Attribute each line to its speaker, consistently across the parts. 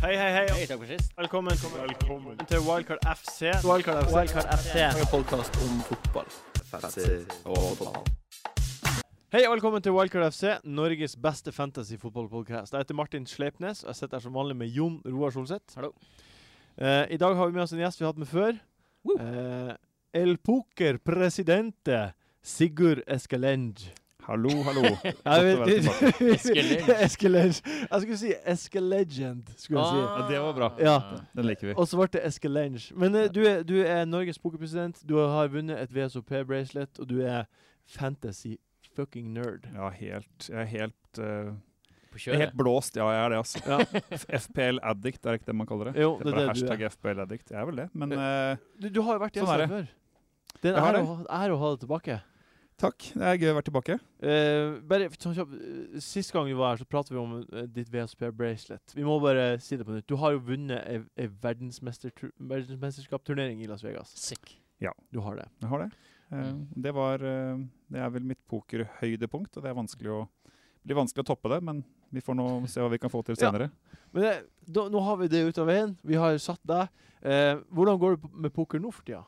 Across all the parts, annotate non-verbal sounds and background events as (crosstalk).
Speaker 1: Hei, hei, hei.
Speaker 2: Hei, takk for sist.
Speaker 1: Velkommen, til Wildcard FC.
Speaker 3: Wildcard FC.
Speaker 1: Wildcard FC.
Speaker 3: En podkast om fotball.
Speaker 1: Hei og velkommen til Wildcard FC, Norges beste fantasy-fotballpodkast. Jeg heter Martin Sleipnes, og jeg sitter her som vanlig med Jon Roar Solseth.
Speaker 2: Hallo.
Speaker 1: Eh, I dag har vi med oss en gjest vi har hatt med før.
Speaker 2: Woo.
Speaker 1: Eh, El Poker Presidente Sigurd Eskelenge.
Speaker 4: Hallo,
Speaker 1: (laughs)
Speaker 4: hallo.
Speaker 1: Jeg
Speaker 4: å være
Speaker 1: (laughs)
Speaker 2: tilbake.
Speaker 1: Eskelenge. Jeg skulle si Eskelegend, skulle
Speaker 3: Ah.
Speaker 1: jeg si.
Speaker 2: Ah.
Speaker 4: Ja, det var bra.
Speaker 1: Ja.
Speaker 4: Den liker vi.
Speaker 1: Og så ble det Eskelenge. Men eh, du, er, du er Norges pokerpresident. Du har vunnet et VSOP-bracelet, og du er fantasy fucking nerd.
Speaker 4: Ja, helt Jeg er helt,
Speaker 2: På
Speaker 4: eh, jeg er
Speaker 2: kjøret.
Speaker 4: helt blåst. Ja, jeg er det, altså.
Speaker 1: Ja.
Speaker 4: FPL addict, er det ikke det man kaller det?
Speaker 1: Jo,
Speaker 4: Det
Speaker 1: det er
Speaker 4: er bare
Speaker 1: det du
Speaker 4: hashtag
Speaker 1: er.
Speaker 4: FPL addict. Jeg er vel det, men eh,
Speaker 1: Du, du har jo vært
Speaker 4: Sånn
Speaker 1: gjest
Speaker 4: er
Speaker 1: her før. Det er
Speaker 4: Jeg
Speaker 1: en
Speaker 4: har
Speaker 1: ære å, ha- ære å ha deg tilbake.
Speaker 4: takk. Det er gøy å være tilbake.
Speaker 1: Eh, bare sånn kjapt eh, Sist gang du var her, så pratet vi om eh, ditt VSOP-bracelet. Vi må bare si det på nytt. Du har jo vunnet e, ei, ei verdensmestertur- verdensmesterskapsturnering i Las Vegas.
Speaker 2: Sick.
Speaker 1: Du har det.
Speaker 4: Jeg har det. Eh,
Speaker 2: Mm.
Speaker 4: Det var eh, Det er vel mitt pokerhøydepunkt, og det er vanskelig å blir vanskelig å toppe det, men vi får nå se hva vi kan få til
Speaker 1: Ja.
Speaker 4: senere.
Speaker 1: Men det, da, nå har vi det ut av veien. Vi har satt deg. Eh, hvordan går det p- med poker nå for tida?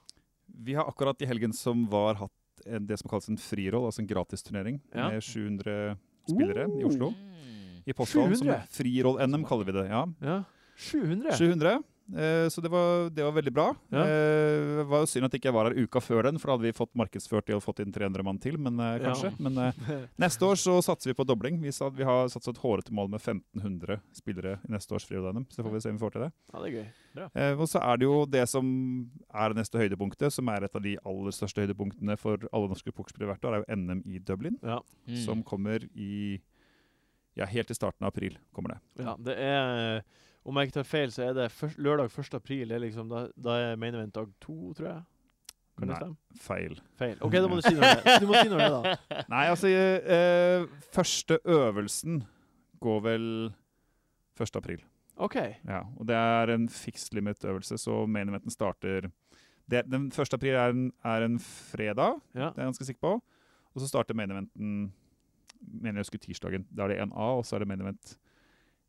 Speaker 4: Vi har akkurat i helgen som var hatt en- det som kalles en friroll, altså en gratisturnering
Speaker 1: Ja.
Speaker 4: med 700 spillere i Oslo.
Speaker 2: Mm.
Speaker 4: I Postdalen. som
Speaker 1: 700?
Speaker 4: Friroll-NM kaller vi det. ja.
Speaker 1: Ja. 700?
Speaker 4: 700. Eh, så det var, det var veldig bra.
Speaker 1: Ja.
Speaker 4: Eh, det var jo synd at ikke jeg var her uka før den, for da hadde vi fått markedsført det og fått inn 300 mann til, men eh,
Speaker 1: (laughs) Ja.
Speaker 4: kanskje. Men eh, neste år så satser vi på dobling. Vi, sa, vi har satset hårete mål med 1500 spillere i neste års Friodanium, så får vi se om vi får til det.
Speaker 1: Ja, det er gøy.
Speaker 4: Eh, og så er det jo det som er det neste høydepunktet, som er et av de aller største høydepunktene for alle norske pokerspillere hvert år, er jo NM i Dublin,
Speaker 1: Ja,
Speaker 2: Mm.
Speaker 4: som kommer i Ja, helt i starten av april kommer det.
Speaker 1: ja det er eh, Om jeg ikke tar feil, så er det først, lørdag 1. april. Det er liksom, da, da er main event dag to, tror jeg. Kan det
Speaker 4: Nei.
Speaker 1: stemme?
Speaker 4: Feil.
Speaker 1: Feil. OK, da må du si noe om det. Du må si noe om det, da.
Speaker 4: Nei, altså eh, Første øvelsen går vel 1. april.
Speaker 1: OK.
Speaker 4: Ja, og det er en fixed limit-øvelse, så main eventen starter det, Den 1. april er en, er en fredag,
Speaker 1: Ja.
Speaker 4: det er jeg ganske sikker på. Og så starter main eventen mener jeg husker tirsdagen. Da er det 1A, og så er det main event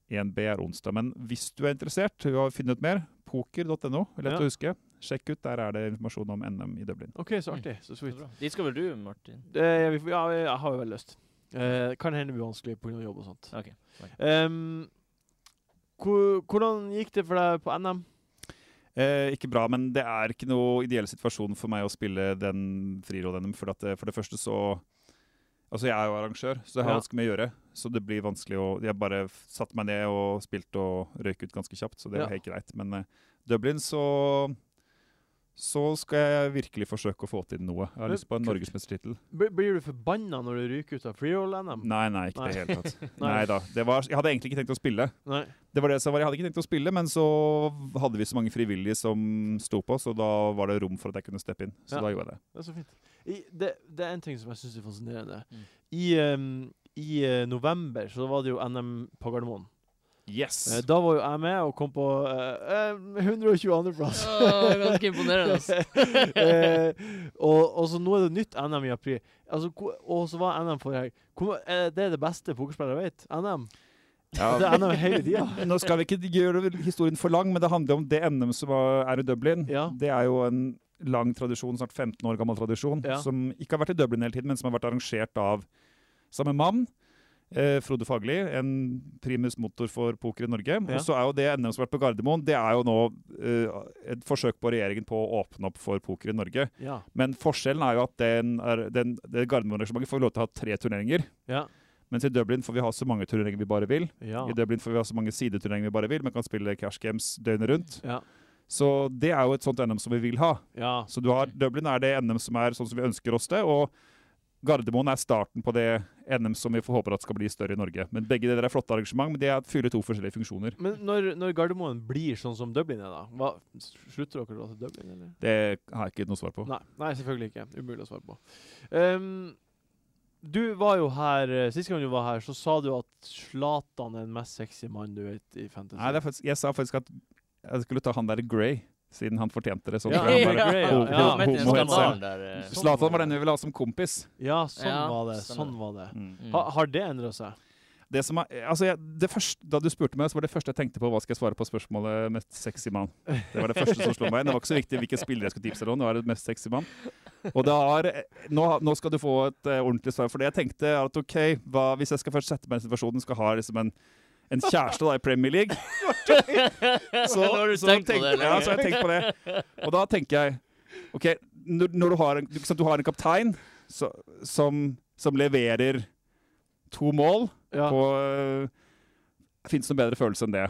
Speaker 4: 1B er onsdag. Men hvis du er interessert i å finne ut mer, poker.no, er lett
Speaker 1: Ja.
Speaker 4: å huske. Sjekk ut, der er det informasjon om NM i Dublin.
Speaker 1: OK, så artig. Så sweet.
Speaker 2: Dit skal vel du, Martin?
Speaker 1: Det, ja, vi får- ja, jeg har jo vel lyst. Eh, kan hende det blir vanskelig pga. jobb og sånt.
Speaker 2: Ok.
Speaker 1: Ehm, hvor- hvordan gikk det for deg på NM?
Speaker 4: Eh, ikke bra, men det er ikke noe ideell situasjon for meg å spille den friroll-NM. For, at, eh, for det første så Altså, jeg er jo arrangør, så jeg har
Speaker 1: Ja.
Speaker 4: ganske mye å gjøre. Så det blir vanskelig å Jeg bare f- satte meg ned og spilte og røyk ut ganske kjapt, så det
Speaker 1: Ja.
Speaker 4: var helt greit. Men eh, Dublin, så så skal jeg virkelig forsøke å få til noe. Jeg har
Speaker 1: Men
Speaker 4: lyst på en
Speaker 1: kult.
Speaker 4: norgesmestertittel.
Speaker 1: Blir- Blir du forbanna når du ryker ut av freeroll-NM?
Speaker 4: Nei, nei, ikke i det hele tatt.
Speaker 1: (laughs) Nei.
Speaker 4: Nei da. Det var, jeg hadde egentlig ikke tenkt å spille.
Speaker 1: Nei.
Speaker 4: Det var det som var, Jeg hadde ikke tenkt å spille, men så hadde vi så mange frivillige som sto på, så da var det rom for at jeg kunne steppe inn. Så
Speaker 1: Ja.
Speaker 4: da gjorde jeg det.
Speaker 1: Det er så fint. I, det, det er en ting som jeg syns er fascinerende.
Speaker 2: Mm.
Speaker 1: I, ehm, i eh, november så var det jo NM på Gardermoen.
Speaker 4: Yes!
Speaker 1: Eh, da var jo jeg med og kom på eh, eh, 122.-plass.
Speaker 2: Åh, ganske imponerende, ass.
Speaker 1: (laughs) Eh, og, og så nå er det nytt NM i april. Altså, hvor- og så var NM forrige helg. Hvor- eh, Det er det beste pokerspillet jeg vet. NM. Det er NM hele tida.
Speaker 4: (laughs) Nå skal vi ikke gjøre historien for lang, men det handler om det NM som var- er i Dublin.
Speaker 1: Ja.
Speaker 4: Det er jo en lang tradisjon, snart 15 år gammel tradisjon,
Speaker 1: Ja.
Speaker 4: som ikke har vært i Dublin hele tiden, men som har vært arrangert av samme mann. Eh, Frode Fagli, en primus motor for poker i Norge.
Speaker 1: Ja.
Speaker 4: Og så er jo det NM som har vært på Gardermoen, det er jo nå eh, et forsøk på regjeringen på å åpne opp for poker i Norge.
Speaker 1: Ja.
Speaker 4: Men forskjellen er jo at den er, den, det Gardermoen-arrangementet får lov til å ha tre turneringer.
Speaker 1: Ja.
Speaker 4: Mens i Dublin får vi ha så mange turneringer vi bare vil.
Speaker 1: Ja.
Speaker 4: I Dublin får vi ha så mange sideturneringer vi bare vil. Man kan spille cash games døgnet rundt.
Speaker 1: ja.
Speaker 4: Så det er jo et sånt NM som vi vil ha.
Speaker 1: ja.
Speaker 4: Så du har, Dublin er det NM som er sånn som vi ønsker oss det, og Gardermoen er starten på det NM som vi får håper at skal bli større i Norge. Men begge deler er flotte arrangement, men det er- fyller to forskjellige funksjoner.
Speaker 1: Men når, når Gardermoen blir sånn som Dublin er, da, hva, slutter dere da til Dublin, eller?
Speaker 4: Det har jeg ikke noe svar på.
Speaker 1: Nei, nei, selvfølgelig ikke. Umulig å svare på. Ehm, du var jo her eh, Sist gang du var her, så sa du at Zlatan er den mest sexy mannen du vet i fantasy.
Speaker 4: Nei, det er faktisk, jeg sa faktisk at jeg skulle ta han der Grey, siden han fortjente det. Sånn,
Speaker 1: Ja,
Speaker 4: for han
Speaker 1: ja,
Speaker 4: bare-
Speaker 1: ja.
Speaker 4: ho- ho-
Speaker 2: Ja, men det er
Speaker 4: homohets-
Speaker 2: skandalen der, eh.
Speaker 1: Sånn
Speaker 4: Zlatan
Speaker 1: var
Speaker 4: var den
Speaker 1: det.
Speaker 4: vi ville ha som kompis.
Speaker 1: Ja, sånn
Speaker 2: Ja,
Speaker 1: var det.
Speaker 2: stemmer. (laughs)
Speaker 1: Sånn var det.
Speaker 4: Mm.
Speaker 2: Mm.
Speaker 1: Ha, har det endra seg?
Speaker 4: Det, som er, altså jeg, det første, da du spurte meg, så var det første jeg tenkte på hva skal jeg svare på spørsmålet 'mest sexy mann'. Det var det første som slo meg. Det var ikke så viktig hvilke spillere jeg skulle tipse deg om. Det var det mest sexy mann. Og det har, nå, nå skal du få et eh, ordentlig svar. For det jeg tenkte er at ok, hva, hvis jeg skal først sette meg i situasjonen, skal ha liksom en en kjæreste da i Premier League.
Speaker 2: (laughs)
Speaker 4: Så,
Speaker 2: Nå har du
Speaker 4: så
Speaker 2: tenkt på
Speaker 4: tenkte-
Speaker 2: det lenge.
Speaker 4: Ja, så har jeg sånn tenkt på det. Og da tenker jeg OK, når, når du, har en, du, ikke sant, du har en kaptein så, som, som leverer to mål
Speaker 1: Ja.
Speaker 4: på Fins noen bedre følelse enn det.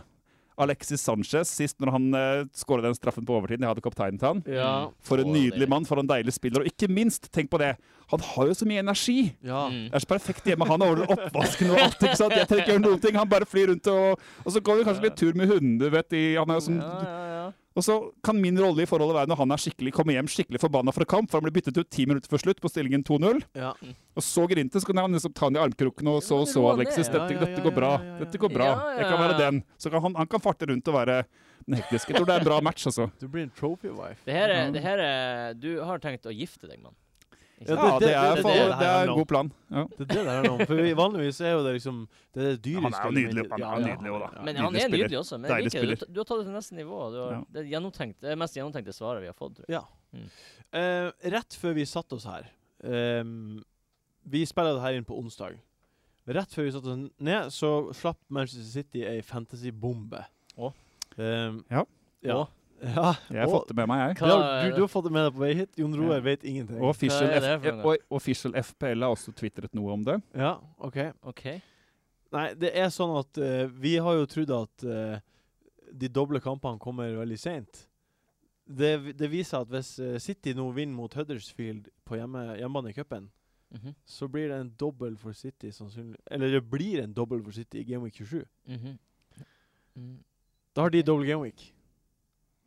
Speaker 4: Alexis Sanchez, sist når han uh, skåra den straffen på overtiden, jeg hadde kapteinen til han.
Speaker 1: Ja.
Speaker 2: Mm.
Speaker 4: For en
Speaker 2: Å,
Speaker 4: nydelig
Speaker 2: deilig.
Speaker 4: mann, for en deilig spiller. Og ikke minst, tenk på det, han har jo så mye energi.
Speaker 1: ja.
Speaker 2: Mm.
Speaker 4: Det er så perfekt hjemme. Han ordner oppvasken og alt. ikke sant? Jeg trenger ikke gjøre noen ting. Han bare flyr rundt og Og så går vi kanskje litt tur med hunden, du vet. I, han er jo sånn,
Speaker 2: Ja, ja, ja.
Speaker 4: og så kan min rolle i forholdet være når han er skikkelig, kommer hjem skikkelig forbanna fra kamp, for han blir byttet ut ti minutter før slutt på stillingen 2-0.
Speaker 1: Ja.
Speaker 4: Og så grinte, så kan han liksom ta han i armkroken og så
Speaker 2: Ja,
Speaker 4: så
Speaker 2: roe ned.
Speaker 4: Alexis.
Speaker 1: Ja,
Speaker 4: Dette,
Speaker 1: ja, ja,
Speaker 4: dette går bra.
Speaker 1: ja, ja, ja.
Speaker 4: Dette går bra.
Speaker 2: Ja, ja,
Speaker 4: Jeg kan
Speaker 2: ja.
Speaker 4: være den. Så kan han, han kan farte rundt og være den hektiske. Jeg tror det er en bra match, altså.
Speaker 1: Du blir en trophy wife.
Speaker 2: Det her, er, det her er Du har tenkt å gifte deg, mann. Ikke
Speaker 1: Ja,
Speaker 4: Ja,
Speaker 2: sant?
Speaker 1: det-
Speaker 4: det er,
Speaker 2: det- det-
Speaker 4: for,
Speaker 2: det-
Speaker 1: det
Speaker 4: det
Speaker 1: her er
Speaker 4: er en
Speaker 1: lov.
Speaker 4: god plan. Ja.
Speaker 1: Det er det det er noe om. For vi, vanligvis er jo det liksom Det er det dyriske.
Speaker 4: Han er jo nydelig,
Speaker 1: elementet.
Speaker 4: han er
Speaker 1: Ja, ja.
Speaker 4: jo nydelig også, da.
Speaker 2: Men han
Speaker 4: Nydelig
Speaker 2: er
Speaker 4: spiller.
Speaker 2: nydelig også. Men jeg
Speaker 4: Deilig
Speaker 2: liker det. Du,
Speaker 4: spiller.
Speaker 2: ta- du har tatt det til neste nivå. Du har,
Speaker 4: Ja.
Speaker 2: Det er gjennomtenkt, det er mest gjennomtenkte svaret vi har fått. Tror jeg.
Speaker 1: Ja.
Speaker 2: Mm.
Speaker 1: Eh, rett før vi satte oss her ehm, Vi spiller det her inn på onsdag. Rett før vi satte oss ned, så slapp Manchester City ei fantasy-bombe.
Speaker 2: Å.
Speaker 1: Ehm,
Speaker 4: Ja.
Speaker 1: ja.
Speaker 2: Å.
Speaker 1: Ja,
Speaker 4: Jeg har
Speaker 1: og-
Speaker 4: fått det med meg, jeg.
Speaker 1: Det har- du, du har fått det med deg på vei hit. Jon Roar
Speaker 4: Ja.
Speaker 1: vet ingenting.
Speaker 4: Og Official,
Speaker 2: Hva er det for
Speaker 4: F
Speaker 2: noe?
Speaker 4: og official FPL har også tvitret noe om det.
Speaker 1: Ja, ok
Speaker 2: OK.
Speaker 1: Nei, det er sånn at eh, vi har jo trodd at eh, de doble kampene kommer veldig seint. Det, vi- det viser at hvis eh, City nå vinner mot Huddersfield på hjemme, hjemmebane i cupen,
Speaker 2: Mhm,
Speaker 1: så blir det en dobbel for City sannsynlig Eller det blir en dobbel for City i Game Week 27.
Speaker 2: mhm. Mm.
Speaker 1: Da har de dobbel Game Week.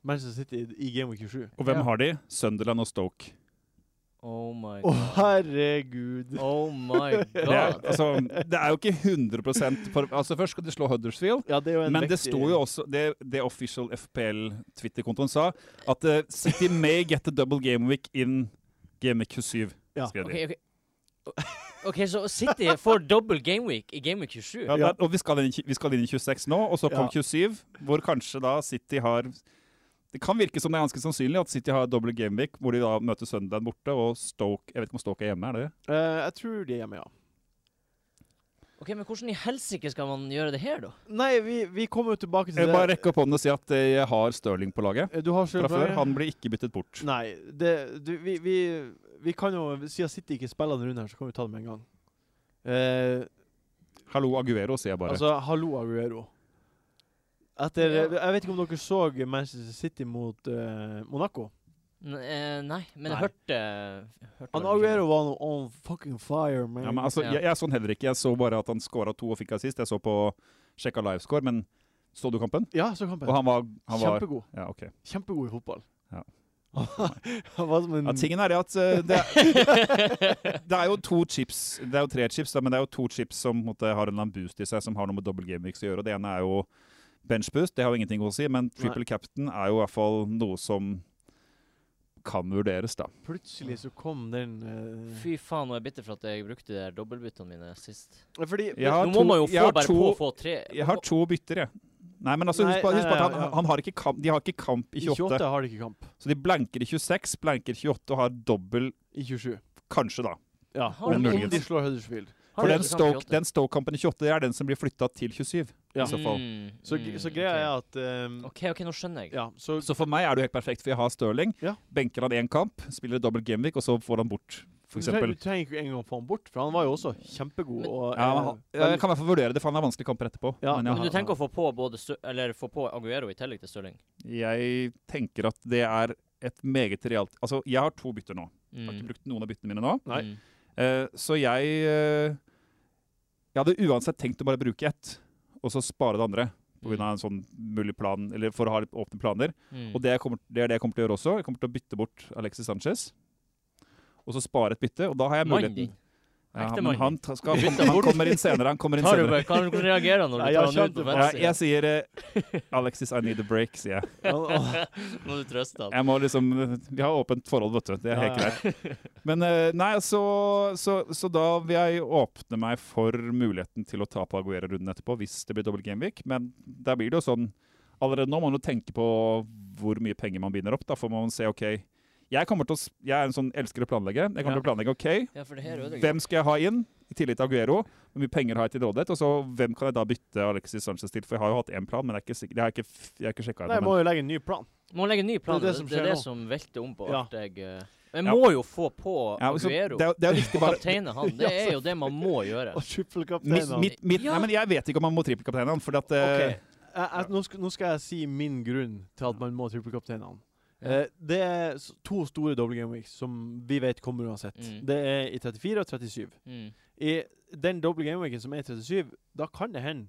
Speaker 1: Manchester City i Game Week 27.
Speaker 4: Og hvem
Speaker 2: Ja.
Speaker 4: har de? Sunderland og Stoke.
Speaker 2: Oh my
Speaker 1: Å,
Speaker 2: god.
Speaker 1: herregud.
Speaker 2: Oh my
Speaker 4: (laughs) Det er,
Speaker 2: god.
Speaker 4: altså, det er jo ikke 100 for, altså Først skal de slå Huddersfield,
Speaker 1: Ja, det er jo en
Speaker 4: men det
Speaker 1: vektig-
Speaker 4: sto jo også Det, det official FPL-twitterkontoen sa, at eh,
Speaker 1: (laughs)
Speaker 4: City may get a double game week in game week 27.
Speaker 1: Ja.
Speaker 4: skrev de.
Speaker 2: Ok, ok. OK, så City får dobbel gameweek i Gameweek 27.
Speaker 4: Ja, der, og vi skal, inn, i- vi skal inn i 26 nå, og så kom
Speaker 1: Ja.
Speaker 4: 27, hvor kanskje da City har Det kan virke som det er ganske sannsynlig at City har double game week, hvor de da møter Sunderland borte og Stoke Jeg vet ikke om Stoke er hjemme, er det det?
Speaker 1: Eh, jeg tror de er hjemme, ja.
Speaker 2: Ok, Men hvordan i helsike skal man gjøre det her, da?
Speaker 1: Nei, vi, vi kommer jo tilbake til
Speaker 4: Jeg vil bare
Speaker 1: det.
Speaker 4: rekke opp hånden og si at eh, jeg har Stirling på laget
Speaker 1: Eh, Du har selv
Speaker 4: fra før. Han blir ikke byttet bort.
Speaker 1: Nei, det, du, vi, vi, vi kan jo Siden City ikke spiller denne runden, her, så kan vi ta det med en gang. Eh,
Speaker 4: Hallo Aguero, sier jeg bare.
Speaker 1: altså, hallo, Aguero. Etter,
Speaker 2: Ja.
Speaker 1: Jeg vet ikke om dere så Manchester City mot eh, Monaco.
Speaker 2: N eh, nei, men
Speaker 1: Nei.
Speaker 2: jeg hørte, hørte
Speaker 1: Han
Speaker 2: hva du sa.
Speaker 1: Aguero var noe on fucking fire, man.
Speaker 4: ja, men altså,
Speaker 2: Ja.
Speaker 4: jeg, jeg så han heller ikke. Jeg så bare at han skåra to og fikk assist. Jeg så på sjekka livescore, men så du kampen?
Speaker 1: Ja, så kampen.
Speaker 4: Og han var, han var
Speaker 1: Kjempegod.
Speaker 4: Ja, OK.
Speaker 1: Kjempegod i fotball.
Speaker 4: Ja.
Speaker 1: (laughs) han var som en
Speaker 4: Ja, tingen er det at eh, det er, det er (laughs) jo to chips Det er jo tre chips, da, men det er jo to chips som på en måte, har en eller annen boost i seg, som har noe med double game weeks å gjøre. Og det ene er jo bench boost, det har jo ingenting å si, men triple captain er jo i hvert fall noe som kan vurderes, da.
Speaker 1: Plutselig så kom den eh,
Speaker 2: Fy faen, nå er jeg bitter for at jeg brukte de der dobbeltbyttene mine sist.
Speaker 1: Fordi
Speaker 4: Jeg har
Speaker 2: Nå
Speaker 4: to-
Speaker 2: må man jo
Speaker 4: jeg
Speaker 2: få
Speaker 4: har
Speaker 2: bare
Speaker 4: to-
Speaker 2: på å få tre.
Speaker 4: Jeg har to bytter, jeg. Nei, men altså,
Speaker 1: Nei,
Speaker 4: husk på, husk på at
Speaker 1: nei,
Speaker 4: han,
Speaker 1: ja, ja.
Speaker 4: han har ikke kamp, de har ikke kamp i 28.
Speaker 1: har de ikke kamp.
Speaker 4: Så de blanker i 26, blanker i 28 og har dobbel,
Speaker 1: I 27.
Speaker 4: kanskje, da.
Speaker 1: Ja,
Speaker 2: Har
Speaker 1: om,
Speaker 4: de
Speaker 1: om
Speaker 4: muligens.
Speaker 1: de slår Huddersfield.
Speaker 2: Har
Speaker 4: For
Speaker 2: du
Speaker 4: den
Speaker 2: ikke sånn kamp i
Speaker 4: Stoke-
Speaker 2: 28?
Speaker 4: den Stoke-kampen i 28 er den som blir flytta til 27.
Speaker 1: Ja.
Speaker 4: I så fall.
Speaker 2: Mm,
Speaker 1: Så,
Speaker 2: mm,
Speaker 1: så greia er
Speaker 2: ok.
Speaker 1: at eh,
Speaker 2: OK, ok, nå skjønner jeg.
Speaker 1: Ja, så
Speaker 4: Så for meg er det jo helt perfekt, for jeg har Stirling.
Speaker 1: Ja.
Speaker 4: Benker han én kamp, spiller dobbel gameweek, og så får han bort,
Speaker 1: Du
Speaker 4: f.eks.
Speaker 1: trenger, du trenger ikke engang få han bort, for han var jo også kjempegod.
Speaker 2: Men-
Speaker 1: Og,
Speaker 4: Ja, men han-
Speaker 1: eh, veldig- (laughs)
Speaker 4: jeg kan i hvert fall vurdere det, for han har vanskelige kamper etterpå.
Speaker 1: Ja,
Speaker 4: men jeg,
Speaker 2: Men
Speaker 1: ja,
Speaker 2: du
Speaker 4: har-
Speaker 2: tenker å få på både Stø eller få på Aguero i tillegg til Stirling?
Speaker 4: jeg tenker at det er et meget realt Altså, jeg har to bytter nå. Jeg har ikke
Speaker 2: Mm,
Speaker 4: brukt noen av byttene mine nå.
Speaker 1: Nei.
Speaker 2: mm.
Speaker 4: Eh, så jeg eh, Jeg hadde uansett tenkt å bare bruke ett, og så spare det andre. På grunn av en sånn mulig plan, eller for å ha litt åpne planer.
Speaker 2: Mm.
Speaker 4: Og det, jeg kommer, det er det jeg kommer til å gjøre også. Jeg kommer til å bytte bort Alexis Sanchez. Og så spare et bytte, og da har jeg muligheten.
Speaker 2: Manning.
Speaker 4: Ja,
Speaker 2: Ekte
Speaker 4: men
Speaker 2: manning.
Speaker 4: han, ta- skal,
Speaker 2: Bytte
Speaker 4: han, han
Speaker 2: bort.
Speaker 4: kommer inn senere. Han kommer inn
Speaker 2: Tar du
Speaker 4: senere.
Speaker 2: bare, Kan du reagere når
Speaker 1: Nei,
Speaker 2: du
Speaker 1: jeg
Speaker 2: tar han
Speaker 1: skjønte
Speaker 2: ut på
Speaker 1: det.
Speaker 4: Ja,
Speaker 2: venstre?
Speaker 4: jeg sier eh, Alexis, I need a break, sier jeg.
Speaker 1: Han- han-
Speaker 2: Må du trøste han?
Speaker 4: jeg må liksom, vi har åpent forhold, vet du. Det er helt
Speaker 1: Ja, ja.
Speaker 4: greit. Men eh, nei, så, så, så da vil jeg åpne meg for muligheten til å ta på Aguero-runden etterpå, hvis det blir dobbelt gameweek. Men der blir det jo sånn Allerede nå må man jo tenke på hvor mye penger man binder opp. Da får man se, OK Jeg kommer til å, s- jeg er en sånn elsker å planlegge. Jeg kommer til å planlegge OK,
Speaker 2: Ja, for det her ødelegger.
Speaker 4: hvem skal jeg ha inn? I tillegg til Aguero. Hvor mye penger har jeg til rådighet? Og så hvem kan jeg da bytte Alexis Sanchez til? For jeg har jo hatt én plan, men jeg er ikke sikker, jeg har ikke, f- jeg har ikke sjekka
Speaker 1: Nei, jeg
Speaker 4: ennå.
Speaker 1: må jo legge en ny plan.
Speaker 2: Må legge en ny plan.
Speaker 1: Det er det
Speaker 2: Det
Speaker 1: som
Speaker 2: er det,
Speaker 1: skjer nå.
Speaker 2: som velter om på
Speaker 1: Ja.
Speaker 2: alt jeg eh, Jeg
Speaker 4: Ja.
Speaker 2: må jo få på
Speaker 4: Ja, så
Speaker 2: Aguero.
Speaker 4: det, er- det er jo viktig
Speaker 2: Og (laughs)
Speaker 4: bare altså.
Speaker 2: kapteine
Speaker 4: (laughs)
Speaker 2: han. Det er jo det man må gjøre.
Speaker 1: (laughs) Og
Speaker 4: mitt,
Speaker 1: trippelkapteinen.
Speaker 4: mitt, mitt, Nei, men jeg vet ikke om man må trippelkapteine han, for at eh,
Speaker 1: Ok, jeg, jeg, nå, skal, nå skal jeg si min grunn til at man må trippelkapteinene. Eh, det er s- to store double game weeks som vi vet kommer uansett.
Speaker 2: Mm.
Speaker 1: Det er i 34 og 37.
Speaker 2: Mm.
Speaker 1: I den double game weeken som er i 37, da kan det hende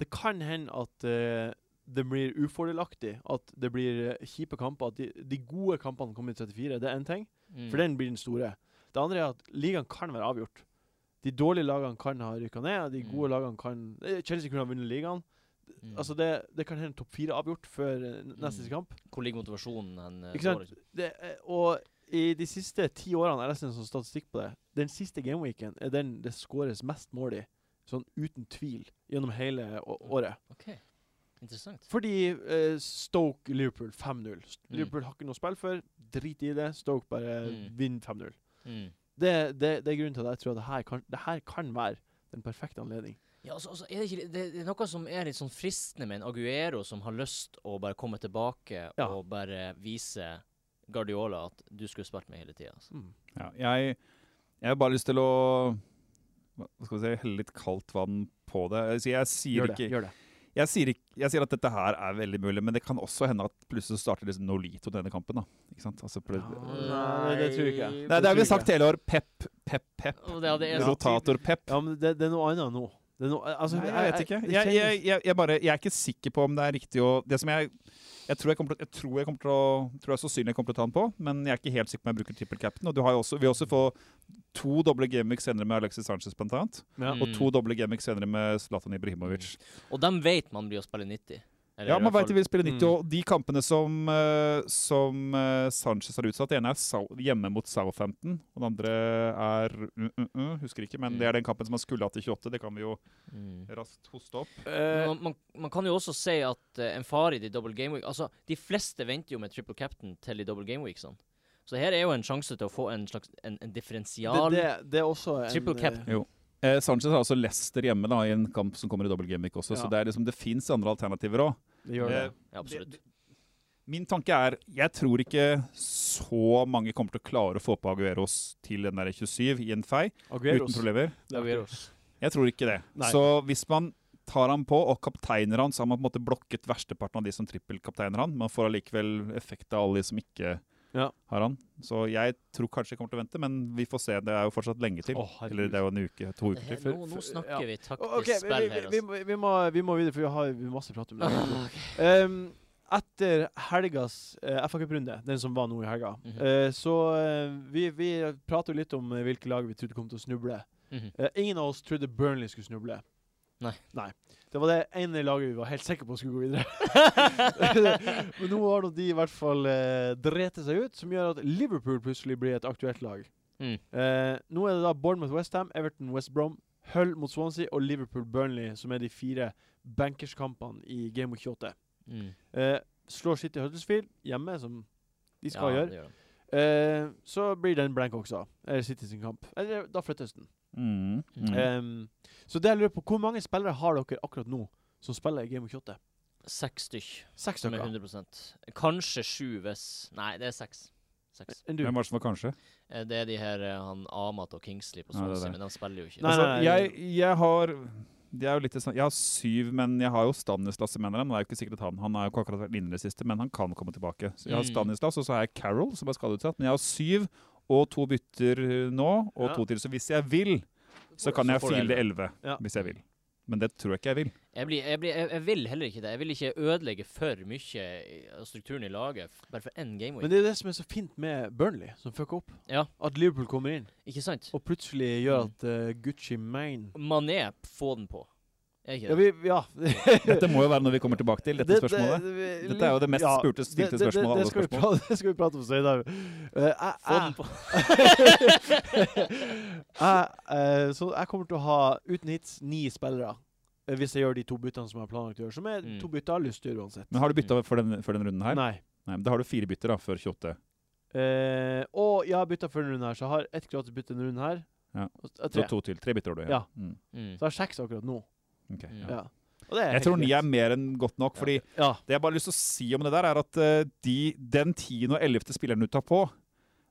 Speaker 1: Det kan hende at eh, det blir ufordelaktig. At det blir eh, kjipe kamper. At de, de gode kampene kommer i 34. Det er én ting.
Speaker 2: Mm.
Speaker 1: For den blir den store. Det andre er at ligaen kan være avgjort. De dårlige lagene kan ha rykka ned, og de
Speaker 2: Mm.
Speaker 1: gode lagene kan eh, Chelsea kunne ha vunnet ligaen.
Speaker 2: Mm.
Speaker 1: Altså det, det kan hende topp fire er avgjort før eh, n- neste
Speaker 2: Mm.
Speaker 1: kamp.
Speaker 2: Hvor ligger motivasjonen hen? eh,
Speaker 1: Ikke sant?
Speaker 2: nå, liksom?
Speaker 1: Det, eh, og i de siste ti årene Jeg leste en sånn statistikk på det. Den siste gameweeken er den det skåres mest mål i, sånn uten tvil, gjennom hele å-
Speaker 2: Mm.
Speaker 1: året.
Speaker 2: Ok, Interessant.
Speaker 1: Fordi eh, Stoke Liverpool 5-0. St-
Speaker 2: Mm.
Speaker 1: Liverpool har ikke noe spill for. Drit i det. Stoke bare
Speaker 2: Mm.
Speaker 1: vinner 5-0.
Speaker 2: Mm.
Speaker 1: Det, det, det er grunnen til at jeg tror at det her kan, det her kan være den perfekte anledning.
Speaker 2: Ja, altså, altså, er det, ikke, det, det er noe som er litt sånn fristende med en Aguero som har lyst å bare komme tilbake
Speaker 1: Ja.
Speaker 2: og bare vise Guardiola at du skulle spilt med hele tida. Altså.
Speaker 1: Mm.
Speaker 4: ja, jeg, jeg har bare lyst til å hva skal vi si, helle litt kaldt vann på det. Så jeg sier
Speaker 1: Gjør det.
Speaker 4: ikke
Speaker 1: Gjør det.
Speaker 4: jeg sier, ikke, jeg sier at dette her er veldig mulig, men det kan også hende at plutselig så starter liksom Nolito denne kampen. da. Ikke sant? Altså, plut-
Speaker 1: Nei, det tror jeg ikke.
Speaker 2: Ah, Nei,
Speaker 4: Nei, det har vi
Speaker 1: tror jeg
Speaker 4: sagt hele år. Pep, pep, pep.
Speaker 2: Og det, ja, det er
Speaker 1: Ja.
Speaker 2: sånn.
Speaker 4: Rotator-pep.
Speaker 1: Ja, men det, det er noe annet nå. Det er noe, altså,
Speaker 4: Nei, jeg vet ikke.
Speaker 1: det
Speaker 4: Jeg, jeg,
Speaker 1: kjennes-
Speaker 4: jeg, jeg, bare, jeg er ikke sikker på om det er riktig å Det som jeg jeg tror jeg, kommer til, jeg, tror jeg, kommer til å, tror jeg sannsynlig kommer til å ta den på, men jeg er ikke helt sikker på om jeg bruker trippelcapten. Og du har jo også, vi har også få to doble gameweek senere med Alexis Sanchez, blant annet.
Speaker 1: ja.
Speaker 2: Mm.
Speaker 4: Og to doble gameweek senere med Zlatan Ibrahimovic.
Speaker 2: Og dem vet man blir å spille 90. Eller
Speaker 4: Ja,
Speaker 2: i
Speaker 4: man
Speaker 2: hvert fall-
Speaker 4: veit de vil spille 90,
Speaker 1: Mm.
Speaker 4: og de kampene som, eh, som eh, Sanchez har utsatt Det ene er Sau- hjemme mot Southampton, og den andre er mm, mm, mm, Husker ikke, men det er den kampen som han skulle hatt i 28. Det kan vi jo
Speaker 2: Mm.
Speaker 4: raskt hoste opp.
Speaker 1: Eh,
Speaker 2: man, man, man kan jo også si at eh, en fare i de double game week Altså, de fleste venter jo med triple captain til de double game weeksene. Så her er jo en sjanse til å få en slags en, en
Speaker 1: det,
Speaker 2: differensial
Speaker 1: det, det er også en
Speaker 2: Triple cap.
Speaker 1: eh,
Speaker 4: Eh, Sanchez har altså Leicester hjemme da, i en kamp som kommer i dobbel gameweek
Speaker 1: Ja.
Speaker 4: også, så det, er liksom, det fins andre alternativer òg.
Speaker 1: Det gjør det.
Speaker 2: Ja, absolutt.
Speaker 4: Min tanke er jeg tror ikke så mange kommer til å klare å få på Agueros til den der 27 i en fei
Speaker 1: Agueros.
Speaker 4: uten problemer.
Speaker 1: Det er artig.
Speaker 4: Jeg tror ikke det.
Speaker 1: Nei.
Speaker 4: Så hvis man tar han på og kapteiner han, så har man på en måte blokket versteparten av de som trippelkapteiner han. Man får allikevel effekt av alle de som ikke
Speaker 1: Ja.
Speaker 4: har han. Så jeg tror kanskje jeg kommer til å vente, men vi får se. Det er jo fortsatt lenge til.
Speaker 1: Å, herregud.
Speaker 4: Eller det er jo en uke, to
Speaker 2: Det
Speaker 4: uker
Speaker 2: her,
Speaker 4: til.
Speaker 1: for-
Speaker 2: nå,
Speaker 1: for-
Speaker 2: nå snakker
Speaker 1: ja.
Speaker 2: vi taktisk
Speaker 1: Ok, vi,
Speaker 2: spill her,
Speaker 1: vi, vi,
Speaker 2: altså.
Speaker 1: må- vi, må, vi må videre, for vi har masse prat om det.
Speaker 2: (laughs) Ah, ok.
Speaker 1: Ehm, etter helgas uh, FA-cuprunde, den som var nå i helga,
Speaker 2: Mhm.
Speaker 1: eh, så eh, vi, vi prater jo litt om eh, hvilke lag vi trodde kom til å snuble.
Speaker 2: Mhm.
Speaker 1: Eh, ingen av oss trodde Burnley skulle snuble.
Speaker 2: Nei.
Speaker 1: Det var det ene laget vi var helt sikre på skulle gå videre.
Speaker 2: (laughs)
Speaker 1: (laughs) Men nå har nå de i hvert fall uh, drete seg ut, som gjør at Liverpool plutselig blir et aktuelt lag.
Speaker 2: Mm.
Speaker 1: Eh, nå er det da Bournemouth Westham, Everton West Brom, Hull mot Swansea og Liverpool Burnley, som er de fire bankerskampene i Game of 28.
Speaker 2: Mm.
Speaker 1: Eh, slår City Huddersfield hjemme, som de skal
Speaker 2: Ja,
Speaker 1: gjøre.
Speaker 2: det gjør de.
Speaker 1: Eh, så blir den blank også. Eller City sin kamp. Eller da flyttes den.
Speaker 4: Mm. Mm.
Speaker 1: Ehm, så det jeg lurer på, hvor mange spillere har dere akkurat nå som spiller i Game of 28?
Speaker 2: Seks stykk
Speaker 1: Seks
Speaker 2: som er
Speaker 1: stykker.
Speaker 2: 100 Kanskje sju hvis Nei, det er seks. Seks.
Speaker 1: Enn du?
Speaker 4: Hvem var det som var kanskje?
Speaker 2: Eh, Det er de her eh, han Amat og Kingsley på
Speaker 4: Ja, det er
Speaker 2: Swansea,
Speaker 4: det.
Speaker 2: men de spiller jo ikke.
Speaker 1: Nei,
Speaker 4: altså,
Speaker 1: nei, nei.
Speaker 4: jeg, jeg har det er jo litt det samme- Jeg har syv, men jeg har jo Stanislas som mener han. Det er jo ikke sikkert at han Han har jo ikke akkurat vært inne i det siste, men han kan komme tilbake. Så jeg har
Speaker 2: Mm.
Speaker 4: Stanislas, og så har jeg Carol, som er skadeutsatt. Men jeg har syv og to bytter eh, nå, og
Speaker 1: Ja.
Speaker 4: to til. Så hvis jeg vil, så kan jeg
Speaker 2: får du
Speaker 4: file elleve.
Speaker 1: Ja.
Speaker 4: Hvis jeg vil. Men det tror jeg ikke
Speaker 1: (laughs)
Speaker 4: jeg vil.
Speaker 2: Jeg, blir, jeg, blir, jeg, jeg vil heller ikke det. Jeg vil ikke ødelegge for mye i- av strukturen i laget f- bare for én
Speaker 1: Men
Speaker 2: gameweek.
Speaker 1: det er det som er så fint med Burnley, som fucker opp.
Speaker 2: Ja.
Speaker 1: At Liverpool kommer inn
Speaker 2: Ikke sant?
Speaker 1: og plutselig gjør at eh, Gucci Mane
Speaker 2: Mané, få den på. Er ikke
Speaker 1: Ja,
Speaker 2: det?
Speaker 1: vi, ja.
Speaker 4: Dette må jo være når vi kommer tilbake til, (laughs) dette
Speaker 1: Det- det-
Speaker 4: spørsmålet.
Speaker 1: vi-
Speaker 4: Dette er jo det mest
Speaker 1: ja,
Speaker 4: spurte stilte
Speaker 1: det- det-
Speaker 4: spørsmålet av
Speaker 1: Det,
Speaker 4: alle
Speaker 1: det, skal vi
Speaker 4: spørsmål.
Speaker 1: prate- (laughs) det skal vi prate om senere. Eh, jeg-
Speaker 2: Få den
Speaker 4: Ah.
Speaker 1: jeg-
Speaker 2: på. (laughs)
Speaker 1: jeg, eh, så jeg kommer til å ha, uten hits, ni spillere. eh, Hvis jeg gjør de to byttene som jeg har planlagt å gjøre. Som er
Speaker 2: Mm.
Speaker 1: to bytter jeg har lyst til å gjøre uansett.
Speaker 4: Men har du bytta før, den- før den runden her?
Speaker 1: Nei.
Speaker 4: Nei, men Da har du fire bytter da, før 28.
Speaker 1: Eh, og jeg har bytta før denne runden her, så jeg har ett gratis bytte denne runden her.
Speaker 4: Ja.
Speaker 1: Og, eh,
Speaker 4: Så
Speaker 1: tre.
Speaker 4: to til. Tre bytter har du.
Speaker 1: Ja.
Speaker 4: Mm.
Speaker 2: Mm.
Speaker 1: Så jeg har seks akkurat nå.
Speaker 4: Ok.
Speaker 2: Mm.
Speaker 1: Ja. Og det er
Speaker 4: Jeg
Speaker 1: helt
Speaker 4: tror ni
Speaker 1: greit.
Speaker 4: er mer enn godt nok. fordi
Speaker 1: Ja.
Speaker 4: Det jeg bare har lyst til å si om det der, er at eh, de, den 10. og 11. spilleren du tar på,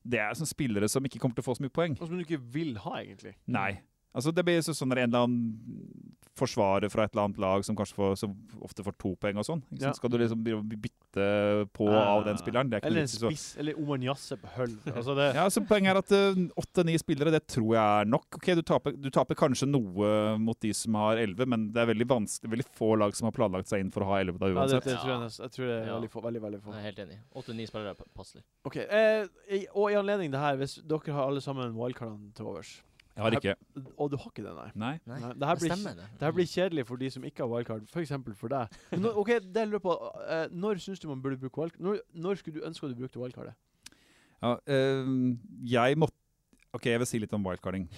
Speaker 4: det er sånne spillere som ikke kommer til å få så mye poeng.
Speaker 1: Noe som du ikke vil ha, egentlig.
Speaker 4: Nei. Altså, det blir så- sånn der en eller annen forsvarer fra et eller annet lag som kanskje får, som ofte får to poeng og sånn. Ikke sant?
Speaker 1: Ja.
Speaker 4: Skal du liksom begynne å bytte på
Speaker 1: Ja.
Speaker 4: av den spilleren? Det er ikke
Speaker 1: Eller
Speaker 4: noe
Speaker 1: en
Speaker 4: vits i så.
Speaker 1: spiss, eller Oman Jasse på høll. Altså det,
Speaker 4: (laughs) Ja, så Poenget er at eh, åtte-ni spillere, det tror jeg er nok. Ok, du taper, du taper kanskje noe mot de som har elleve, men det er veldig vanskelig, veldig få lag som har planlagt seg inn for å ha elleve da
Speaker 1: Nei, det,
Speaker 4: uansett.
Speaker 1: det tror jeg, nes- jeg tror det er
Speaker 2: Ja.
Speaker 1: veldig få. Veldig, veldig få.
Speaker 2: Jeg er helt enig. Åtte-ni spillere er pa- passelig.
Speaker 1: Ok, eh, i- Og i anledning det her, hvis dere har alle sammen wildcardene til overs
Speaker 4: Jeg har ikke.
Speaker 1: Og du har ikke det, nei.
Speaker 4: Nei.
Speaker 2: Nei,
Speaker 1: Nei, det her blir
Speaker 2: stemmer, det.
Speaker 1: Det her blir kjedelig for de som ikke har wildcard, f.eks. For, for deg. Men nå- ok, det jeg lurer på eh, Når syns du man burde bruke wildcard? Når, når skulle du ønske at du brukte wildcardet?
Speaker 4: Ja, øhm, jeg måtte OK, jeg vil si litt
Speaker 1: (laughs)
Speaker 4: om wildcarding.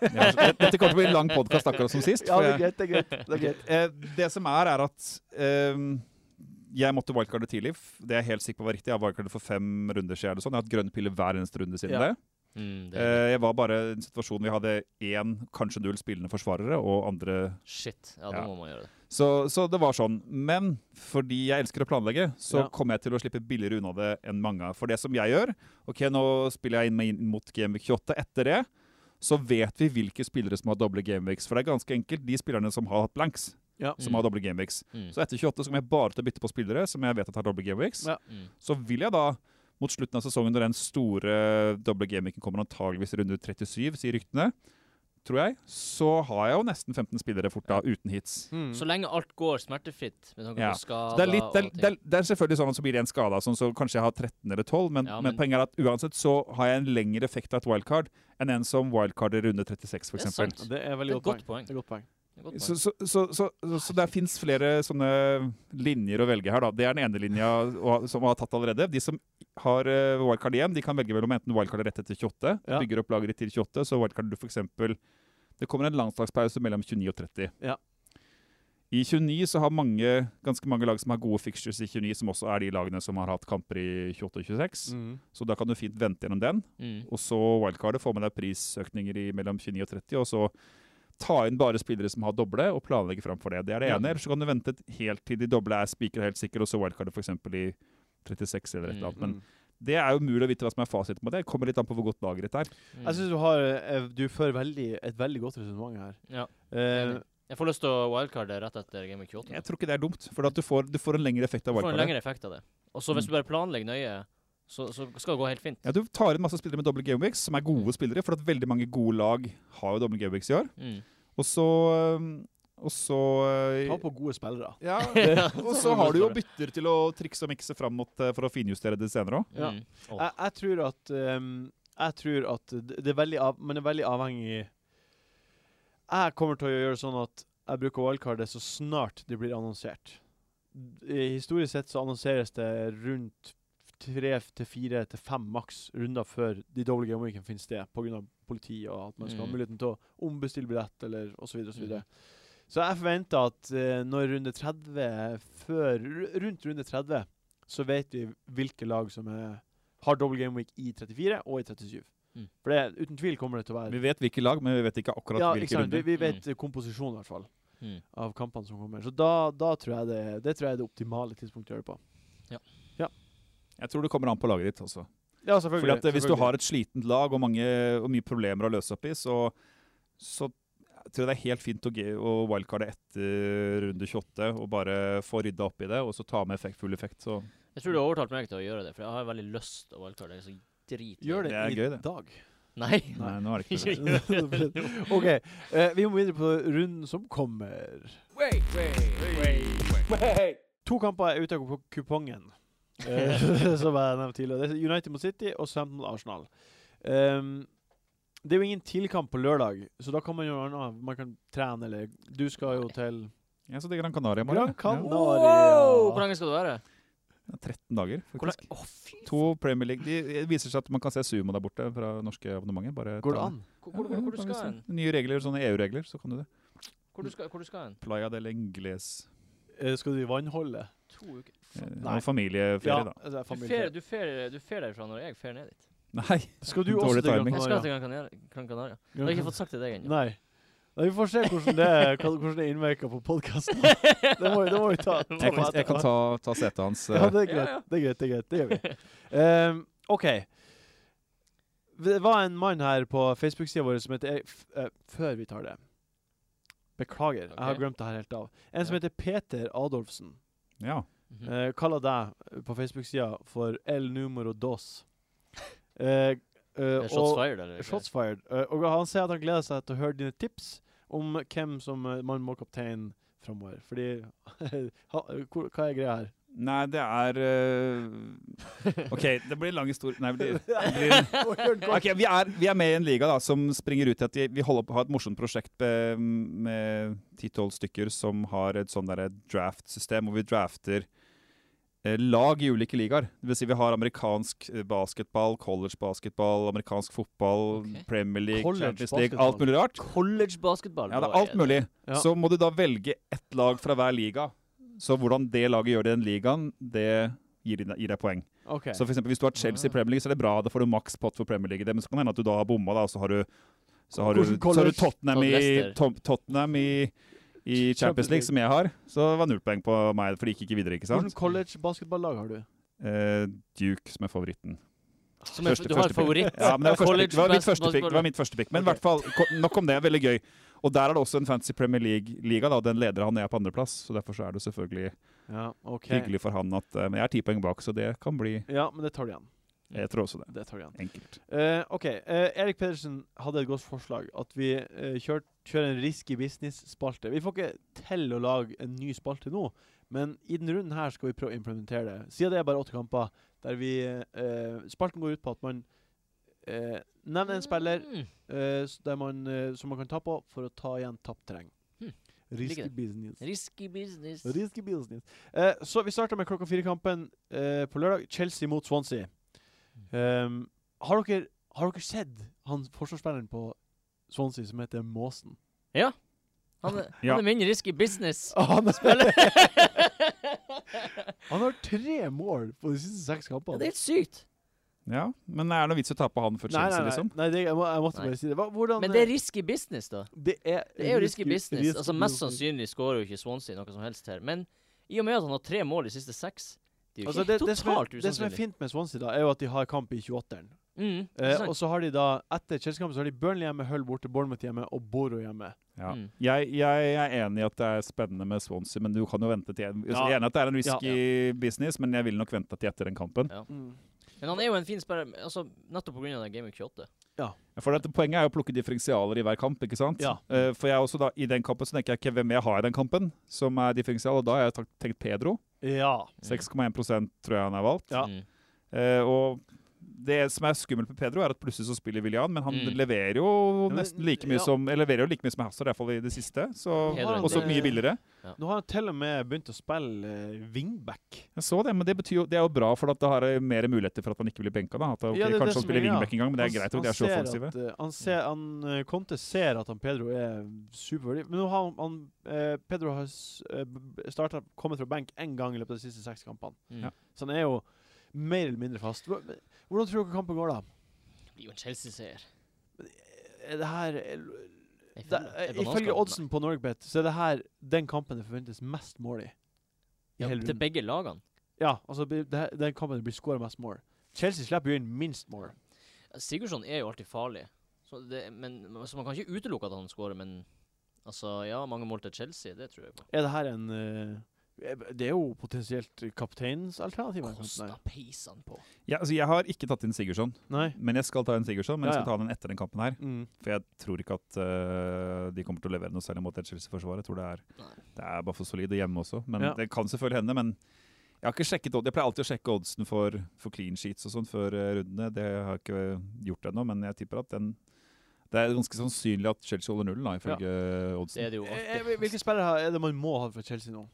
Speaker 4: Jeg har så- Dette kommer til å bli en lang podkast, akkurat som sist.
Speaker 1: (laughs) Ja,
Speaker 4: for
Speaker 1: det er
Speaker 4: jeg,
Speaker 1: greit. Det er greit. Det er greit.
Speaker 4: Eh, det som er, er at øhm, jeg måtte wildcarde tidlig. f- Det er jeg helt sikker på var riktig. Jeg har wildcardet for fem runder siden. Eller sånn. Jeg har hatt grønne piller hver eneste runde siden
Speaker 1: Ja.
Speaker 4: det.
Speaker 2: Mm, det er,
Speaker 4: Eh, jeg var bare i en situasjon hvor jeg hadde én, kanskje null spillende forsvarere og andre
Speaker 2: shit. Ja, da
Speaker 4: ja.
Speaker 2: må man gjøre det.
Speaker 4: så, så det var sånn. Men fordi jeg elsker å planlegge, så
Speaker 1: Ja.
Speaker 4: kommer jeg til å slippe billigere unna det enn mange. For det som jeg gjør Ok, nå spiller jeg inn meg inn mot Gameweek 28. Etter det så vet vi hvilke spillere som har doble gameweeks. For det er ganske enkelt de spillerne som har hatt blanks,
Speaker 1: Ja.
Speaker 4: som
Speaker 2: Mm.
Speaker 4: har doble gameweeks.
Speaker 2: Mm.
Speaker 4: Så etter 28 så kommer jeg bare til å bytte på spillere som jeg vet at har doble gameweeks.
Speaker 1: Ja.
Speaker 2: Mm.
Speaker 4: Så vil jeg da, mot slutten av sesongen, når den store doble gameweeken kommer antageligvis i runde 37, sier ryktene, tror jeg, så har jeg jo nesten 15 spillere fort da, uten hits.
Speaker 1: Mm.
Speaker 2: Så lenge alt går smertefritt med tanke
Speaker 4: Ja.
Speaker 2: på skader
Speaker 4: Så det, er litt, det,
Speaker 2: og
Speaker 4: er,
Speaker 2: ting.
Speaker 4: det, er, det er selvfølgelig sånn at så blir det en skade, sånn, så kanskje jeg har 13 eller 12, men,
Speaker 2: Ja,
Speaker 4: men,
Speaker 2: men-
Speaker 4: poenget er at uansett så har jeg en lengre effekt av et wildcard enn en som wildcarder runde 36,
Speaker 2: Det
Speaker 4: for
Speaker 2: er
Speaker 4: eksempel.
Speaker 2: sant.
Speaker 1: Det er
Speaker 2: Det er
Speaker 1: veldig
Speaker 2: et godt
Speaker 1: godt poeng.
Speaker 2: poeng.
Speaker 1: Det er godt poeng.
Speaker 2: Det er et godt
Speaker 4: Så,
Speaker 2: poeng.
Speaker 4: så, så, så, så, så det fins flere sånne linjer å velge her, da. Det er den ene linja og- som har tatt allerede. De som har eh, wildcard igjen, de kan velge mellom enten wildcard rett etter 28,
Speaker 1: Ja.
Speaker 4: bygger opp lageret til 28, så wildcard du f.eks. Det kommer en landslagspause mellom 29 og 30.
Speaker 1: Ja.
Speaker 4: I 29 så har mange, ganske mange lag som har gode fixtures i 29, som også er de lagene som har hatt kamper i 28 og 26.
Speaker 1: Mm.
Speaker 4: Så da kan du fint vente gjennom den.
Speaker 2: Mm.
Speaker 4: Og så wildcardet, få med deg prisøkninger i mellom 29 og 30, og så ta inn bare spillere som har doble, og planlegge fram for det. Det er det
Speaker 2: Ja.
Speaker 4: ene. Eller så kan du vente et- helt til de doble er spikra helt sikre, og så wildcardet f.eks. i 36 eller et eller annet. Men
Speaker 1: Mm.
Speaker 4: det er jo umulig å vite hva som er fasiten på det. Det kommer litt an på hvor godt laget ditt er.
Speaker 2: Mm.
Speaker 1: Jeg syns du har eh, Du fører veldig, et veldig godt resonnement her.
Speaker 2: Ja.
Speaker 1: Eh,
Speaker 2: Enig. Jeg får lyst til å wildcarde rett etter Game of Kyoto.
Speaker 4: Jeg tror ikke det er dumt, for at du, får, du får en lengre effekt av
Speaker 2: Du får en
Speaker 4: wildcardet.
Speaker 2: lengre effekt av det. Og så hvis
Speaker 4: Mm.
Speaker 2: du bare planlegger nøye, så, så skal det gå helt fint.
Speaker 4: Ja, du tar inn masse spillere med doble gameweeks, som er gode spillere, for at veldig mange gode lag har jo doble gameweeks i år.
Speaker 2: Mm.
Speaker 4: Og så øhm, Og så øh,
Speaker 1: ta på gode spillere.
Speaker 4: (laughs) Ja,
Speaker 2: Ja,
Speaker 4: og
Speaker 2: så
Speaker 4: så har du jo
Speaker 2: spør du.
Speaker 4: bytter til å trikse og mikse fram mot eh, for å finjustere det senere òg.
Speaker 1: Ja.
Speaker 2: Mm. Åh.
Speaker 1: Jeg, jeg tror at ehm, Jeg tror at det det er veldig av, Man er veldig avhengig Jeg kommer til å gjøre sånn at jeg bruker wildcardet så snart det blir annonsert. D- Historisk sett så annonseres det rundt tre til fire til fem maks runder før de doble gameweekene finner sted, pga. politiet og at man skal ha
Speaker 2: Mm.
Speaker 1: muligheten til å ombestille billett eller osv. Så, videre.
Speaker 2: Mm.
Speaker 1: så jeg forventer at eh, når runde 30 før, ru- Rundt runde 30 så vet vi hvilke lag som er, har double game week i 34 og i 37.
Speaker 2: Mm.
Speaker 1: For det, uten tvil kommer det til å være
Speaker 4: Vi vet hvilke lag, men vi vet ikke akkurat
Speaker 1: ja, ikke
Speaker 4: hvilke
Speaker 1: sant? Vi,
Speaker 4: runder.
Speaker 1: vi vet eh, komposisjonen i hvert fall
Speaker 2: Mm.
Speaker 1: av kampene som kommer. Så da, da tror jeg det, det tror jeg er det optimale tidspunktet å gjøre det på.
Speaker 4: Jeg tror det kommer an på laget ditt også.
Speaker 1: Ja,
Speaker 4: Fordi
Speaker 1: selvfølgelig.
Speaker 4: at eh, Hvis du har et slitent lag og, mange, og mye problemer å løse opp i, så, så tror jeg det er helt fint å, ge- å wildcarde etter runde 28 og bare få rydda opp i det, og så ta med effekt, full effekt. Så
Speaker 2: Jeg tror du har overtalt meg til å gjøre det, for jeg har veldig lyst til å wildcarde. Jeg er så drit
Speaker 1: Gjør det,
Speaker 4: Det er
Speaker 1: i
Speaker 4: gøy, det.
Speaker 1: dag.
Speaker 2: Nei.
Speaker 4: nei, nå er det ikke det.
Speaker 1: (laughs) OK. eh, vi må videre på runden som kommer. To kamper er ute av kup- kupongen,
Speaker 4: (laughs)
Speaker 1: (laughs) eh, som jeg nevnte tidligere. Det er United mot City og Southampton mot Arsenal. Ehm, Det er jo ingen tidligkamp på lørdag, så da kan man gjøre noe annet. Man kan trene, eller Du skal jo til
Speaker 4: Ja, så det er Gran Canaria i morgen.
Speaker 1: Gran
Speaker 4: Ja.
Speaker 1: Canaria.
Speaker 2: Wow! Hvor lenge skal du være?
Speaker 4: Det er 13 dager,
Speaker 2: Hvor
Speaker 4: faktisk.
Speaker 2: lenge? Å, fy!
Speaker 4: To Premier League. Det viser seg at man kan se sumo der borte fra norske abonnementet. Bare
Speaker 1: Går det
Speaker 4: ta-
Speaker 1: an?
Speaker 2: Hvor, hvor,
Speaker 4: Ja,
Speaker 2: hvor, hvor du
Speaker 4: bare
Speaker 2: skal
Speaker 4: se.
Speaker 2: hen?
Speaker 4: Nye regler, sånne EU-regler, så kan du det.
Speaker 2: Hvor du skal, hvor du skal hen?
Speaker 4: Playa del Ingles.
Speaker 1: Eh, Skal du i vannholdet?
Speaker 2: To uker.
Speaker 4: Eh,
Speaker 2: Faen.
Speaker 1: Nei.
Speaker 4: og familieferie, da. (laughs)
Speaker 1: altså,
Speaker 2: Du
Speaker 1: familie.
Speaker 2: fer, du fer, du fer derfra når jeg fer ned dit.
Speaker 4: Nei,
Speaker 1: Skal du
Speaker 4: Dårlig
Speaker 1: også til Gran
Speaker 4: timing.
Speaker 2: Jeg skal
Speaker 1: Canaria?
Speaker 2: til Gran Canaria. Gran Canaria. Jeg har ikke fått sagt det til deg (laughs) ennå.
Speaker 1: Nei. Nei, Vi får se hvordan det, hva- hvordan det innvirker på
Speaker 4: (laughs)
Speaker 1: podkasten. Det må, vi- det må vi ta. ta
Speaker 4: jeg kan,
Speaker 1: på
Speaker 4: jeg kan
Speaker 1: etterpå.
Speaker 4: ta, ta setet hans.
Speaker 1: Ja,
Speaker 4: eh.
Speaker 1: det er
Speaker 2: Ja,
Speaker 1: greit.
Speaker 2: ja.
Speaker 1: Det er greit, det er greit. Det gjør vi.
Speaker 2: (laughs)
Speaker 1: Ehm, OK. Det var en mann her på Facebook-sida vår som heter f eh, Før vi tar det. Beklager, jeg har
Speaker 2: Ok.
Speaker 1: glemt det her helt av. En som
Speaker 2: Ja.
Speaker 1: heter Peter Adolfsen.
Speaker 4: Ja.
Speaker 2: Mhm.
Speaker 1: Eh, kaller deg på Facebook-sida for El Numero Dos. Eh, eh,
Speaker 2: Det er shots
Speaker 1: og-
Speaker 2: fired, eller?
Speaker 1: Shots fired. Eh, og han sier at han gleder seg til å høre dine tips om hvem som eh, man må kapteine framover. Fordi (laughs) ha, hvor, Hva er
Speaker 2: (laughs)
Speaker 1: greia her?
Speaker 4: Nei, det er (laughs)
Speaker 1: (laughs)
Speaker 4: eh, OK, det blir lang historie Nei, det blir (laughs) Ok, vi er, vi er med i en liga da, som springer ut til at vi- vi holder på å ha et morsomt prosjekt eh, med 10-12 stykker som har et sånn derre draft-system, hvor vi drafter eh, lag i ulike ligaer. Det vil si vi har amerikansk eh, basketball, college-basketball, amerikansk fotball,
Speaker 2: Ok.
Speaker 4: Premier League,
Speaker 1: College
Speaker 4: Champions League,
Speaker 1: basketball.
Speaker 4: alt mulig rart.
Speaker 2: College basketball.
Speaker 4: Ja, det er alt mulig.
Speaker 1: Ja.
Speaker 4: Så må du da velge ett lag fra hver liga. Så hvordan det laget gjør det i den ligaen, det gir, deg- gir deg poeng.
Speaker 1: OK.
Speaker 4: Så for eksempel, hvis du har
Speaker 2: Ah.
Speaker 4: Chelsea i Premier League, så er det bra. Da får du maks pott for Premier League. i det, Men så kan det hende at du da har bomma, da, og så har du, så har du,
Speaker 1: Hvordan
Speaker 4: så har du
Speaker 1: college?
Speaker 4: Tottenham, i,
Speaker 2: Leicester.
Speaker 4: Tot- Tottenham i, i Champions League, som jeg har. Så det var null poeng på meg, for de gikk ikke videre, ikke
Speaker 1: Hvordan
Speaker 4: sant?
Speaker 1: college-basketballag har du?
Speaker 4: Eh, Duke, som er favoritten.
Speaker 2: Som er,
Speaker 4: Første-
Speaker 2: du har
Speaker 4: første
Speaker 2: et favoritt?
Speaker 4: Ja, men det var, første pick.
Speaker 2: College
Speaker 4: det var mitt
Speaker 2: best-
Speaker 4: første pick. Det var mitt første pick. Men i
Speaker 1: Ok.
Speaker 4: hvert fall, ko- nok om det. Veldig gøy. Og der er det også en fancy Premier League-liga. da, Den leder han jeg er på andreplass. Så derfor så er det selvfølgelig
Speaker 1: Ja, OK.
Speaker 4: hyggelig for han at eh, Men jeg er ti poeng bak, så det kan bli
Speaker 1: Ja, men det tar du igjen.
Speaker 4: Jeg tror også det.
Speaker 1: Det tar du igjen.
Speaker 4: Enkelt.
Speaker 1: Eh, OK. eh, Erik Pedersen hadde et godt forslag. At vi eh, kjør, kjører en risky business-spalte. Vi får ikke til å lage en ny spalte nå, men i denne runden her skal vi prøve å implementere det. Siden det er bare åtte kamper, der vi eh, Spalten går ut på at man eh, nevner en spiller
Speaker 2: Mm.
Speaker 1: eh, s- der man, eh, som man kan ta på for å ta igjen tapt terreng.
Speaker 2: Hmm.
Speaker 1: Risky
Speaker 2: Liker
Speaker 1: business.
Speaker 2: Risky business.
Speaker 1: Risky business. Eh, så vi starter med klokka fire-kampen eh, på lørdag. Chelsea mot Swansea. Ehm, har, dere, har dere sett han forsvarsspilleren på Swansea som heter
Speaker 4: (laughs)
Speaker 1: Måsen?
Speaker 2: Han, er-
Speaker 4: Ja.
Speaker 2: han er min risky business.
Speaker 1: han,
Speaker 2: Eller?
Speaker 1: har tre mål på de siste seks
Speaker 2: Ja,
Speaker 1: kampene.
Speaker 2: det er helt sykt.
Speaker 4: Ja, Men er det noen vits i å tape han for
Speaker 1: nei, nei,
Speaker 4: Chelsea,
Speaker 1: nei.
Speaker 4: liksom?
Speaker 1: nei det, jeg, må, jeg måtte
Speaker 2: Nei.
Speaker 1: bare si det. Hva, hvordan, eh,
Speaker 2: Men det er risky business, da.
Speaker 1: det er,
Speaker 2: Det er jo risky business.
Speaker 1: risky
Speaker 2: Altså Mest
Speaker 1: business.
Speaker 2: sannsynlig skårer jo ikke Swansea noe som helst her. Men i og med at han har tre mål de siste seks Det er jo
Speaker 1: Altså,
Speaker 2: ikke
Speaker 1: det, det, som er,
Speaker 2: totalt
Speaker 1: det som er
Speaker 2: usannsynlig.
Speaker 1: fint med Swansea, da, er jo at de har kamp i 28-eren.
Speaker 2: Mm,
Speaker 1: Eh,
Speaker 2: ikke sant?
Speaker 1: og så har de da, etter Chelsea-kampen, så har de Burnley hjemme, Hull borte, Bournemouth hjemme og Boro hjemme.
Speaker 4: Ja.
Speaker 2: Mm.
Speaker 4: Jeg, jeg er enig i at det er spennende med Swansea, men du kan jo vente til Jeg
Speaker 1: Ja.
Speaker 4: er enig i at det er en risky business, men jeg vil nok vente til etter den kampen.
Speaker 2: Men han er jo en fin spiller, altså, nettopp pga. Game Week 28.
Speaker 4: For dette Poenget er jo å plukke differensialer i hver kamp. ikke sant?
Speaker 1: Ja.
Speaker 4: Eh, for jeg er også da, I den kampen så tenker jeg ikke hvem jeg har i den kampen som er differensial, og da har jeg tak- tenkt Pedro.
Speaker 1: Ja.
Speaker 4: 6,1 tror jeg han er valgt.
Speaker 1: Ja.
Speaker 2: Mm.
Speaker 4: Eh, og det som er skummelt med Pedro, er at plutselig så spiller William, men han
Speaker 2: Mm.
Speaker 4: leverer jo
Speaker 1: Ja, men-
Speaker 4: nesten like
Speaker 1: ja.
Speaker 4: mye som eller leverer jo like mye som Hazard, i hvert fall i det siste. Så,
Speaker 2: Pedro er
Speaker 4: også
Speaker 2: det-
Speaker 4: mye billigere.
Speaker 1: Nå har han til og med begynt å spille eh, wingback.
Speaker 4: Jeg så det, men det, betyr jo, det er jo bra, for at da har jeg mer muligheter for at han ikke blir benka. Da. At, ok,
Speaker 1: Ja, det er det
Speaker 4: kanskje
Speaker 1: som
Speaker 4: han spiller
Speaker 1: er greia.
Speaker 4: wingback en gang, men det er
Speaker 1: Han-
Speaker 4: greit. jo,
Speaker 1: han
Speaker 4: De er så
Speaker 1: ser
Speaker 4: offensive.
Speaker 1: at, eh, han ser, han, eh, Conte ser at han Pedro er superverdig. Men nå har han, han eh, Pedro har s- eh, b- startet, kommet fra benk én gang i løpet av de siste seks kampene.
Speaker 2: Mm.
Speaker 4: Ja.
Speaker 1: Så han er jo mer eller mindre fast. Hva- Hvordan tror dere kampen går, da?
Speaker 2: Det blir jo en Chelsea-seier.
Speaker 1: Er det her er-
Speaker 2: Er
Speaker 1: det,
Speaker 2: Fernand-
Speaker 1: eh,
Speaker 2: er
Speaker 1: Ifølge
Speaker 2: bananskapet-
Speaker 1: oddsen på Norwegbet så er det her den kampen det forventes mest mål i. i
Speaker 2: ja,
Speaker 1: hele
Speaker 2: Til
Speaker 1: runden.
Speaker 2: begge lagene.
Speaker 1: Ja, altså det, det her- den kampen det blir skåra mest mål. Chelsea slipper jo inn minst mål.
Speaker 2: Sigurdsson er jo alltid farlig, så, det, men, så man kan ikke utelukke at han skårer. Men altså, ja, mange mål til Chelsea, det tror jeg på.
Speaker 1: Er det her en eh, eh, Det er jo potensielt kapteinsalternativ. her, kanskje,
Speaker 2: Kosta peisan på.
Speaker 4: Ja, altså, jeg har ikke tatt inn Sigurdsson,
Speaker 1: Nei.
Speaker 4: men jeg skal ta inn Sigurdsson. Men jeg
Speaker 1: Ja,
Speaker 4: skal ta den etter den kampen her,
Speaker 1: Nei. Mm.
Speaker 4: for jeg tror ikke at øh, de kommer til å levere noe særlig mot det Chelsea-forsvaret. Jeg tror det er,
Speaker 2: Nei.
Speaker 4: det er bare for solid og hjemme også. Men
Speaker 1: Ja.
Speaker 4: det kan selvfølgelig hende. Men jeg har ikke sjekket odd- Jeg pleier alltid å sjekke oddsen eh, for, for clean sheets og sånn før øh, rundene. Det har jeg ikke gjort ennå, men jeg tipper at den Det er ganske sannsynlig at Chelsea holder nullen, da, ifølge
Speaker 2: Det
Speaker 4: oddsen.
Speaker 2: er det jo
Speaker 1: Eh,
Speaker 2: alltid.
Speaker 1: hvil- Hvilke spillere har- er det man må ha for Chelsea nå?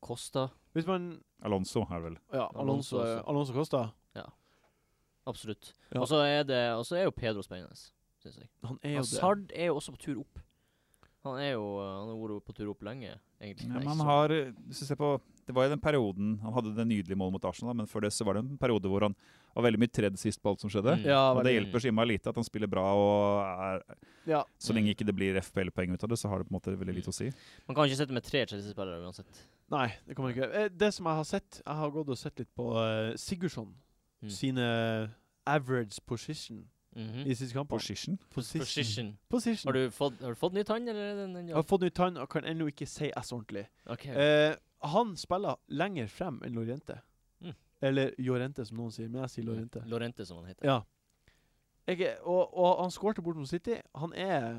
Speaker 2: Kosta.
Speaker 1: Hvis man
Speaker 4: Alonso er det vel.
Speaker 1: Ja,
Speaker 2: Alonso
Speaker 1: Alonso, eh,
Speaker 2: også.
Speaker 1: Alonso Costa.
Speaker 2: Absolutt.
Speaker 1: Ja.
Speaker 2: Og så er det Og så er jo Pedro spennende, syns jeg.
Speaker 1: Han er jo det.
Speaker 2: Hazard er jo også på tur opp. Han er jo Han har vært på tur opp lenge, egentlig.
Speaker 4: Ja,
Speaker 2: Nei,
Speaker 4: men han
Speaker 2: så-
Speaker 4: har, hvis du ser på, det var jo den perioden Han hadde det nydelige målet mot Arsenal, da, men før det så var det en periode hvor han var veldig mye tredd sist på alt som skjedde.
Speaker 2: Mm.
Speaker 1: Ja,
Speaker 4: Og det
Speaker 1: veldig.
Speaker 4: hjelper så innmari lite at han spiller bra, og er,
Speaker 1: Ja.
Speaker 4: så lenge ikke det blir FPL-poeng ut av det, så har det på en måte veldig lite å
Speaker 1: Mm.
Speaker 4: si.
Speaker 2: Man kan ikke sitte med tre Chelsea-spillere uansett.
Speaker 1: Nei, det kan man ikke. Eh, Det som jeg har sett Jeg har gått og sett litt på eh, Sigurdsson
Speaker 2: Mm.
Speaker 1: sine average position
Speaker 2: Mhm.
Speaker 1: i siste kamp.
Speaker 4: Position.
Speaker 1: Position.
Speaker 2: Position.
Speaker 1: Position.
Speaker 2: Har du fått, har du fått ny tann, eller? er den- den-
Speaker 1: Jeg har fått ny tann og kan ennå ikke si S ordentlig.
Speaker 2: Ok.
Speaker 1: Eh, han spiller lenger frem enn Lorente.
Speaker 2: Mm.
Speaker 1: Eller Jorente, som noen sier. Men jeg sier Lorente.
Speaker 2: Lorente, som han heter.
Speaker 1: Ja. Jeg, er- og, og han skårte bort mot City. Han er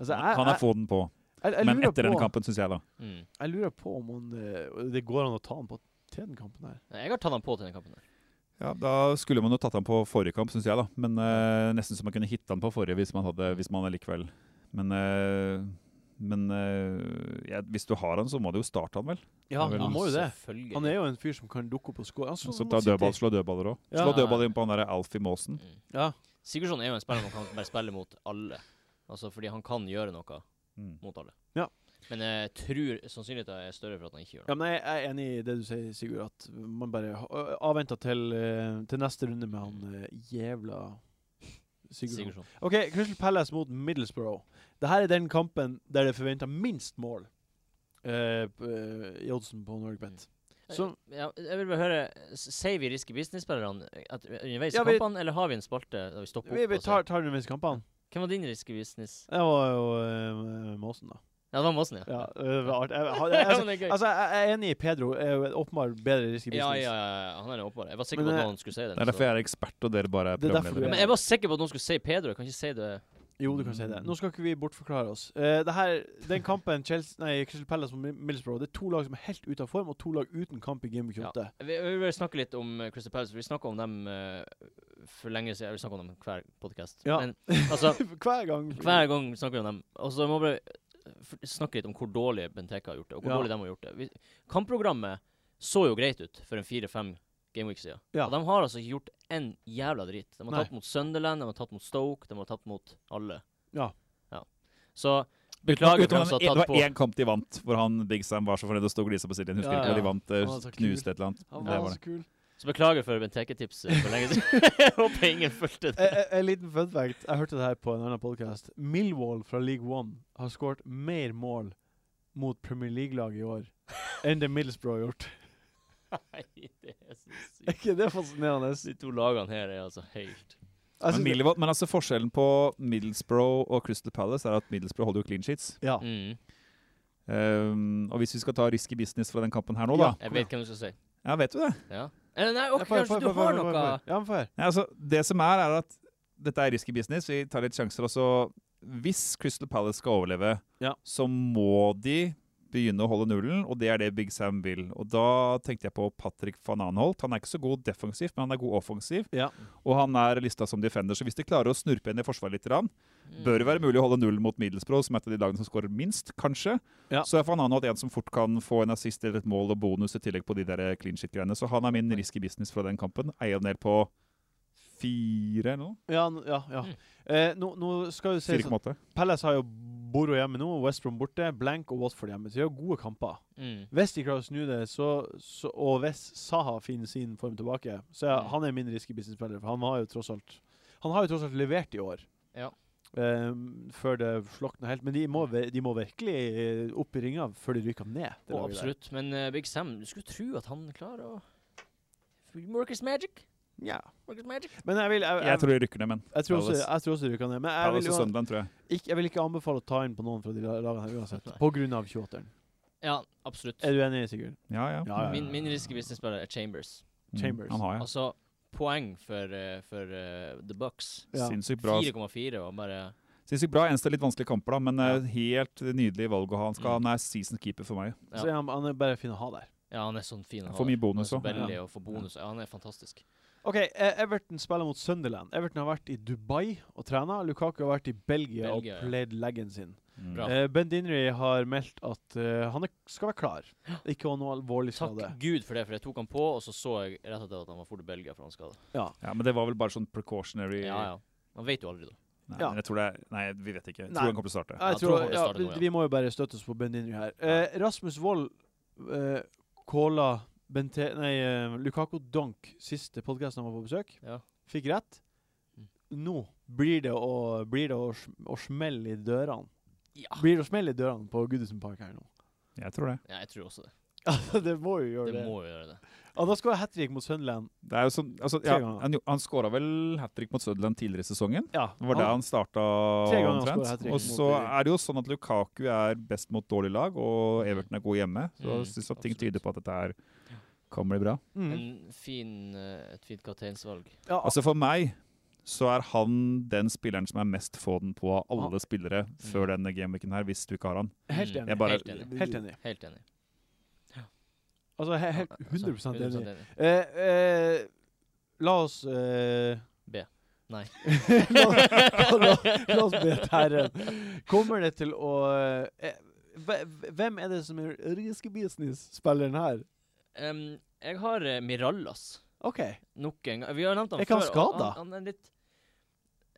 Speaker 1: Altså, jeg,
Speaker 4: Han er få den på,
Speaker 1: jeg, jeg, jeg,
Speaker 4: men
Speaker 1: lurer
Speaker 4: etter den
Speaker 1: på,
Speaker 4: kampen, syns jeg, da.
Speaker 2: Mm.
Speaker 1: jeg lurer på om han eh, Det går an å ta han på til den kampen her.
Speaker 2: Jeg har tatt han på til den kampen. her.
Speaker 4: Ja, Da skulle man jo tatt han på forrige kamp, syns jeg, da. Men eh, nesten så man kunne hitte han på forrige hvis man, hadde, hvis man likevel Men, eh, men eh, ja, hvis du har han, så må du jo starte han, vel?
Speaker 1: Ja,
Speaker 4: vel
Speaker 1: han må jo det.
Speaker 2: Selvfølgelig.
Speaker 1: Han er jo en fyr som kan dukke opp og score. Han
Speaker 4: Så ta dødball, slå dødballer òg.
Speaker 1: Ja.
Speaker 4: Slå dødball inn på han derre Alfie Maasen.
Speaker 2: Mm.
Speaker 1: Ja.
Speaker 2: Sigurdsson er jo en spiller man kan bare spille mot alle. Altså Fordi han kan gjøre noe
Speaker 4: Mm.
Speaker 2: mot alle.
Speaker 1: Ja.
Speaker 2: Men jeg tror sannsynligheten er større for at han ikke gjør
Speaker 1: Ja,
Speaker 2: det.
Speaker 1: men jeg jeg er enig i det du sier, Sigurd, at man bare ha- avventer til, eh, til neste runde med han eh, jævla Sigurd.
Speaker 2: Sigurdsson.
Speaker 1: OK, Crystal Palace mot Middlesbrough. Dette er den kampen der det er forventa minst mål eh, p- eh, i oddsen på Norwegbent. Så
Speaker 2: ja, jeg vil bare høre s- Sier vi risky business-spillerne at- underveis i
Speaker 1: Ja, vi-
Speaker 2: kampene, eller har vi en spalte der vi stopper opp?
Speaker 1: vi, vi
Speaker 2: og
Speaker 1: tar,
Speaker 2: ser?
Speaker 1: tar den underveis i kampene.
Speaker 2: Hvem var din risky business?
Speaker 1: Det var jo eh, Måsen, da.
Speaker 2: Ja, det var Måsen, ja. (laughs)
Speaker 1: Ja, det var art- jeg, jeg, jeg,
Speaker 2: Ja,
Speaker 1: (laughs)
Speaker 2: men det er gøy.
Speaker 1: altså, jeg jeg er enig i Pedro. Er jo et åpenbart bedre risky
Speaker 2: ja,
Speaker 1: business.
Speaker 2: ja, ja, ja, han er åpenbar. Jeg var sikker
Speaker 1: Men,
Speaker 2: på
Speaker 1: eh,
Speaker 2: at noen skulle si den.
Speaker 4: Det er derfor jeg er ekspert, og dere bare er
Speaker 1: Det er derfor
Speaker 4: programledere.
Speaker 1: du
Speaker 2: Men jeg var sikker på at noen skulle si Pedro. Jeg kan ikke si det.
Speaker 1: Jo, du kan si det. Nå skal ikke vi bortforklare oss. Eh, det her, den kampen Chelsea, nei, Crystal Palace mot Mid- Middlesbrough, det er to lag som er helt ute av form, og to lag uten kamp i Game Week
Speaker 2: Ja.
Speaker 1: 8.
Speaker 2: Vi, vi vil snakke litt om eh, Crystal Palace. for Vi snakka om dem eh, for lenge siden. Vi snakker om dem hver podkast.
Speaker 1: Ja.
Speaker 2: Men altså,
Speaker 1: (laughs) Hver gang.
Speaker 2: hver gang snakker vi om dem. Og så må vi bare eh, f- snakke litt om hvor dårlig Benteke har gjort det. Og hvor
Speaker 1: Ja.
Speaker 2: dårlig de har gjort det. Vi, kampprogrammet så jo greit ut for en fire-fem gameweek siden.
Speaker 1: Ja.
Speaker 2: Og de har altså ikke gjort en jævla drit. De har
Speaker 1: Nei.
Speaker 2: tatt mot Sunderland, de har tatt mot Stoke, de har tatt mot alle.
Speaker 1: Ja.
Speaker 2: ja. Så
Speaker 4: Utenom-
Speaker 2: beklager for dem
Speaker 4: utenom
Speaker 2: som
Speaker 4: den-
Speaker 2: har
Speaker 4: det
Speaker 2: tatt
Speaker 4: var
Speaker 2: på.
Speaker 4: én kamp de vant, hvor han Big Sam var så fornøyd og sto og glisa på Siljen. Husker
Speaker 1: Ja,
Speaker 4: ikke
Speaker 1: ja.
Speaker 4: hva de vant. eh,
Speaker 1: Han var så kul.
Speaker 4: Knuste et eller annet.
Speaker 1: Han
Speaker 4: Det
Speaker 1: var
Speaker 4: var
Speaker 1: så
Speaker 4: det.
Speaker 1: kul.
Speaker 2: Så beklager for Benteke-tipset for
Speaker 1: (laughs)
Speaker 2: lenge siden. (laughs) Jeg Håper ingen fulgte det.
Speaker 1: Eh, eh, En liten fun fact. Jeg hørte det her på en annen podkast. Millwall fra League One har skåret mer mål mot Premier League-lag i år enn det Middlesbrough har (laughs) gjort. eh.
Speaker 2: Nei, det er så
Speaker 1: Er
Speaker 2: sykt.
Speaker 1: ikke det fascinerende?
Speaker 2: De to lagene her er altså
Speaker 1: Jeg
Speaker 2: helt
Speaker 1: synes
Speaker 4: men,
Speaker 1: det-
Speaker 4: Millwall- men altså forskjellen på Middlesbrough og Crystal Palace er at Middlesbrough holder jo clean sheets.
Speaker 1: ja.
Speaker 2: mm.
Speaker 4: Ehm, og hvis vi skal ta risky business fra den kampen her nå,
Speaker 1: Ja.
Speaker 4: da
Speaker 2: Jeg vet hvem du skal si.
Speaker 4: Ja, vet du det?
Speaker 2: Ja. Eller nei, ok,
Speaker 1: Ja, få høre,
Speaker 2: kanskje
Speaker 1: få høre,
Speaker 2: du
Speaker 1: få høre,
Speaker 2: har
Speaker 1: få høre,
Speaker 2: noe
Speaker 1: få høre. Ja, men få høre.
Speaker 4: Nei, altså, det som er, er at dette er risky business. Vi tar litt sjanser. Altså, hvis Crystal Palace skal overleve,
Speaker 1: Ja.
Speaker 4: så må de begynne å holde nullen, og det er det Big Sam vil. Og da tenkte jeg på Patrick van Anholt. Han er ikke så god defensivt, men han er god offensiv.
Speaker 1: Ja.
Speaker 4: Og han er lista som defender, så hvis de klarer å snurpe henne i forsvaret litt, rann,
Speaker 2: Mm.
Speaker 4: bør det være mulig å holde nullen mot Middlesbrough, som er et av de lagene som skårer minst, kanskje.
Speaker 1: Ja.
Speaker 4: Så er van Anholt en som fort kan få en assist eller et mål og bonus i tillegg på de der eh, clean shit-greiene. Så han er min risky business fra den kampen. Eier ned på fire eller noe?
Speaker 1: Ja, n- ja, ja.
Speaker 2: Mm.
Speaker 1: Eh, nå, nå skal jo sies at
Speaker 4: 4,8.
Speaker 1: Palace har jo Boro hjemme nå, West Brom borte, Blank og Watford hjemme. Så de har gode kamper.
Speaker 2: Mm.
Speaker 1: Hvis de klarer å snu det, så, så, og hvis Saha finner sin form tilbake Så ja,
Speaker 2: Mm.
Speaker 1: han er min risky business-spiller, for han har jo tross alt Han har jo tross alt levert i år.
Speaker 2: Ja.
Speaker 1: Ehm, før det slokna helt. Men de må, ve- de må virkelig eh, opp i ringa før de ryker ned. det
Speaker 2: Å,
Speaker 1: laget der.
Speaker 2: absolutt. Men eh, Big Sam, du skulle tro at han klarer å Workers magic.
Speaker 1: Nja.
Speaker 2: Workers magic.
Speaker 1: Men jeg vil Jeg, jeg,
Speaker 4: Jeg
Speaker 1: jeg,
Speaker 4: tror de rykker ned, men.
Speaker 1: tror, også,
Speaker 4: Palace.
Speaker 1: jeg tror også de ryker ned. Men jeg vil,
Speaker 4: Palace og
Speaker 1: jo,
Speaker 4: Sunderland, tror jeg.
Speaker 1: ikke, jeg vil ikke anbefale å ta inn på noen fra de la- lagene her uansett.
Speaker 2: Nei.
Speaker 1: På grunn av 28-eren.
Speaker 2: Ja, absolutt.
Speaker 1: Er du enig, Sigurd?
Speaker 4: Ja, ja.
Speaker 1: Ja, ja, ja.
Speaker 2: Min, min risky business-spiller er Chambers.
Speaker 4: Mm,
Speaker 1: Chambers.
Speaker 4: Han har jeg.
Speaker 2: Altså poeng for, eh, for eh, The Bucks.
Speaker 1: Ja.
Speaker 4: Sinnssykt bra.
Speaker 2: 4,4 og bare
Speaker 4: Sinnssykt bra. Eneste litt vanskelige kamper, da, men eh, helt nydelig valg å ha. Han,
Speaker 2: Mm.
Speaker 4: skal, han er season keeper for meg.
Speaker 2: Ja.
Speaker 1: Så ja, han er bare fin å ha der.
Speaker 2: Ja, han er sånn fin. han
Speaker 4: Får
Speaker 2: har-
Speaker 4: mye
Speaker 2: han er
Speaker 4: bonus
Speaker 2: så
Speaker 4: også.
Speaker 2: billig
Speaker 1: Ja.
Speaker 2: og får bonus. Ja, han er fantastisk.
Speaker 1: OK, eh, Everton spiller mot Sunderland. Everton har vært i Dubai og trena. Lukaku har vært i Belgia,
Speaker 2: Belgia, ja.
Speaker 1: og played leggen sin.
Speaker 2: Bra.
Speaker 1: Eh, ben Dinry har meldt at eh, han er, skal være klar. Ikke noe alvorlig
Speaker 2: Takk
Speaker 1: skade.
Speaker 2: Gud for det, for jeg tok han på, og så så jeg rett og slett at han var for til Belgia for han skade.
Speaker 4: Ja, men det var vel bare sånn precautionary
Speaker 2: Ja, ja. Man vet jo aldri, da.
Speaker 4: Nei,
Speaker 1: Ja.
Speaker 4: men jeg tror det er, nei, vi vet ikke. Jeg
Speaker 1: Nei.
Speaker 4: tror han kommer til å starte.
Speaker 1: Jeg
Speaker 2: jeg tror
Speaker 1: tror,
Speaker 2: han
Speaker 1: ja,
Speaker 2: starter nå, ja.
Speaker 1: vi må jo bare støtte oss på Ben Dinry her. Eh, Rasmus Wold eh, calla Bente, nei, eh, Lukako Donk siste podkast han var på besøk.
Speaker 2: Ja.
Speaker 1: Fikk rett.
Speaker 2: Mm.
Speaker 1: Nå blir det å, blir det å, sm- å smelle i dørene.
Speaker 2: Ja.
Speaker 1: Blir det å smelle i dørene på Goodison Park her nå?
Speaker 4: Jeg tror det.
Speaker 2: ja, jeg tror også det.
Speaker 1: Altså, det må jo gjøre
Speaker 2: Det
Speaker 1: det.
Speaker 2: må jo gjøre det.
Speaker 1: Ja, da skal jeg hat trick mot Sunderland.
Speaker 4: det er jo sånn, altså,
Speaker 1: Tre
Speaker 4: ja,
Speaker 1: ganger.
Speaker 4: han jo- han skåra vel hat trick mot Sutherland tidligere i sesongen.
Speaker 1: Ja,
Speaker 4: Det var der han starta
Speaker 1: Tre ganger han scoret
Speaker 4: omtrent.
Speaker 1: hat-trick
Speaker 4: Og
Speaker 1: mot
Speaker 4: så
Speaker 1: de-
Speaker 4: er det jo sånn at Lukaku er best mot dårlig lag, og
Speaker 1: Mm.
Speaker 4: Everton er god hjemme. Så
Speaker 2: Mm,
Speaker 4: jeg syns at ting
Speaker 2: absolutt.
Speaker 4: tyder på at dette her kan bli bra.
Speaker 1: Mm.
Speaker 2: En fin, eh, et fint kapteinsvalg.
Speaker 1: Ja,
Speaker 4: Altså For meg så er han den spilleren som er mest få den på av
Speaker 1: Ah.
Speaker 4: alle spillere
Speaker 1: Mm.
Speaker 4: før denne gameweeken her, hvis du ikke har han.
Speaker 1: helt
Speaker 2: Mm.
Speaker 1: enig.
Speaker 4: Jeg bare-
Speaker 2: Helt enig.
Speaker 1: Helt enig.
Speaker 2: Helt enig.
Speaker 1: Altså, he helt
Speaker 2: Ja, altså,
Speaker 1: 100 enig.
Speaker 2: 100%
Speaker 1: (laughs)
Speaker 2: enig.
Speaker 1: Eh, eh, la oss eh,
Speaker 2: B. Nei.
Speaker 1: la, (laughs) la, la, la oss be Terren. Kommer det til å eh, hve- Hvem er det som er risky business-spilleren her?
Speaker 2: Em, jeg har eh, Mirallas.
Speaker 1: OK.
Speaker 2: Nok en gang. Vi har nevnt han
Speaker 1: Er ikke han
Speaker 2: før, og
Speaker 1: skadet?
Speaker 2: Han, han er litt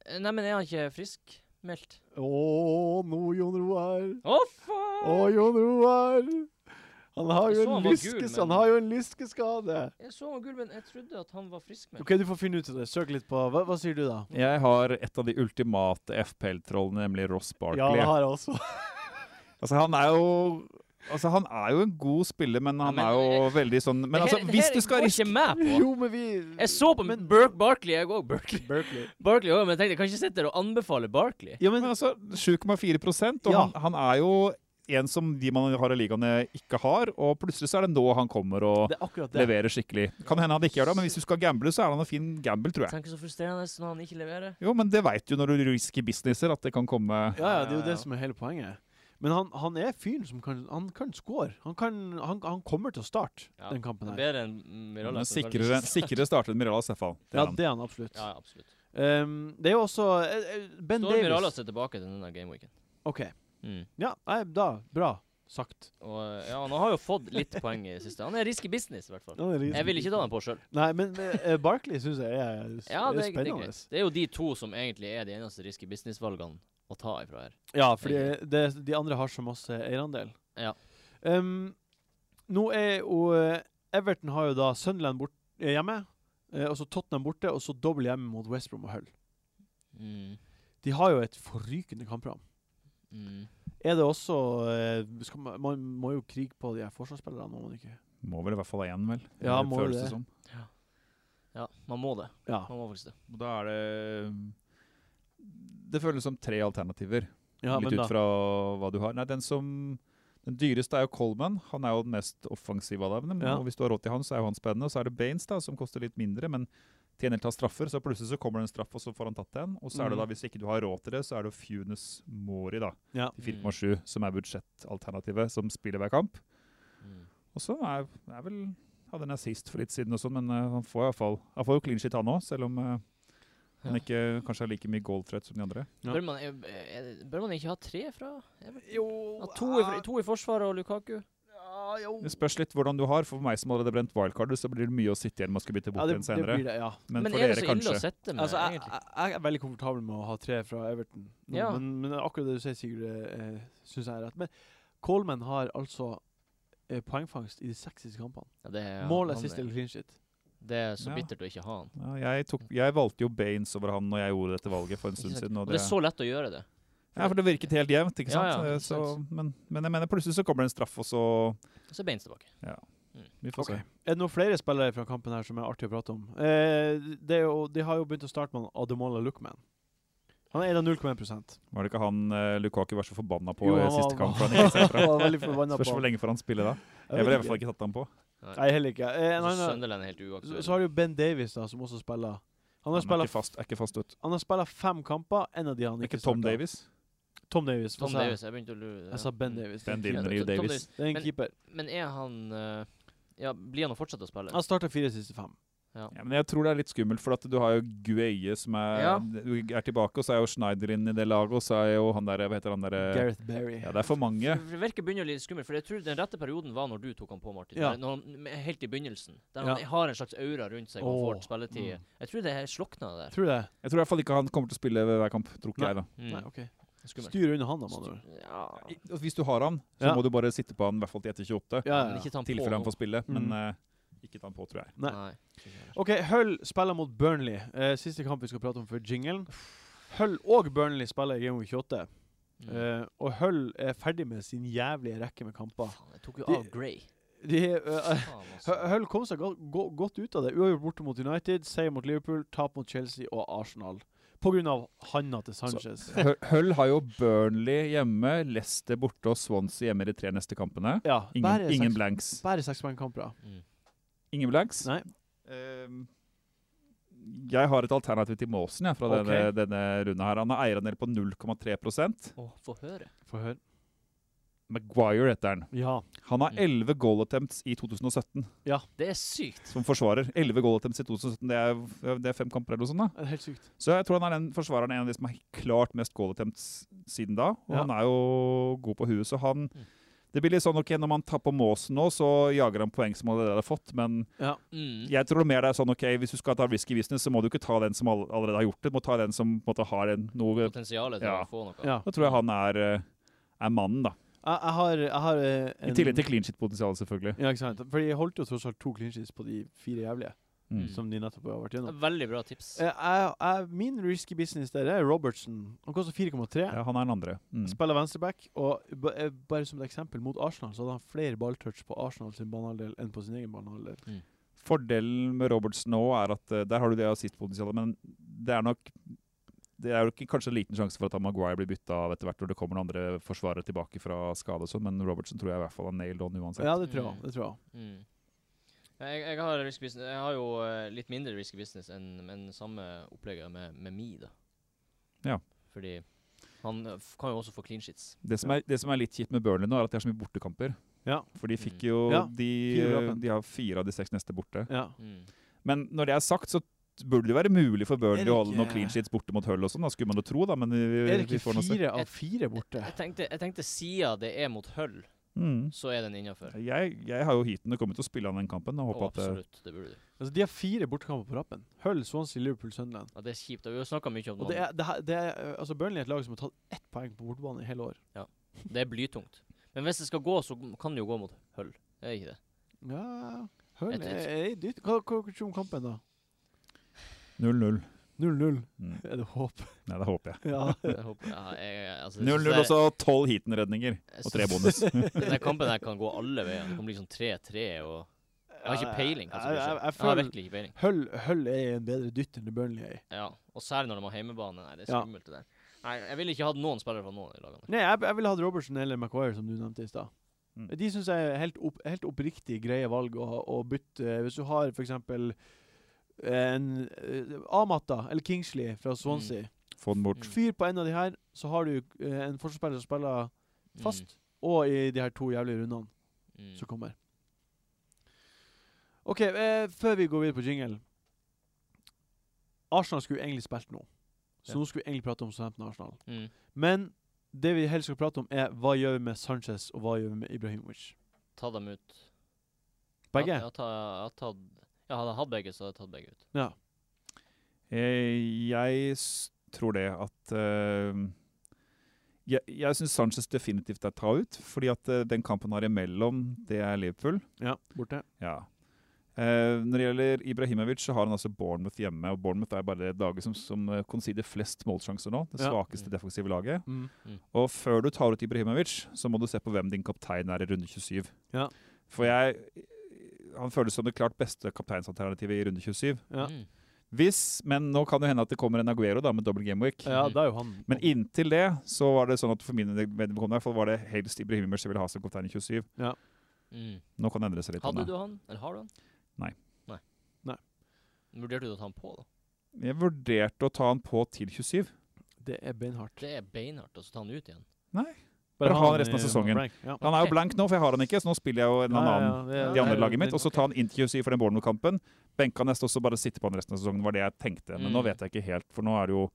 Speaker 2: eh, Nei, men er han ikke frisk? Meldt.
Speaker 1: Å, nå, Jon Roar. Å,
Speaker 2: Å, faen!
Speaker 1: Jon Roar. Han har,
Speaker 2: Jeg
Speaker 1: jo
Speaker 2: så han
Speaker 1: en
Speaker 2: var gul,
Speaker 1: lyskes,
Speaker 2: men-
Speaker 1: han har jo en lyskeskade.
Speaker 2: Jeg så han gul, men jeg trodde at han var friskmeldt.
Speaker 1: OK, du får finne ut av det. Søk litt på Hva, hva sier du, da?
Speaker 4: Jeg har et av de ultimate FPL-trollene, nemlig Ross
Speaker 1: Ja,
Speaker 4: Barkley.
Speaker 1: det har jeg også.
Speaker 4: Altså, han er jo Altså, han er jo en god spiller, men han
Speaker 2: men-
Speaker 4: er jo veldig sånn Men altså, hvis du skal
Speaker 2: Det her går
Speaker 4: riske
Speaker 2: ikke meg på.
Speaker 1: (laughs) Jo, men vi
Speaker 2: Jeg så på
Speaker 1: Men-
Speaker 2: Burke Barkley, jeg òg. Barkley,
Speaker 1: Berkeley.
Speaker 2: Barkley også, men jeg tenkte jeg kan ikke sitte der og anbefale Barkley.
Speaker 4: Ja, men altså, 7,4 og
Speaker 1: Ja.
Speaker 4: han, han er jo en som de man har i ligaene, ikke har. Og plutselig så er det nå han kommer og
Speaker 1: Det er akkurat det.
Speaker 4: leverer skikkelig. Kan hende han ikke gjør det, men hvis du skal gamble, så er han en fin gamble, tror jeg.
Speaker 2: Tenk så frustrerende når han ikke leverer.
Speaker 4: Jo, men det veit du når du risky businesser, at det kan komme
Speaker 1: Ja, ja, det er jo
Speaker 2: Ja, ja, ja.
Speaker 1: det som er hele poenget. Men han, han er fyren som kan Han kan score. Han, kan, han, han kommer til å starte
Speaker 2: Ja,
Speaker 1: den kampen
Speaker 2: Det er
Speaker 1: her.
Speaker 2: bedre enn Mirallas. som
Speaker 4: Sikrere,
Speaker 2: kanskje ikke-
Speaker 4: sikrere startet Mirala Seffal.
Speaker 1: Ja, det er han absolutt.
Speaker 2: Ja, ja, absolutt.
Speaker 1: Um, det er jo også eh, eh, Ben
Speaker 2: Står
Speaker 1: Davies.
Speaker 2: Mirallas er tilbake til denne gameweeken.
Speaker 1: OK.
Speaker 2: Mm.
Speaker 1: Ja, nei, da. Bra sagt.
Speaker 2: Og ja, han har jo fått litt poeng i det siste. Han er risky business, i hvert fall. Jeg vil ikke ta den på sjøl.
Speaker 1: Nei, men uh, Barkley syns jeg er, s-
Speaker 2: Ja,
Speaker 1: er
Speaker 2: det, er- det er
Speaker 1: spennende.
Speaker 2: greit. Det er jo de to som egentlig er de eneste risky business-valgene å ta ifra her.
Speaker 1: Ja, fordi det, de andre har så masse eierandel.
Speaker 2: Eh, Ja.
Speaker 1: Um, nå er jo eh, Everton har jo da Sunderland bort, eh, hjemme, eh, og så Tottenham borte, og så dobbel hjemme mot West Brom og Hull.
Speaker 2: Mm.
Speaker 1: De har jo et forrykende kampprogram.
Speaker 2: Mm.
Speaker 1: Er det også eh, skal man, man må jo krige på de her forsvarsspillerne, må man ikke?
Speaker 4: Må vel i hvert fall ha én, vel?
Speaker 1: Ja,
Speaker 4: Det
Speaker 1: må jo
Speaker 4: føles
Speaker 1: det.
Speaker 4: som.
Speaker 2: Ja, man må det.
Speaker 1: Ja.
Speaker 2: Man må faktisk det.
Speaker 4: Og da er det Det føles som tre alternativer.
Speaker 1: ja
Speaker 4: litt
Speaker 1: men
Speaker 4: ut
Speaker 1: da,
Speaker 4: fra hva du har. Nei, den som den dyreste er jo Coleman. Han er jo den mest offensive av dem.
Speaker 1: Ja.
Speaker 4: Og hvis du har råd til han, så er jo han spennende. Og så er det Baines, da, som koster litt mindre, men tjener til å ta straffer. Så plutselig så kommer det en straff, og så får han tatt den. Og så er det
Speaker 1: Mhm.
Speaker 4: da, hvis ikke du har råd til det, så er det jo Funes Mori, da,
Speaker 1: ja.
Speaker 4: til 4,7, som er budsjettalternativet, som spiller hver kamp.
Speaker 2: Mm.
Speaker 4: Og så er, er vel hadde en assist for litt siden og sånn, men eh, han får i hvert fall Han får jo clean shit, han òg, selv om eh, han
Speaker 2: Ja.
Speaker 4: ikke kanskje har like mye goal-threat som de andre.
Speaker 1: Ja.
Speaker 2: Bør, man, er, er, det- bør man ikke ha tre fra Everton?
Speaker 1: Jo, ah,
Speaker 2: Ja, to, i, fr- to i forsvaret og Lukaku?
Speaker 1: ja, jo.
Speaker 4: Det spørs litt hvordan du har. For meg som allerede brent wildcard, så blir det mye å sitte igjen med å skulle bytte bort
Speaker 1: Ja, det,
Speaker 4: en
Speaker 1: det
Speaker 4: senere.
Speaker 1: blir det, ja.
Speaker 4: Men,
Speaker 2: Men
Speaker 4: for
Speaker 2: er det
Speaker 4: dere,
Speaker 2: så ille å
Speaker 4: kanskje.
Speaker 2: sette med,
Speaker 1: Altså, jeg,
Speaker 2: egentlig?
Speaker 1: jeg, jeg er veldig komfortabel med å ha tre fra Everton, nå,
Speaker 2: Ja.
Speaker 1: men, men akkurat det du sier, Sigurd, eh, syns jeg er rett. Men Coleman har altså eh, poengfangst i de seks siste kampene.
Speaker 2: Ja, det er,
Speaker 1: Mål,
Speaker 2: han
Speaker 1: assist
Speaker 2: er-
Speaker 1: eller clean shit.
Speaker 2: Det er så
Speaker 4: Ja.
Speaker 2: bittert å ikke ha han.
Speaker 4: Ja, jeg, tok, jeg valgte jo Baines over han når jeg gjorde dette valget for en
Speaker 2: Ikke
Speaker 4: stund
Speaker 2: sant?
Speaker 4: siden.
Speaker 2: Og
Speaker 4: Og
Speaker 2: det
Speaker 4: det,
Speaker 2: er så lett å gjøre det.
Speaker 4: ja, for det virket helt jevnt,
Speaker 2: Ja,
Speaker 4: ikke sant?
Speaker 2: ja,
Speaker 4: Eh,
Speaker 2: ikke
Speaker 4: så, men, men jeg mener plutselig så kommer det en straff, og så
Speaker 2: Og så er Baines tilbake.
Speaker 4: Vi får se.
Speaker 1: Er det noen flere spillere fra kampen her som er artig å prate om? Eh, det er jo, de har jo begynt å starte med han Ademola Lookman. Han er da 0,1
Speaker 4: Var det ikke han eh, Lukaku var så forbanna på
Speaker 1: Jo,
Speaker 4: eh,
Speaker 1: han var-
Speaker 4: siste
Speaker 1: (laughs)
Speaker 4: kamp? for han gikk seg fra?
Speaker 1: var veldig forbanna
Speaker 4: Spørs
Speaker 1: på
Speaker 4: hvor
Speaker 1: han.
Speaker 4: lenge får han spille da. Jeg
Speaker 1: Jeg
Speaker 4: ville i
Speaker 1: vet
Speaker 4: hvert fall
Speaker 1: ikke.
Speaker 4: ikke tatt han på.
Speaker 1: Nei, heller ikke. Eh, en
Speaker 2: Og så
Speaker 1: annen,
Speaker 2: Sunderland er helt
Speaker 1: så,
Speaker 2: uaktuell.
Speaker 1: så har du Ben Davies, da, som også spiller. Han har
Speaker 4: Han er
Speaker 1: spillet
Speaker 4: ikke fast, er ikke fast ut.
Speaker 1: han har spillet fem kamper, en av de han
Speaker 4: Er
Speaker 1: ikke
Speaker 4: ikke Tom
Speaker 1: startet.
Speaker 4: Davies?
Speaker 1: Tom Davies. hva
Speaker 2: Tom
Speaker 1: sa jeg?
Speaker 2: Davis, jeg begynte å lure
Speaker 1: Jeg sa Ben Davies.
Speaker 4: Ben
Speaker 1: det er en
Speaker 4: Dinnery
Speaker 1: keeper.
Speaker 2: Tom Davies.
Speaker 4: Davies.
Speaker 1: Det er en
Speaker 2: Men-
Speaker 1: keeper.
Speaker 2: Men er han eh, Ja, blir han å fortsette å spille?
Speaker 1: Altså, Han starta fire siste fem.
Speaker 4: Ja, men jeg tror det er litt skummelt, for at du har jo Gueye som er,
Speaker 2: Ja.
Speaker 4: er tilbake, og så er jo Schneider inn i det laget, og så er jo han der, hva heter han der
Speaker 1: Gareth Berry.
Speaker 4: Ja, det er for mange.
Speaker 2: For Det virker begynner å bli litt skummelt, for jeg tror den rette perioden var når du tok han på, Martin.
Speaker 1: Ja.
Speaker 2: Når han, med- helt i begynnelsen. Der
Speaker 1: Ja.
Speaker 2: han har en slags aura rundt seg og
Speaker 1: Åh, mm.
Speaker 2: får spilletid. Jeg tror det her slokna der.
Speaker 1: Tror du det?
Speaker 4: Jeg tror i hvert fall ikke han kommer til å spille ved hver kamp, tror ikke
Speaker 1: Nei.
Speaker 4: jeg, da.
Speaker 2: Mm.
Speaker 1: Nei, ok.
Speaker 2: Skummelt.
Speaker 1: Styr unna han, da, med andre ord.
Speaker 2: Ja.
Speaker 4: I- og Hvis du har han, så
Speaker 1: Ja.
Speaker 4: må du bare sitte på han i hvert fall til etter 28,
Speaker 1: Ja,
Speaker 2: Men
Speaker 1: ja,
Speaker 2: ikke
Speaker 1: ja.
Speaker 2: ta han på
Speaker 4: tilfelle han
Speaker 2: nå.
Speaker 4: får spille, men
Speaker 1: Mm.
Speaker 4: eh, ikke ta han på,
Speaker 1: (laughs)
Speaker 4: tror jeg.
Speaker 1: Nei.
Speaker 2: Nei.
Speaker 1: OK, Hull spiller mot Burnley. Eh, siste kamp vi skal prate om før jinglen. Hull og Burnley spiller i Game Week 28.
Speaker 2: Mm.
Speaker 1: Eh, og Hull er ferdig med sin jævlige rekke med kamper.
Speaker 2: Faen, jeg tok jo
Speaker 1: De-
Speaker 2: av Grey.
Speaker 1: De, eh,
Speaker 2: Faen, altså.
Speaker 1: Hu- Hull kom seg go go godt ut av det. Uavgjort borte mot United, seier mot Liverpool, tap mot Chelsea og Arsenal. På grunn av handa til Sanchez.
Speaker 4: Hull- Hull har jo Burnley hjemme, Leicester borte og Swansea hjemme i de tre neste kampene.
Speaker 1: Ja,
Speaker 4: Ingen,
Speaker 1: bare
Speaker 4: ingen
Speaker 1: seks-
Speaker 4: blanks.
Speaker 1: bare sekspoengkamper. da.
Speaker 2: Mm.
Speaker 4: Ingen blanks?
Speaker 1: Nei.
Speaker 4: Ehm, jeg har et alternativ til Måsen jeg, fra
Speaker 1: Ok.
Speaker 4: denne, denne runden. her. Han har eierandel på 0,3
Speaker 2: Åh, få høre.
Speaker 1: Få høre.
Speaker 4: Maguire heter han.
Speaker 1: Ja.
Speaker 4: Han har
Speaker 2: Mm.
Speaker 4: 11 goal attempts i 2017
Speaker 2: Det er sykt.
Speaker 4: som forsvarer. 11 goal attempts i 2017, Det er, det er fem kamper eller noe sånt. da.
Speaker 1: Det er helt sykt.
Speaker 4: Så jeg tror han er den forsvareren en av de som har klart mest goal attempts siden da. Og
Speaker 1: Ja.
Speaker 4: han er jo god på huet, så han
Speaker 2: Mm.
Speaker 4: Det blir litt sånn ok, når man tar på Måsen nå, så jager han poeng som han allerede har fått, men
Speaker 1: Ja.
Speaker 2: Mm.
Speaker 4: Jeg tror mer det er sånn ok, hvis du skal ta risky business, så må du ikke ta den som all allerede har gjort det. Du må ta den som på en måte har en, noe
Speaker 2: Potensialet til
Speaker 4: Ja.
Speaker 2: å få noe.
Speaker 1: ja.
Speaker 4: Da tror jeg han er, eh, er mannen, da.
Speaker 1: Jeg, jeg har, jeg har eh,
Speaker 4: I tillegg til clean shit-potensialet, selvfølgelig.
Speaker 1: Ja, ikke sant. For jeg holdt jo tross alt to clean sheets på de fire jævlige
Speaker 4: Mm.
Speaker 2: Mm.
Speaker 1: som de nettopp har vært gjennom.
Speaker 2: Veldig bra tips.
Speaker 1: Eh, jeg, jeg, min risky business der er Robertson. Han koster 4,3.
Speaker 4: Ja, han er den andre. Mm.
Speaker 1: Spiller venstreback, og ba- eh, bare som et eksempel, mot Arsenal så hadde han flere balltouch på Arsenal sin banehalvdel enn på sin egen banehalvdel.
Speaker 4: Fordelen med Robertsen nå er at eh, der har du det assist-potensialet, men det er nok det er jo ikke kanskje en liten sjanse for at han Maguire blir bytta av etter hvert når det kommer noen andre forsvarere tilbake fra skade og sånn, men Robertsen tror jeg i hvert fall er nailed on uansett.
Speaker 1: Ja, det tror
Speaker 2: Mm.
Speaker 1: jeg. Det tror jeg.
Speaker 2: Mm. Jeg, jeg, har risky business. jeg har jo eh, litt mindre risky business enn enn samme opplegget med, med Mi, da.
Speaker 4: Ja.
Speaker 2: Fordi han eh, f- kan jo også få clean sheets.
Speaker 4: Det som, er, det som er litt kjipt med Burnley nå, er at de har så mye bortekamper.
Speaker 1: Ja.
Speaker 4: For de fikk jo
Speaker 1: Ja,
Speaker 4: de,
Speaker 1: fire brappen.
Speaker 4: de har fire av de seks neste borte.
Speaker 1: Ja.
Speaker 2: Mm.
Speaker 4: Men når det er sagt, så burde det være mulig for
Speaker 1: Er
Speaker 4: Burnley
Speaker 1: det
Speaker 4: å holde noen
Speaker 1: ikke-
Speaker 4: clean sheets borte mot Hull og sånn. Da skulle man jo tro, da, men vi,
Speaker 1: Er det
Speaker 4: vi
Speaker 1: ikke
Speaker 4: får nå se.
Speaker 1: fire av
Speaker 2: Et-
Speaker 1: fire borte?
Speaker 2: Jeg tenkte, jeg tenkte siden det er mot Hull,
Speaker 4: Mm.
Speaker 2: så er den innafor.
Speaker 4: Jeg, jeg har jo heaten og kommer til å spille an den kampen. Og
Speaker 2: Oh,
Speaker 4: håper at det,
Speaker 2: absolutt, det burde du.
Speaker 1: Altså, de har fire bortekamper på rappen. Hull, Swansea, Liverpool, Sunderland.
Speaker 2: Ja, det er kjipt. og Vi har snakka mye om
Speaker 1: Og
Speaker 2: det.
Speaker 1: det er, det, her- det er, eh, altså Burnley er et lag som har tatt ett poeng på bortebane i hele år.
Speaker 2: Det er blytungt. Men hvis det skal gå, så kan det jo gå mot Hull. Er det ikke det?
Speaker 4: (laughs)
Speaker 1: Ja, Hull
Speaker 2: Jeg
Speaker 1: er,
Speaker 2: tror-
Speaker 1: er dyrt. Hva hva tror du om kampen, da?
Speaker 4: 0-0.
Speaker 1: 0-0.
Speaker 4: Mm.
Speaker 1: Er det håp?
Speaker 4: Nei, det håper jeg.
Speaker 1: Ja.
Speaker 2: (laughs) Jeg håper, ja, jeg, altså, jeg synes
Speaker 4: 0-0
Speaker 2: det-
Speaker 4: og så tolv heaten-redninger
Speaker 2: jeg
Speaker 4: og tre
Speaker 2: synes-
Speaker 1: (laughs)
Speaker 4: bonus.
Speaker 2: Denne kampen her kan gå alle veier. Det kan bli sånn 3-3 og Jeg har ikke peiling. hva
Speaker 1: Jeg,
Speaker 2: som blir
Speaker 1: jeg, jeg,
Speaker 2: skjedd. Jeg har
Speaker 1: føler
Speaker 2: virkelig Mm. ikke peiling.
Speaker 1: Hull, Hull er en bedre dytt enn det Burnley er. i.
Speaker 2: Ja, og særlig når de har heimebane. Nei, det er
Speaker 1: Ja.
Speaker 2: skummelt det der. Nei, jeg ville ikke hatt noen spillere fra noen av de lagene.
Speaker 1: Nei, jeg, jeg ville hatt Robertson eller Maguire, som du nevnte i stad.
Speaker 4: Mm.
Speaker 1: De syns jeg er helt, opp, helt oppriktig greie valg å, å bytte. Eh, Hvis du har f.eks. en eh, Amata eller Kingsley fra Swansea.
Speaker 4: Få den bort.
Speaker 1: Fyr på en av de her, så har du eh, en forsvarsspiller som spiller fast, og i de her to jævlige rundene
Speaker 2: Mm. Mm.
Speaker 1: som kommer. OK, eh, før vi går videre på jingle Arsenal skulle egentlig spilt nå. Så
Speaker 2: Ja.
Speaker 1: nå skulle vi egentlig prate om Southampton Arsenal.
Speaker 2: Mm.
Speaker 1: Men det vi helst skal prate om, er hva gjør vi med Sanchez og hva gjør vi med Ibrahimovic?
Speaker 2: Ta dem ut.
Speaker 1: Begge?
Speaker 2: Jeg, jeg, ta, jeg, ta, jeg hadde hatt begge, så hadde jeg tatt begge ut.
Speaker 4: Eh, Jeg s- tror det at eh, Jeg, jeg syns Sanchez definitivt er ta ut, fordi at eh, den kampen han har imellom, det er Liverpool.
Speaker 1: Ja, borte.
Speaker 4: Ja. Eh, når det gjelder Ibrahimovic, så har han altså Bournemouth hjemme. Og Bournemouth er bare det laget som, som eh, konsider flest målsjanser nå. Det
Speaker 1: Ja.
Speaker 4: svakeste
Speaker 2: Mm.
Speaker 4: defensive laget.
Speaker 1: Mm.
Speaker 4: Og før du tar ut Ibrahimovic, så må du se på hvem din kaptein er i runde 27.
Speaker 1: Ja.
Speaker 4: For jeg Han føles som det klart beste kapteinsalternativet i runde 27.
Speaker 1: Ja.
Speaker 2: Mm.
Speaker 4: Hvis, men nå kan det hende at det kommer en Aguero da, med dobbel gameweek.
Speaker 1: Ja, da er jo han
Speaker 4: Men inntil det så var det sånn at for min vedkommende i hvert fall var det helst Ibrahimovic jeg ville ha som kaptein i 27.
Speaker 2: Mm.
Speaker 4: Nå kan det endre seg litt.
Speaker 2: Hadde
Speaker 4: Anna.
Speaker 2: du han, eller har du han?
Speaker 4: Nei.
Speaker 2: Nei.
Speaker 1: Nei.
Speaker 2: Vurderte du å ta han på, da?
Speaker 4: Jeg vurderte å ta han på til 27.
Speaker 1: Det er beinhardt.
Speaker 2: Det er beinhardt, og så ta han ut igjen.
Speaker 4: Bare ha
Speaker 1: han
Speaker 4: han resten av
Speaker 1: i-
Speaker 4: sesongen.
Speaker 1: rank, Ja.
Speaker 4: Han er jo blank nå, for jeg har han ikke, så nå spiller jeg jo en eller annen.
Speaker 1: det er-
Speaker 4: De andre
Speaker 1: det er-
Speaker 4: laget mitt, og så ta han inn til 27 for den Bournemouth-kampen. benka neste og så bare sitte på han resten av sesongen, var det jeg tenkte. Men nå
Speaker 2: Mm.
Speaker 4: vet jeg ikke helt, for nå er det jo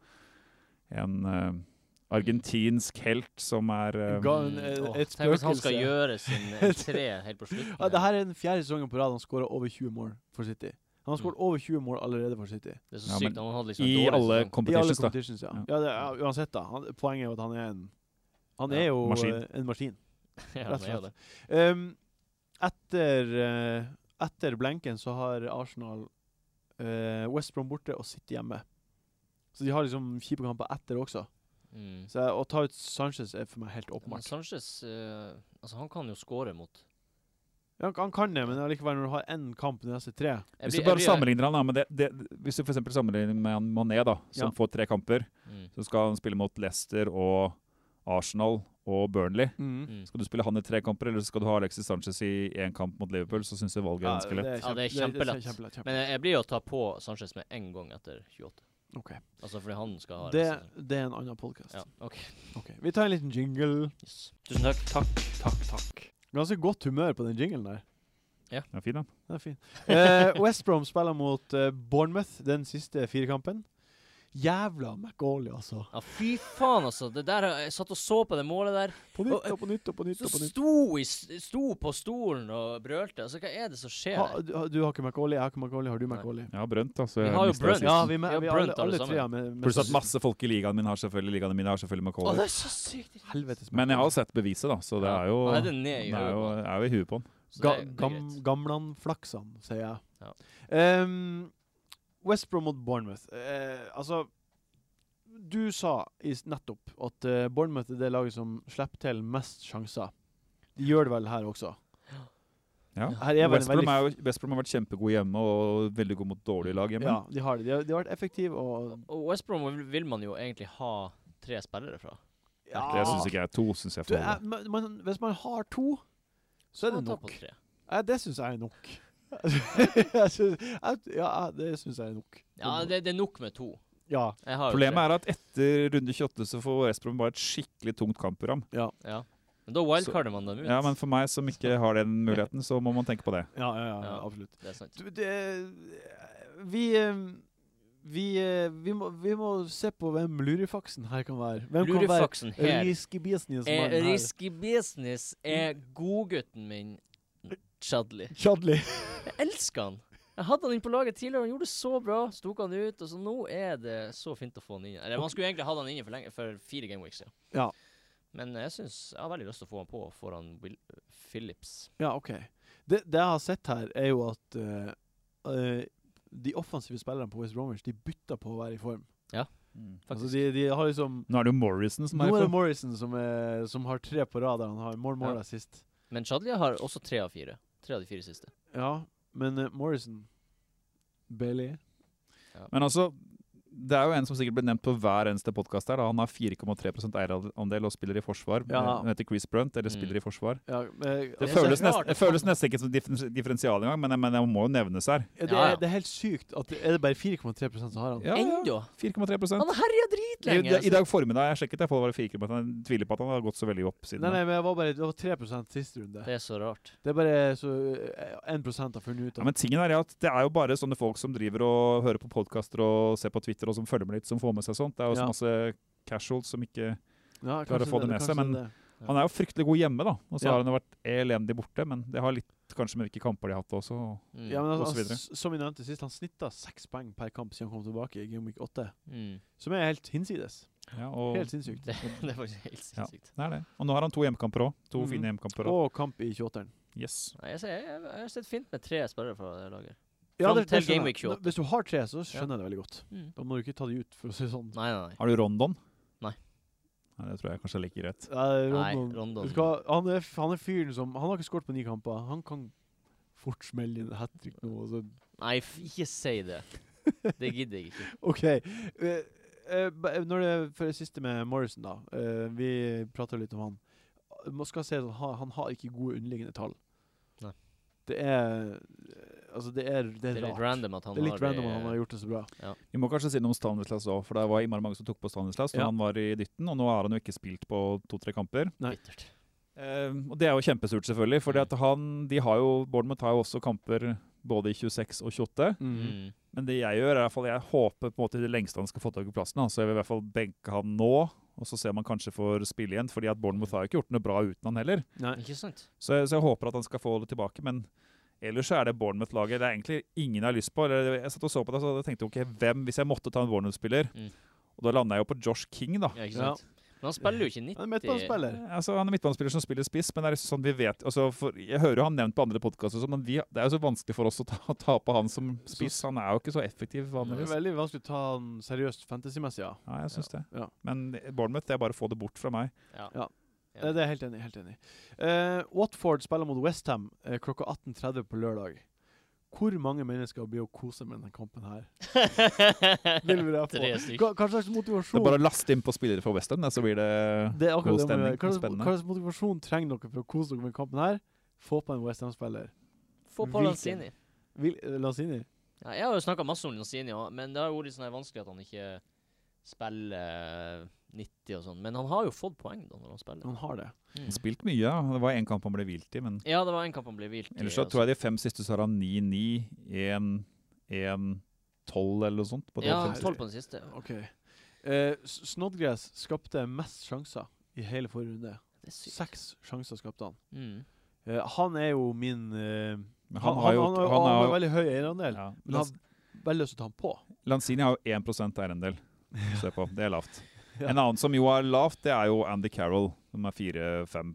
Speaker 4: en eh, argentinsk helt som er eh,
Speaker 1: Ga en,
Speaker 2: Mm, åh,
Speaker 1: et
Speaker 2: Tenk hvis han
Speaker 1: spøkelse.
Speaker 2: skal gjøre sin entré helt på slutten.
Speaker 1: Ja, det her er den fjerde sesongen på rad han skårer over 20 mål for City. Han har skåret over 20 mål allerede for City.
Speaker 2: Det er så
Speaker 4: Ja, men
Speaker 2: sykt. Han hadde liksom en
Speaker 4: I
Speaker 2: dårlig
Speaker 4: alle
Speaker 1: I
Speaker 2: sesong. (laughs)
Speaker 1: alle
Speaker 4: competitions, da.
Speaker 1: competitions, ja.
Speaker 4: Ja.
Speaker 1: ja, det, er- ja uansett, da. Han, poenget er jo at han er en Han
Speaker 2: Ja,
Speaker 1: er jo
Speaker 4: maskin.
Speaker 1: eh, en maskin.
Speaker 2: ja,
Speaker 1: rett og
Speaker 2: det er jo det.
Speaker 1: Ehm, etter, eh, etter blenken så har Arsenal eh, West Brom borte og City hjemme. Så de har liksom kjipe kamper etter også.
Speaker 2: Mm.
Speaker 1: Så jeg, å ta ut Sanchez er for meg helt
Speaker 2: Men
Speaker 1: åpenbart.
Speaker 2: Sanchez eh, altså Han kan jo score mot
Speaker 1: Ja, han, han kan det, men allikevel, når du har én kamp de neste tre
Speaker 2: Jeg
Speaker 4: Hvis
Speaker 2: blir-
Speaker 4: du
Speaker 2: jeg
Speaker 4: bare
Speaker 2: blir-
Speaker 4: sammenligner han da, med det, det, hvis du for eksempel sammenligner med han Mané, da, som
Speaker 1: Ja.
Speaker 4: får tre kamper,
Speaker 2: Mm,
Speaker 4: så skal han spille mot Leicester og Arsenal og Burnley.
Speaker 2: mm.
Speaker 4: Skal du spille han i tre kamper, eller skal du ha Alexis Sanchez i én kamp mot Liverpool, så syns jeg valget er
Speaker 1: Ja,
Speaker 4: vanskelig.
Speaker 1: det er
Speaker 2: Ja, det er
Speaker 1: kjempe- det er
Speaker 2: kjempelett.
Speaker 1: kjempelett, kjempelett.
Speaker 2: Men jeg, jeg blir jo å ta på Sanchez med en gang etter 28.
Speaker 1: Ok.
Speaker 2: Altså fordi han skal ha
Speaker 1: Det,
Speaker 2: resten.
Speaker 1: det er en annen podkast.
Speaker 2: Ja, OK.
Speaker 1: Ok, Vi tar en liten jingle.
Speaker 2: Yes. Tusen takk.
Speaker 3: Takk, takk, takk.
Speaker 1: Ganske godt humør på den jinglen der.
Speaker 4: Den er fin, den.
Speaker 1: Den er fin. Eh, West Brom spiller mot eh, Bournemouth den siste firekampen. Jævla McAuley, altså.
Speaker 2: Ja, fy faen, altså. Det der, jeg satt og så på det målet der.
Speaker 1: På nytt og på nytt og på nytt.
Speaker 2: Så
Speaker 1: og på nytt.
Speaker 2: sto, i, s- sto på stolen og brølte. Altså, hva er det som skjer?
Speaker 1: Ha, du, du har ikke McAuley, jeg har ikke McAuley. Har du
Speaker 2: Nei.
Speaker 1: McAuley?
Speaker 4: Jeg har brønt, altså.
Speaker 2: Vi
Speaker 4: jeg
Speaker 2: har jo
Speaker 4: mistet det
Speaker 2: brønt.
Speaker 4: sist.
Speaker 1: Ja, vi,
Speaker 2: Vi har
Speaker 1: med, vi
Speaker 2: Brunt
Speaker 1: alle,
Speaker 2: alle
Speaker 1: alle
Speaker 2: sammen.
Speaker 1: tre har med, med
Speaker 4: Pluss at masse folk i ligaen min har selvfølgelig ligaen min har selvfølgelig
Speaker 2: Å, det
Speaker 4: McCauley.
Speaker 2: er så sykt.
Speaker 1: Helvetes
Speaker 4: Men jeg har jo sett beviset, da, så det er jo
Speaker 2: Han er
Speaker 4: det
Speaker 2: det ned i
Speaker 4: er jo,
Speaker 2: øyet.
Speaker 4: er jo i huet på han.
Speaker 2: Så
Speaker 1: Ga,
Speaker 2: det er- det er
Speaker 1: gam,
Speaker 2: greit.
Speaker 1: Gamlan-flaksan, sier jeg.
Speaker 2: Ja.
Speaker 1: Ehm, West Brom mot Bournemouth. Eh, altså Du sa i s- nettopp at eh, Bournemouth er det laget som slipper til mest sjanser. De gjør det vel her også.
Speaker 4: Ja.
Speaker 1: Her er vel en
Speaker 4: West Brom
Speaker 1: veldig
Speaker 4: er jo- West Brom har vært kjempegod hjemme og veldig god mot dårlige lag hjemme.
Speaker 1: Ja, de har det. De har, de har vært effektive og
Speaker 2: Og West Brom vil- vil man jo egentlig ha tre spillere fra.
Speaker 4: Det syns ikke jeg. To syns jeg
Speaker 1: Du,
Speaker 4: får
Speaker 1: jeg,
Speaker 4: holde.
Speaker 1: men, men hvis man har to, så er det
Speaker 2: Man tar
Speaker 1: nok.
Speaker 2: På tre.
Speaker 1: Ja, det syns jeg er
Speaker 2: (laughs)
Speaker 1: nok. (laughs) jeg synes, jeg, ja, det syns jeg er nok.
Speaker 2: Ja, det, det er nok med to.
Speaker 1: ja.
Speaker 2: Jeg har jo
Speaker 4: Problemet
Speaker 2: tre.
Speaker 4: er at etter runde 28 så får West Brom bare et skikkelig tungt kampprogram.
Speaker 2: Ja. Men da wildcarder man dem ut.
Speaker 4: Ja, men for meg som ikke har den muligheten, så må man tenke på det.
Speaker 1: Ja, ja, ja,
Speaker 2: Ja.
Speaker 1: absolutt.
Speaker 2: Det er sant.
Speaker 1: Du, det, vi eh, vi, eh, vi, må, vi må se på hvem lurifaksen her kan være. Hvem kan være
Speaker 2: Lurifaksen her
Speaker 1: Riskebisnes
Speaker 4: Eh,
Speaker 2: er
Speaker 1: mann her?
Speaker 2: Risky Business er godgutten min, Chadley.
Speaker 1: Chadley.
Speaker 2: Jeg elsker han. Jeg hadde han inn på laget tidligere, han gjorde det så bra. Så tok han ut, og så nå er det så fint å få han inn. Eller man skulle egentlig hatt han inne for, lenge, for fire game weeks siden.
Speaker 1: Ja.
Speaker 2: Men jeg synes, jeg har veldig lyst til å få han på foran Will Phillips.
Speaker 1: Ja, OK. Det, det jeg har sett her, er jo at eh, eh, de offensive spillerne på West Bromwich de bytter på å være i form. Altså, de, de har liksom
Speaker 4: Nå er det jo Morrison som
Speaker 1: Nå
Speaker 4: er i
Speaker 1: er det
Speaker 4: form.
Speaker 1: Morrison som, er, som har tre på rad der han har mål mål
Speaker 2: Ja.
Speaker 1: sist.
Speaker 2: Men Chadli har også tre av fire. Tre av de fire siste.
Speaker 1: Ja, men eh, Morrison Bailey
Speaker 4: Men altså, det er jo en som sikkert blir nevnt på hver eneste podkast her. Da. Han har 4,3 eierandel og spiller i forsvar.
Speaker 1: Ja.
Speaker 4: Han heter Chris Brunt, eller
Speaker 2: Mm.
Speaker 4: spiller i forsvar.
Speaker 1: ja, eh,
Speaker 4: Det
Speaker 2: er så
Speaker 4: føles,
Speaker 2: rart
Speaker 4: nest,
Speaker 2: at
Speaker 4: det føles nesten ikke som differ- differensial engang, men, men det må jo nevnes her.
Speaker 1: ja, det,
Speaker 2: Ja, ja.
Speaker 1: er, det er helt sykt at det- er det bare 4,3 som har han.
Speaker 4: Ja, ja.
Speaker 2: Enda!
Speaker 4: 4,3
Speaker 2: Han har herja
Speaker 4: I,
Speaker 2: dritlenge! altså.
Speaker 4: I dag formiddag jeg sjekket jeg, for det var 4,3 Jeg tviler på at han har gått så veldig opp siden.
Speaker 1: Nei, nei, men jeg var bare, det var 3 sist runde.
Speaker 2: Det er så rart.
Speaker 1: Det er bare så eh, 1 har funnet ut
Speaker 4: Ja,
Speaker 1: av.
Speaker 4: men tingen er jo at Det er jo bare sånne folk som driver og hører på podkaster og ser på Twitter og som følger med litt, som får med seg sånt. Det er jo
Speaker 1: Ja.
Speaker 4: så masse casuals som ikke
Speaker 1: Ja, kanskje
Speaker 4: klarer å få det med
Speaker 1: kanskje
Speaker 4: seg, men-
Speaker 1: det.
Speaker 4: Han er jo fryktelig god hjemme, da. Og så
Speaker 1: Ja.
Speaker 4: har han jo vært elendig borte, men det har litt kanskje med hvilke kamper de har hatt også.
Speaker 2: Mm.
Speaker 1: ja, men
Speaker 4: og
Speaker 1: altså,
Speaker 4: så videre.
Speaker 1: s- Som vi nevnte sist, han snitta seks poeng per kamp siden han kom tilbake i Game Week 8.
Speaker 2: Mm. (laughs)
Speaker 1: Som er helt hinsides.
Speaker 4: Ja, og,
Speaker 1: Helt sinnssykt.
Speaker 2: Det, det er faktisk helt
Speaker 4: Ja.
Speaker 2: sinnssykt.
Speaker 4: det er det. og nå har han to hjemmekamper òg. To
Speaker 1: Mhm.
Speaker 4: fine hjemmekamper. også.
Speaker 1: Og kamp i 28-eren.
Speaker 4: Yes.
Speaker 2: Nei, Jeg, ser- jeg, jeg har sett fint med tre spillere fra det laget.
Speaker 1: Ja,
Speaker 2: Fram
Speaker 1: det- det
Speaker 2: til
Speaker 1: skjønner
Speaker 2: Game
Speaker 1: jeg.
Speaker 2: Week 28.
Speaker 1: Hvis du har tre, så skjønner jeg det veldig godt.
Speaker 2: Mm.
Speaker 1: Da må du ikke ta de ut, for å si det sånn.
Speaker 2: Nei, nei, nei.
Speaker 4: Har du Rondon?
Speaker 2: Nei.
Speaker 4: Nei, Det tror jeg kanskje er like greit.
Speaker 1: Nei,
Speaker 2: Nei,
Speaker 1: Rondon.
Speaker 2: Rondon.
Speaker 1: Vet du hva, han, er, f- han er fyren som Han har ikke skåret på ni kamper. Han kan fort smelle inn et hat trick nå. Og så.
Speaker 2: Nei, f- ikke si det.
Speaker 1: (laughs)
Speaker 2: Det gidder jeg ikke.
Speaker 1: OK. eh, eh, ba- når det For det siste med Morrison, da. eh, vi prata litt om han. Man skal se at han, har- han har ikke gode underliggende tall.
Speaker 2: Nei.
Speaker 1: Det er Altså, det er, det er,
Speaker 2: Det er litt
Speaker 1: rart.
Speaker 2: random at han
Speaker 1: det er litt
Speaker 2: har
Speaker 1: random at han har gjort det så bra.
Speaker 4: Vi må kanskje si noe om Stanislas òg, for det var innmari mange som tok på Stanislas når
Speaker 1: Ja.
Speaker 4: han var i dytten, og nå har han jo ikke spilt på to-tre kamper.
Speaker 1: Nei.
Speaker 2: Bittert.
Speaker 4: Ehm, Eh, og det er jo kjempesurt, selvfølgelig. For han, de har jo, Bournemouth har jo også kamper både i 26 og 28.
Speaker 2: Mm.
Speaker 4: Men det jeg gjør, er i hvert fall jeg håper på en måte i det lengste han skal få tak i plassen. Da. Så jeg vil i hvert fall benke han nå, og så ser man kanskje får spille igjen. fordi at Bournemouth har jo ikke gjort noe bra uten han heller.
Speaker 1: Nei.
Speaker 2: Ikke sant?
Speaker 4: Så jeg, så jeg håper at han skal få det tilbake. men... Ellers så er det Bournemouth-laget det er egentlig ingen jeg har lyst på. Eller jeg satt og så på det, så jeg tenkte ok, hvem hvis jeg måtte ta en Bournemouth-spiller?
Speaker 2: Mm.
Speaker 4: Og da landa jeg jo på Josh King, da.
Speaker 2: Ja, ikke
Speaker 1: Ja.
Speaker 2: sant? Men han spiller jo ikke 90.
Speaker 1: Han er midtbanespiller.
Speaker 2: eh,
Speaker 4: Altså, han er midtbanespiller som spiller spiss, men det er liksom sånn vi vet altså, for, Jeg hører jo han nevnt på andre podkaster, men vi, det er jo så vanskelig for oss å ta, (laughs) ta på han som spiss. Han er jo ikke så effektiv
Speaker 1: Det er
Speaker 4: vanligvis.
Speaker 1: veldig vanskelig å ta han seriøst fantasymessig, ja.
Speaker 4: Ja, jeg syns det.
Speaker 1: Ja.
Speaker 4: Men Bournemouth, det er bare å få det bort fra meg.
Speaker 2: Ja.
Speaker 1: Ja.
Speaker 2: Ja.
Speaker 1: Eh, Det er jeg helt enig, i, helt enig. i. Eh, Watford spiller mot Westham uh, klokka 18.30 på lørdag. Hvor mange mennesker blir å kose med denne kampen her?
Speaker 2: (laughs)
Speaker 1: Vil vi da få?
Speaker 2: Tre stykk.
Speaker 1: Hva, hva slags
Speaker 4: Det
Speaker 1: motivasjon
Speaker 4: er bare å laste inn på spillere fra Western, så blir det
Speaker 1: Det er akkurat
Speaker 4: god
Speaker 1: det man
Speaker 4: stemning.
Speaker 1: gjør. Hva slags,
Speaker 4: Spennende.
Speaker 1: hva slags motivasjon trenger dere for å kose dere med kampen her? Få på en Westham-spiller.
Speaker 2: Få på
Speaker 1: Hvilken?
Speaker 2: Lanzini.
Speaker 1: Vil- eh, Lanzini?
Speaker 2: Ja, jeg har jo snakka masse om Lanzini, og- men det har jo vært litt sånn her vanskelig at han ikke spiller eh, 90 og sånn. Men han har jo fått poeng da når han spiller.
Speaker 1: Han har det.
Speaker 2: Mm.
Speaker 4: Han har spilt mye. ja. Det var én kamp han ble hvilt i, men
Speaker 2: Ja, det var en kamp han ble hvilt i. altså.
Speaker 4: ellers så
Speaker 2: og
Speaker 4: tror jeg de fem siste så har han 9-9, 1-1, 12 eller noe sånt. På de
Speaker 2: Ja,
Speaker 4: fem siste.
Speaker 2: 12 på den siste.
Speaker 1: OK. Eh, S- Snodgrass skapte mest sjanser i hele forrige runde.
Speaker 2: Det er sykt.
Speaker 1: Seks sjanser skapte han.
Speaker 2: Mm.
Speaker 1: Eh, han er jo min eh,
Speaker 4: Men
Speaker 1: han, han,
Speaker 4: har jo
Speaker 1: han, har-
Speaker 4: han
Speaker 1: han har
Speaker 4: har-
Speaker 1: veldig høy eierandel.
Speaker 4: ja.
Speaker 1: Men jeg har veldig lyst til å ta han på.
Speaker 4: Lanzini har jo 1 eierandel. Se på, det er lavt.
Speaker 1: (laughs) Ja.
Speaker 4: En annen som jo er lavt, det er jo Andy Carroll, som er 4-5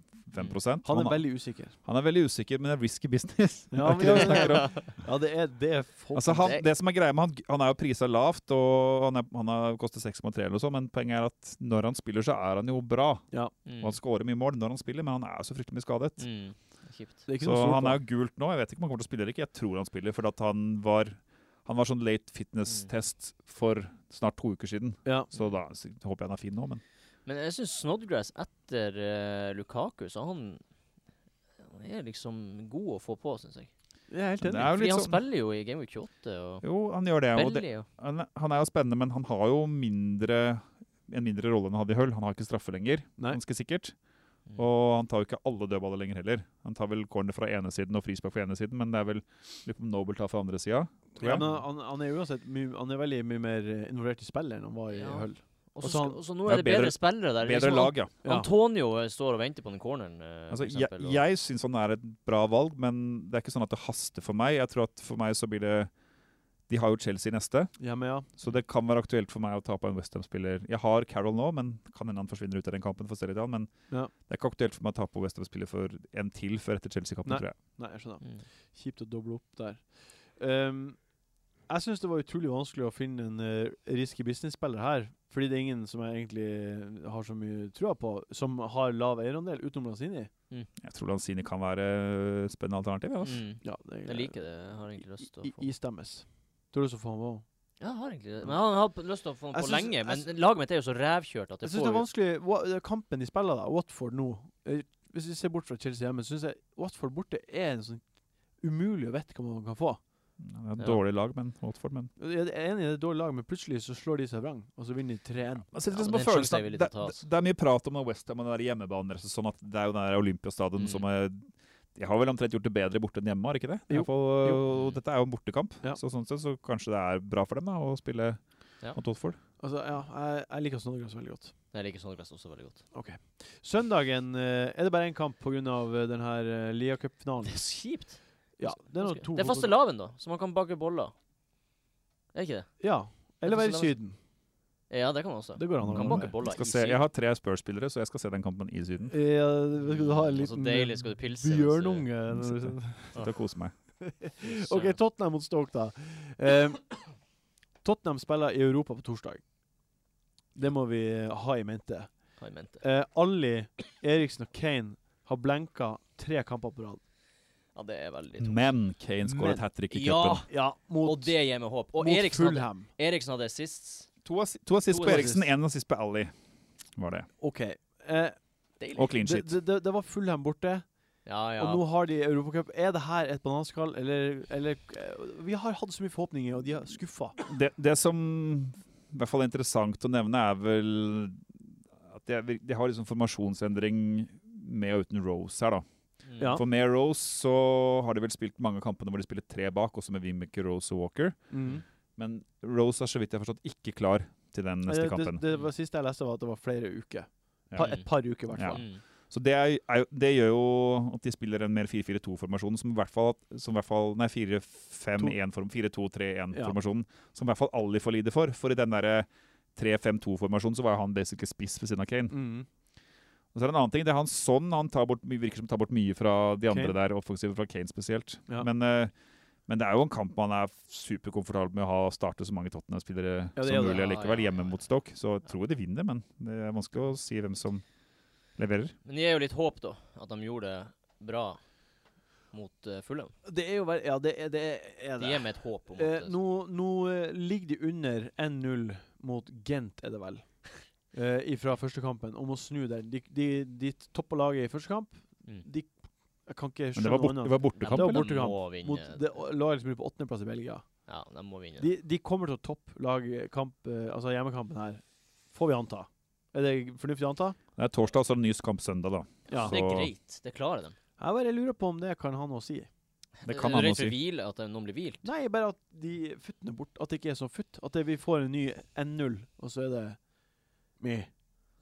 Speaker 4: prosent.
Speaker 1: Han er
Speaker 4: han,
Speaker 1: veldig usikker.
Speaker 4: han er veldig usikker, men det er risky business.
Speaker 1: Ja,
Speaker 4: det (laughs) er ikke det vi snakker om.
Speaker 1: Ja, det er, det er folk
Speaker 4: Altså han, det som er greia med han, han er jo prisa lavt, og han, er, han har koster 6,3 eller noe sånt, men poenget er at når han spiller, så er han jo bra.
Speaker 2: Mm.
Speaker 4: Og han skårer mye mål når han spiller, men han er jo så fryktelig mye skadet.
Speaker 2: Mm. Det er Kjipt.
Speaker 1: Det er ikke
Speaker 4: Så
Speaker 1: noe stort på.
Speaker 4: han er jo gult nå. Jeg vet ikke om han kommer til å spille eller ikke. Jeg tror han spiller, for at han var han var sånn late
Speaker 1: Mm.
Speaker 4: fitness-test for snart to uker siden.
Speaker 1: Ja.
Speaker 4: Så da så håper jeg han er fin nå, men
Speaker 2: Men jeg syns Snodgrass etter eh, Lukaku, så han Han er liksom god å få på, syns jeg.
Speaker 1: Jeg er helt
Speaker 4: Men det
Speaker 1: enig.
Speaker 4: er jo
Speaker 2: Fordi
Speaker 4: litt
Speaker 2: han
Speaker 4: sånn
Speaker 2: spiller jo i Game Week 28 og
Speaker 4: Jo, han gjør det. Og det
Speaker 2: Belly og
Speaker 4: han, han er jo spennende, men han har jo mindre en mindre rolle enn han hadde i Hull. Han har ikke straffe lenger,
Speaker 1: Nei.
Speaker 4: ganske sikkert.
Speaker 2: Mm.
Speaker 4: Og han tar jo ikke alle dødballer lenger heller. Han tar vel corner fra ene siden og frispark fra ene siden, men det er vel litt om Noble tar fra andre sida. tror
Speaker 1: Ja,
Speaker 4: jeg.
Speaker 1: men han, han er uansett mye, han er veldig mye mer eh, involvert i spillet enn han var i
Speaker 2: Ja.
Speaker 1: Hull.
Speaker 2: Og
Speaker 1: Og
Speaker 2: så
Speaker 1: så han-
Speaker 2: skal- og så nå
Speaker 4: Ja,
Speaker 2: er det bedre,
Speaker 4: bedre-
Speaker 2: spillere der.
Speaker 4: Bedre
Speaker 2: liksom,
Speaker 4: lag, ja.
Speaker 2: An- Antonio eh, står og venter på den corneren. eh, for
Speaker 4: Altså, jeg
Speaker 2: eksempel, og-
Speaker 4: jeg syns han er et bra valg, men det er ikke sånn at det haster for meg. Jeg tror at for meg så blir det De har jo Chelsea neste,
Speaker 1: Ja, men ja.
Speaker 4: så det kan være aktuelt for meg å ta på en Westham-spiller. Jeg har Carroll nå, men kan hende han forsvinner ut av den kampen for Seridan. Men
Speaker 1: Ja.
Speaker 4: det er ikke aktuelt for meg å ta på Westham-spiller for en til før etter Chelsea-kampen,
Speaker 1: Nei.
Speaker 4: tror jeg.
Speaker 1: Nei, jeg skjønner.
Speaker 2: Mm.
Speaker 1: Kjipt å doble opp der. Ehm, jeg syns det var utrolig vanskelig å finne en eh, risky business-spiller her. Fordi det er ingen som jeg egentlig eh, har så mye trua på, som har lav eierandel, utenom Lanzini.
Speaker 4: Jeg tror Lanzini kan være et spennende alternativ. Ja. altså.
Speaker 2: Mm.
Speaker 1: Ja, det
Speaker 2: Jeg liker det. Jeg har egentlig lyst til å
Speaker 1: I,
Speaker 2: få ja,
Speaker 1: istemmes. Du har lyst til å få han på?
Speaker 2: jeg har egentlig det. Men han har p- lyst til å få den
Speaker 1: Jeg
Speaker 2: på
Speaker 1: syns-
Speaker 2: lenge.
Speaker 1: jeg
Speaker 2: Men
Speaker 1: syns-
Speaker 2: laget mitt er jo så rævkjørt at det
Speaker 1: Jeg syns det er
Speaker 2: får
Speaker 1: vanskelig Wa- eh, Kampen de spiller, da, Watford nå eh, Hvis vi ser bort fra Chelsea hjemme, syns jeg Watford borte er en sånn umulig å vite hva man kan få.
Speaker 4: Det er et
Speaker 2: Mm. Ja.
Speaker 4: Dårlig lag, men Watford, men
Speaker 1: Jeg er enig, det er et dårlig lag, men plutselig så slår de seg vrang, og så vinner de 3-1.
Speaker 4: Man sitter
Speaker 2: Ja, men det
Speaker 4: liksom på
Speaker 2: er en
Speaker 4: følelsen
Speaker 2: sjanse jeg
Speaker 4: av-
Speaker 2: ville
Speaker 4: det,
Speaker 2: ta,
Speaker 4: det,
Speaker 2: altså.
Speaker 4: det er mye prat om Westham og den der hjemmebanen deres. og Sånn at det er jo den der Olympiastadion
Speaker 2: Mm.
Speaker 4: som er De har vel omtrent gjort det bedre borte enn hjemme, har de ikke det? I
Speaker 1: Jo.
Speaker 4: hvert fall, øh,
Speaker 2: Jo.
Speaker 4: og Dette er jo en bortekamp,
Speaker 1: Ja.
Speaker 4: så sånn sett så kanskje det er bra for dem da å spille
Speaker 2: Ja.
Speaker 4: mot Watford.
Speaker 1: Altså, ja, jeg, jeg liker Snodgrass veldig godt.
Speaker 2: Jeg liker Snodgrass også veldig godt.
Speaker 1: Søndagen eh, er det bare én kamp pga. den her eh, Lia
Speaker 2: Det
Speaker 1: Cup-finalen.
Speaker 2: er så kjipt.
Speaker 1: Ja, det er noe
Speaker 2: Ganske-
Speaker 1: to
Speaker 2: det er faste laven, da, så man kan bake boller. Er ikke det?
Speaker 1: Ja.
Speaker 2: Det
Speaker 1: Eller
Speaker 2: er
Speaker 1: være i
Speaker 2: faste
Speaker 1: Syden.
Speaker 2: Ja, det kan man også.
Speaker 1: Det går an å
Speaker 2: Man kan
Speaker 1: være
Speaker 2: bake
Speaker 1: med.
Speaker 2: boller
Speaker 4: Jeg,
Speaker 2: i
Speaker 4: skal se,
Speaker 2: syv.
Speaker 4: jeg har tre Spurs-spillere, så jeg skal se den kampen i Syden.
Speaker 1: Ja, det- skal du ha en
Speaker 2: Mm, og
Speaker 1: liten eh,
Speaker 2: Så deilig skal du pilse. mens du-
Speaker 1: bjørnunge? når du-
Speaker 4: Sitte og kose meg.
Speaker 2: Fy søren.
Speaker 1: OK, Tottenham mot Stoke, da. Eh, Tottenham spiller i Europa på torsdag. Det må vi eh, ha i mente.
Speaker 2: Hva jeg mente.
Speaker 1: Eh, Ali, Eriksen og Kane har blenka tre kamper på rad.
Speaker 2: Ja, det er veldig tungt.
Speaker 4: Men Kane
Speaker 1: Men-
Speaker 4: skårer et hat trick i
Speaker 2: Ja,
Speaker 4: cupen.
Speaker 1: Ja, mot,
Speaker 2: og det gir meg håp. Og
Speaker 1: mot
Speaker 2: Eriksen hadde,
Speaker 1: Fulham.
Speaker 2: Eriksen hadde sist.
Speaker 4: To assist, to assist
Speaker 2: To
Speaker 4: på Eriksen,
Speaker 1: assist.
Speaker 4: én assist på Ally. Var det.
Speaker 1: OK. Eh,
Speaker 2: Deilig.
Speaker 4: Og clean
Speaker 1: det,
Speaker 4: shit.
Speaker 1: det, det, det var Fulham borte.
Speaker 2: Ja, ja.
Speaker 1: Og nå har de Europacup. Er det her et bananskall, eller, eller eh, Vi har hatt så mye forhåpninger, og de er skuffa.
Speaker 4: det, det som i hvert fall er interessant å nevne, er vel at de, er vir- de har liksom formasjonsendring med og uten Rose her, da.
Speaker 2: Mm.
Speaker 1: Ja.
Speaker 4: For med Rose så har de vel spilt mange av kampene hvor de spiller tre bak, også med Wimmick, Rose og Walker.
Speaker 1: Mm.
Speaker 4: Men Rose er så vidt jeg har forstått ikke klar til den
Speaker 1: Eh, Det,
Speaker 4: neste
Speaker 1: det,
Speaker 4: kampen.
Speaker 1: det var siste jeg leste, var at det var flere uker.
Speaker 4: Ja.
Speaker 1: Pa, et par uker, i hvert
Speaker 4: Ja.
Speaker 1: fall.
Speaker 2: Mm.
Speaker 4: Så det, er, er, jo- det gjør jo at de spiller en mer 4-4-2-formasjon, som i hvert fall, som i hvert fall Nei, 4-5-1-4-2-3-1-formasjonen, som i hvert fall Ali får lide for. For i den derre 3-5-2-formasjonen så var jo han basically spiss ved siden av Kane.
Speaker 1: Mm.
Speaker 4: Og så er det en annen ting, det er han sånn han tar bort, virker som tar bort mye fra de andre
Speaker 1: Kane.
Speaker 4: der, offensive fra Kane spesielt.
Speaker 1: Ja.
Speaker 4: Men, eh, men det er jo en kamp man er superkomfortabel med å ha starte så mange Tottenham-spillere
Speaker 1: Ja, det er
Speaker 4: som
Speaker 1: det.
Speaker 4: mulig
Speaker 2: Ja,
Speaker 4: allikevel,
Speaker 2: ja, ja,
Speaker 4: hjemme
Speaker 2: ja.
Speaker 4: mot Stoke. Så jeg tror de vinner, men det er vanskelig å si hvem som leverer.
Speaker 2: Men det gir jo litt håp, da, at de gjorde det bra mot uh, Fulham.
Speaker 1: Det er jo ver- Ja, det er det. Er
Speaker 2: De
Speaker 1: det.
Speaker 2: gir meg et håp om
Speaker 1: Eh,
Speaker 2: at
Speaker 1: nå nå eh, ligger de under 1-0 mot Gent, er det
Speaker 4: (laughs)
Speaker 1: vel, eh, fra første kampen, om å snu der. De, de, de toppa laget i første kamp.
Speaker 2: Mm.
Speaker 1: De Jeg kan ikke
Speaker 4: Men det
Speaker 1: skjønne noe
Speaker 4: var, bort, det
Speaker 1: annet.
Speaker 4: var bortekamp,
Speaker 1: det var
Speaker 4: eller?
Speaker 2: De
Speaker 1: bortekamp
Speaker 2: må vinne.
Speaker 1: Mot det laget som ligger på åttendeplass i Belgia.
Speaker 2: Ja, de må vinne.
Speaker 1: De, de kommer til å toppe lagkamp, eh, altså hjemmekampen her, får vi anta. Er det fornuftig å anta?
Speaker 4: Det er torsdag, så er det ny kamp søndag, da.
Speaker 1: Ja.
Speaker 2: Det er
Speaker 4: Så-
Speaker 2: greit. Det klarer de.
Speaker 1: Jeg bare lurer på om det kan ha noe å si.
Speaker 4: Det kan
Speaker 2: er
Speaker 4: han jo
Speaker 2: greit for
Speaker 4: si.
Speaker 2: hvile at de- noen blir hvilt.
Speaker 1: Nei, bare at de futtene bort, at det ikke er så futt. At det, vi får en ny N0, og så er det meh.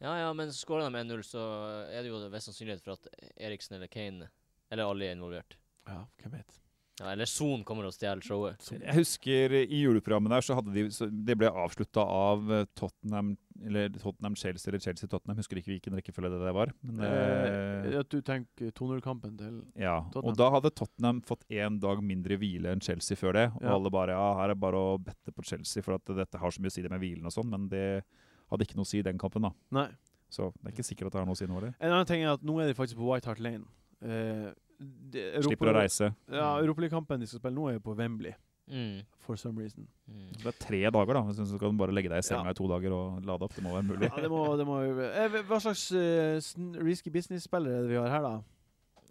Speaker 2: Ja, ja, men skårer de 1-0, så er det jo det best sannsynlighet for at Eriksen eller Kane eller alle er involvert.
Speaker 1: Ja, hvem vet.
Speaker 2: Ja, eller Son kommer og stjeler showet.
Speaker 4: Jeg husker i juleprogrammet der så hadde de så Det ble avslutta av eh, Tottenham eller Tottenham Chelsea eller Chelsea Tottenham. Husker ikke hvilken rekkefølge det der var. Men, eh,
Speaker 1: Eh, at du tenker 2-0-kampen til
Speaker 4: Ja,
Speaker 1: Tottenham.
Speaker 4: og da hadde Tottenham fått én dag mindre hvile enn Chelsea før det. Og
Speaker 1: Ja.
Speaker 4: alle bare ja, her er bare å bette på Chelsea, for at dette har så mye å si det med hvilen og sånn. Men det hadde ikke noe å si i den kampen, da.
Speaker 1: Nei.
Speaker 4: Så det er ikke sikkert at det har noe å si nå heller.
Speaker 1: En annen ting er at nå er de faktisk på White Hart Lane. Eh, det- Europa-
Speaker 4: Slipper å reise.
Speaker 1: Ja, Europaligakampen de skal spille nå, er på Wembley,
Speaker 2: Mm.
Speaker 1: for some reason.
Speaker 2: Mm.
Speaker 4: Så det er tre dager, da. Jeg synes du kan bare legge deg i senga
Speaker 1: Ja.
Speaker 4: i to dager og lade opp. Det må være mulig.
Speaker 1: Ja, det må, det må jo eh, Hva slags eh, sn- risky business-spillere er det vi har her, da?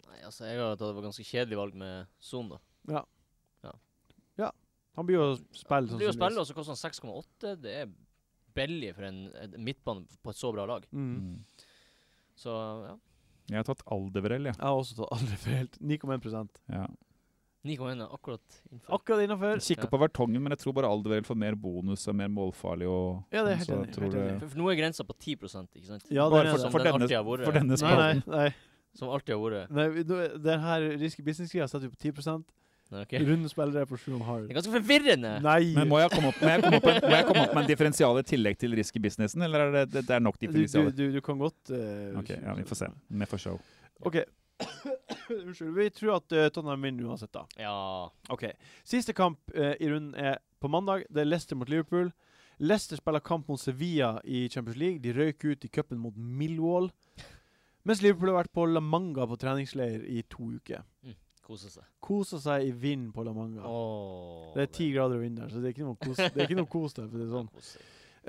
Speaker 2: Nei, altså, jeg har tatt et ganske kjedelig valg med Son, da.
Speaker 1: Han blir jo å spille
Speaker 2: Det
Speaker 1: sånn
Speaker 2: blir jo spille, og så koster han 6,8. Det er billig for en en midtbane på et så bra lag.
Speaker 1: Mm.
Speaker 4: Mm.
Speaker 2: Så ja.
Speaker 4: Jeg har tatt Aldeverell, jeg.
Speaker 1: Jeg har også tatt aldri feil. (laughs) 9,1
Speaker 4: Ja.
Speaker 2: 9,1 er akkurat innenfor.
Speaker 1: Akkurat innafor.
Speaker 4: Jeg kikker på Vertongen, men jeg tror bare Aldeverell får mer bonus og mer målfarlig. Og, sånn,
Speaker 1: Ja, det er helt
Speaker 4: så
Speaker 1: enig,
Speaker 4: jeg tror
Speaker 1: helt
Speaker 4: det-
Speaker 1: enig.
Speaker 2: For, for nå er grensa på 10 ikke sant?
Speaker 1: Ja, den er
Speaker 4: Bare for,
Speaker 1: det.
Speaker 2: Som den
Speaker 4: for, denne,
Speaker 2: alltid har vært.
Speaker 4: for denne
Speaker 1: Nei, nei,
Speaker 4: spalten.
Speaker 1: nei.
Speaker 2: Som alltid har vært.
Speaker 1: nei vi- nå- den her risky business-greia setter vi på 10
Speaker 2: Nei, ok.
Speaker 1: Runde spillere på 7,5.
Speaker 2: Det er ganske forvirrende!
Speaker 1: Nei!
Speaker 4: Men må jeg komme opp, må jeg komme opp, med- må jeg komme opp med en differensial i tillegg til risky businessen, eller er det, det, det er nok
Speaker 1: du, du,
Speaker 4: differensialer?
Speaker 1: du, du kan godt eh,
Speaker 4: Ok, ja, vi får se. Vi får show.
Speaker 1: Ok. (coughs) Unnskyld. Vi tror at eh, Tottenham vinner uansett, da.
Speaker 2: Ja.
Speaker 1: Ok. Siste kamp eh, i runden er på mandag. Det er Leicester mot Liverpool. Leicester spiller kamp mot Sevilla i Champions League. De røyk ut i cupen mot Millwall. Mens Liverpool har vært på La Manga på treningsleir i to uker.
Speaker 2: Kose seg.
Speaker 1: Kosa seg i vind på La Manga.
Speaker 2: Åh,
Speaker 1: det er ti grader og vind der, så det er ikke noe kos, det er ikke noe kos der. for å si det sånn.
Speaker 2: kos seg.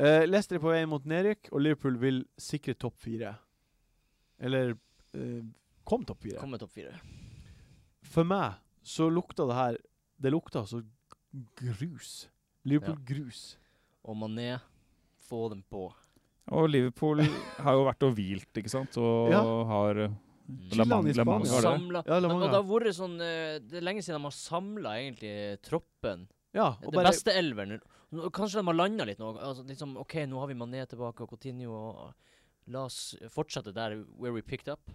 Speaker 1: Eh, Leicester er på vei mot nedrykk, og Liverpool vil sikre topp fire. Eller eh, kom topp fire.
Speaker 2: Kom med topp fire.
Speaker 1: For meg så lukta det her Det lukta så grus. Liverpool-grus.
Speaker 2: Og Mané, få dem på.
Speaker 4: Og Liverpool har jo vært og hvilt, ikke sant? Og
Speaker 1: Ja.
Speaker 4: har eh,
Speaker 2: Mm.
Speaker 1: Chillan i
Speaker 4: Manga-
Speaker 1: Spania.
Speaker 4: Manga har det.
Speaker 2: Samla.
Speaker 1: Ja, La
Speaker 2: Og
Speaker 1: Manga.
Speaker 2: det har vært sånn eh, Det er lenge siden de har samla egentlig troppen.
Speaker 1: Ja, og
Speaker 2: Det
Speaker 1: bare,
Speaker 2: beste elveren. Nå- Kanskje de har landa litt nå. Altså, liksom, OK, nå har vi Mané tilbake og Coutinho og og La oss fortsette der where we picked up.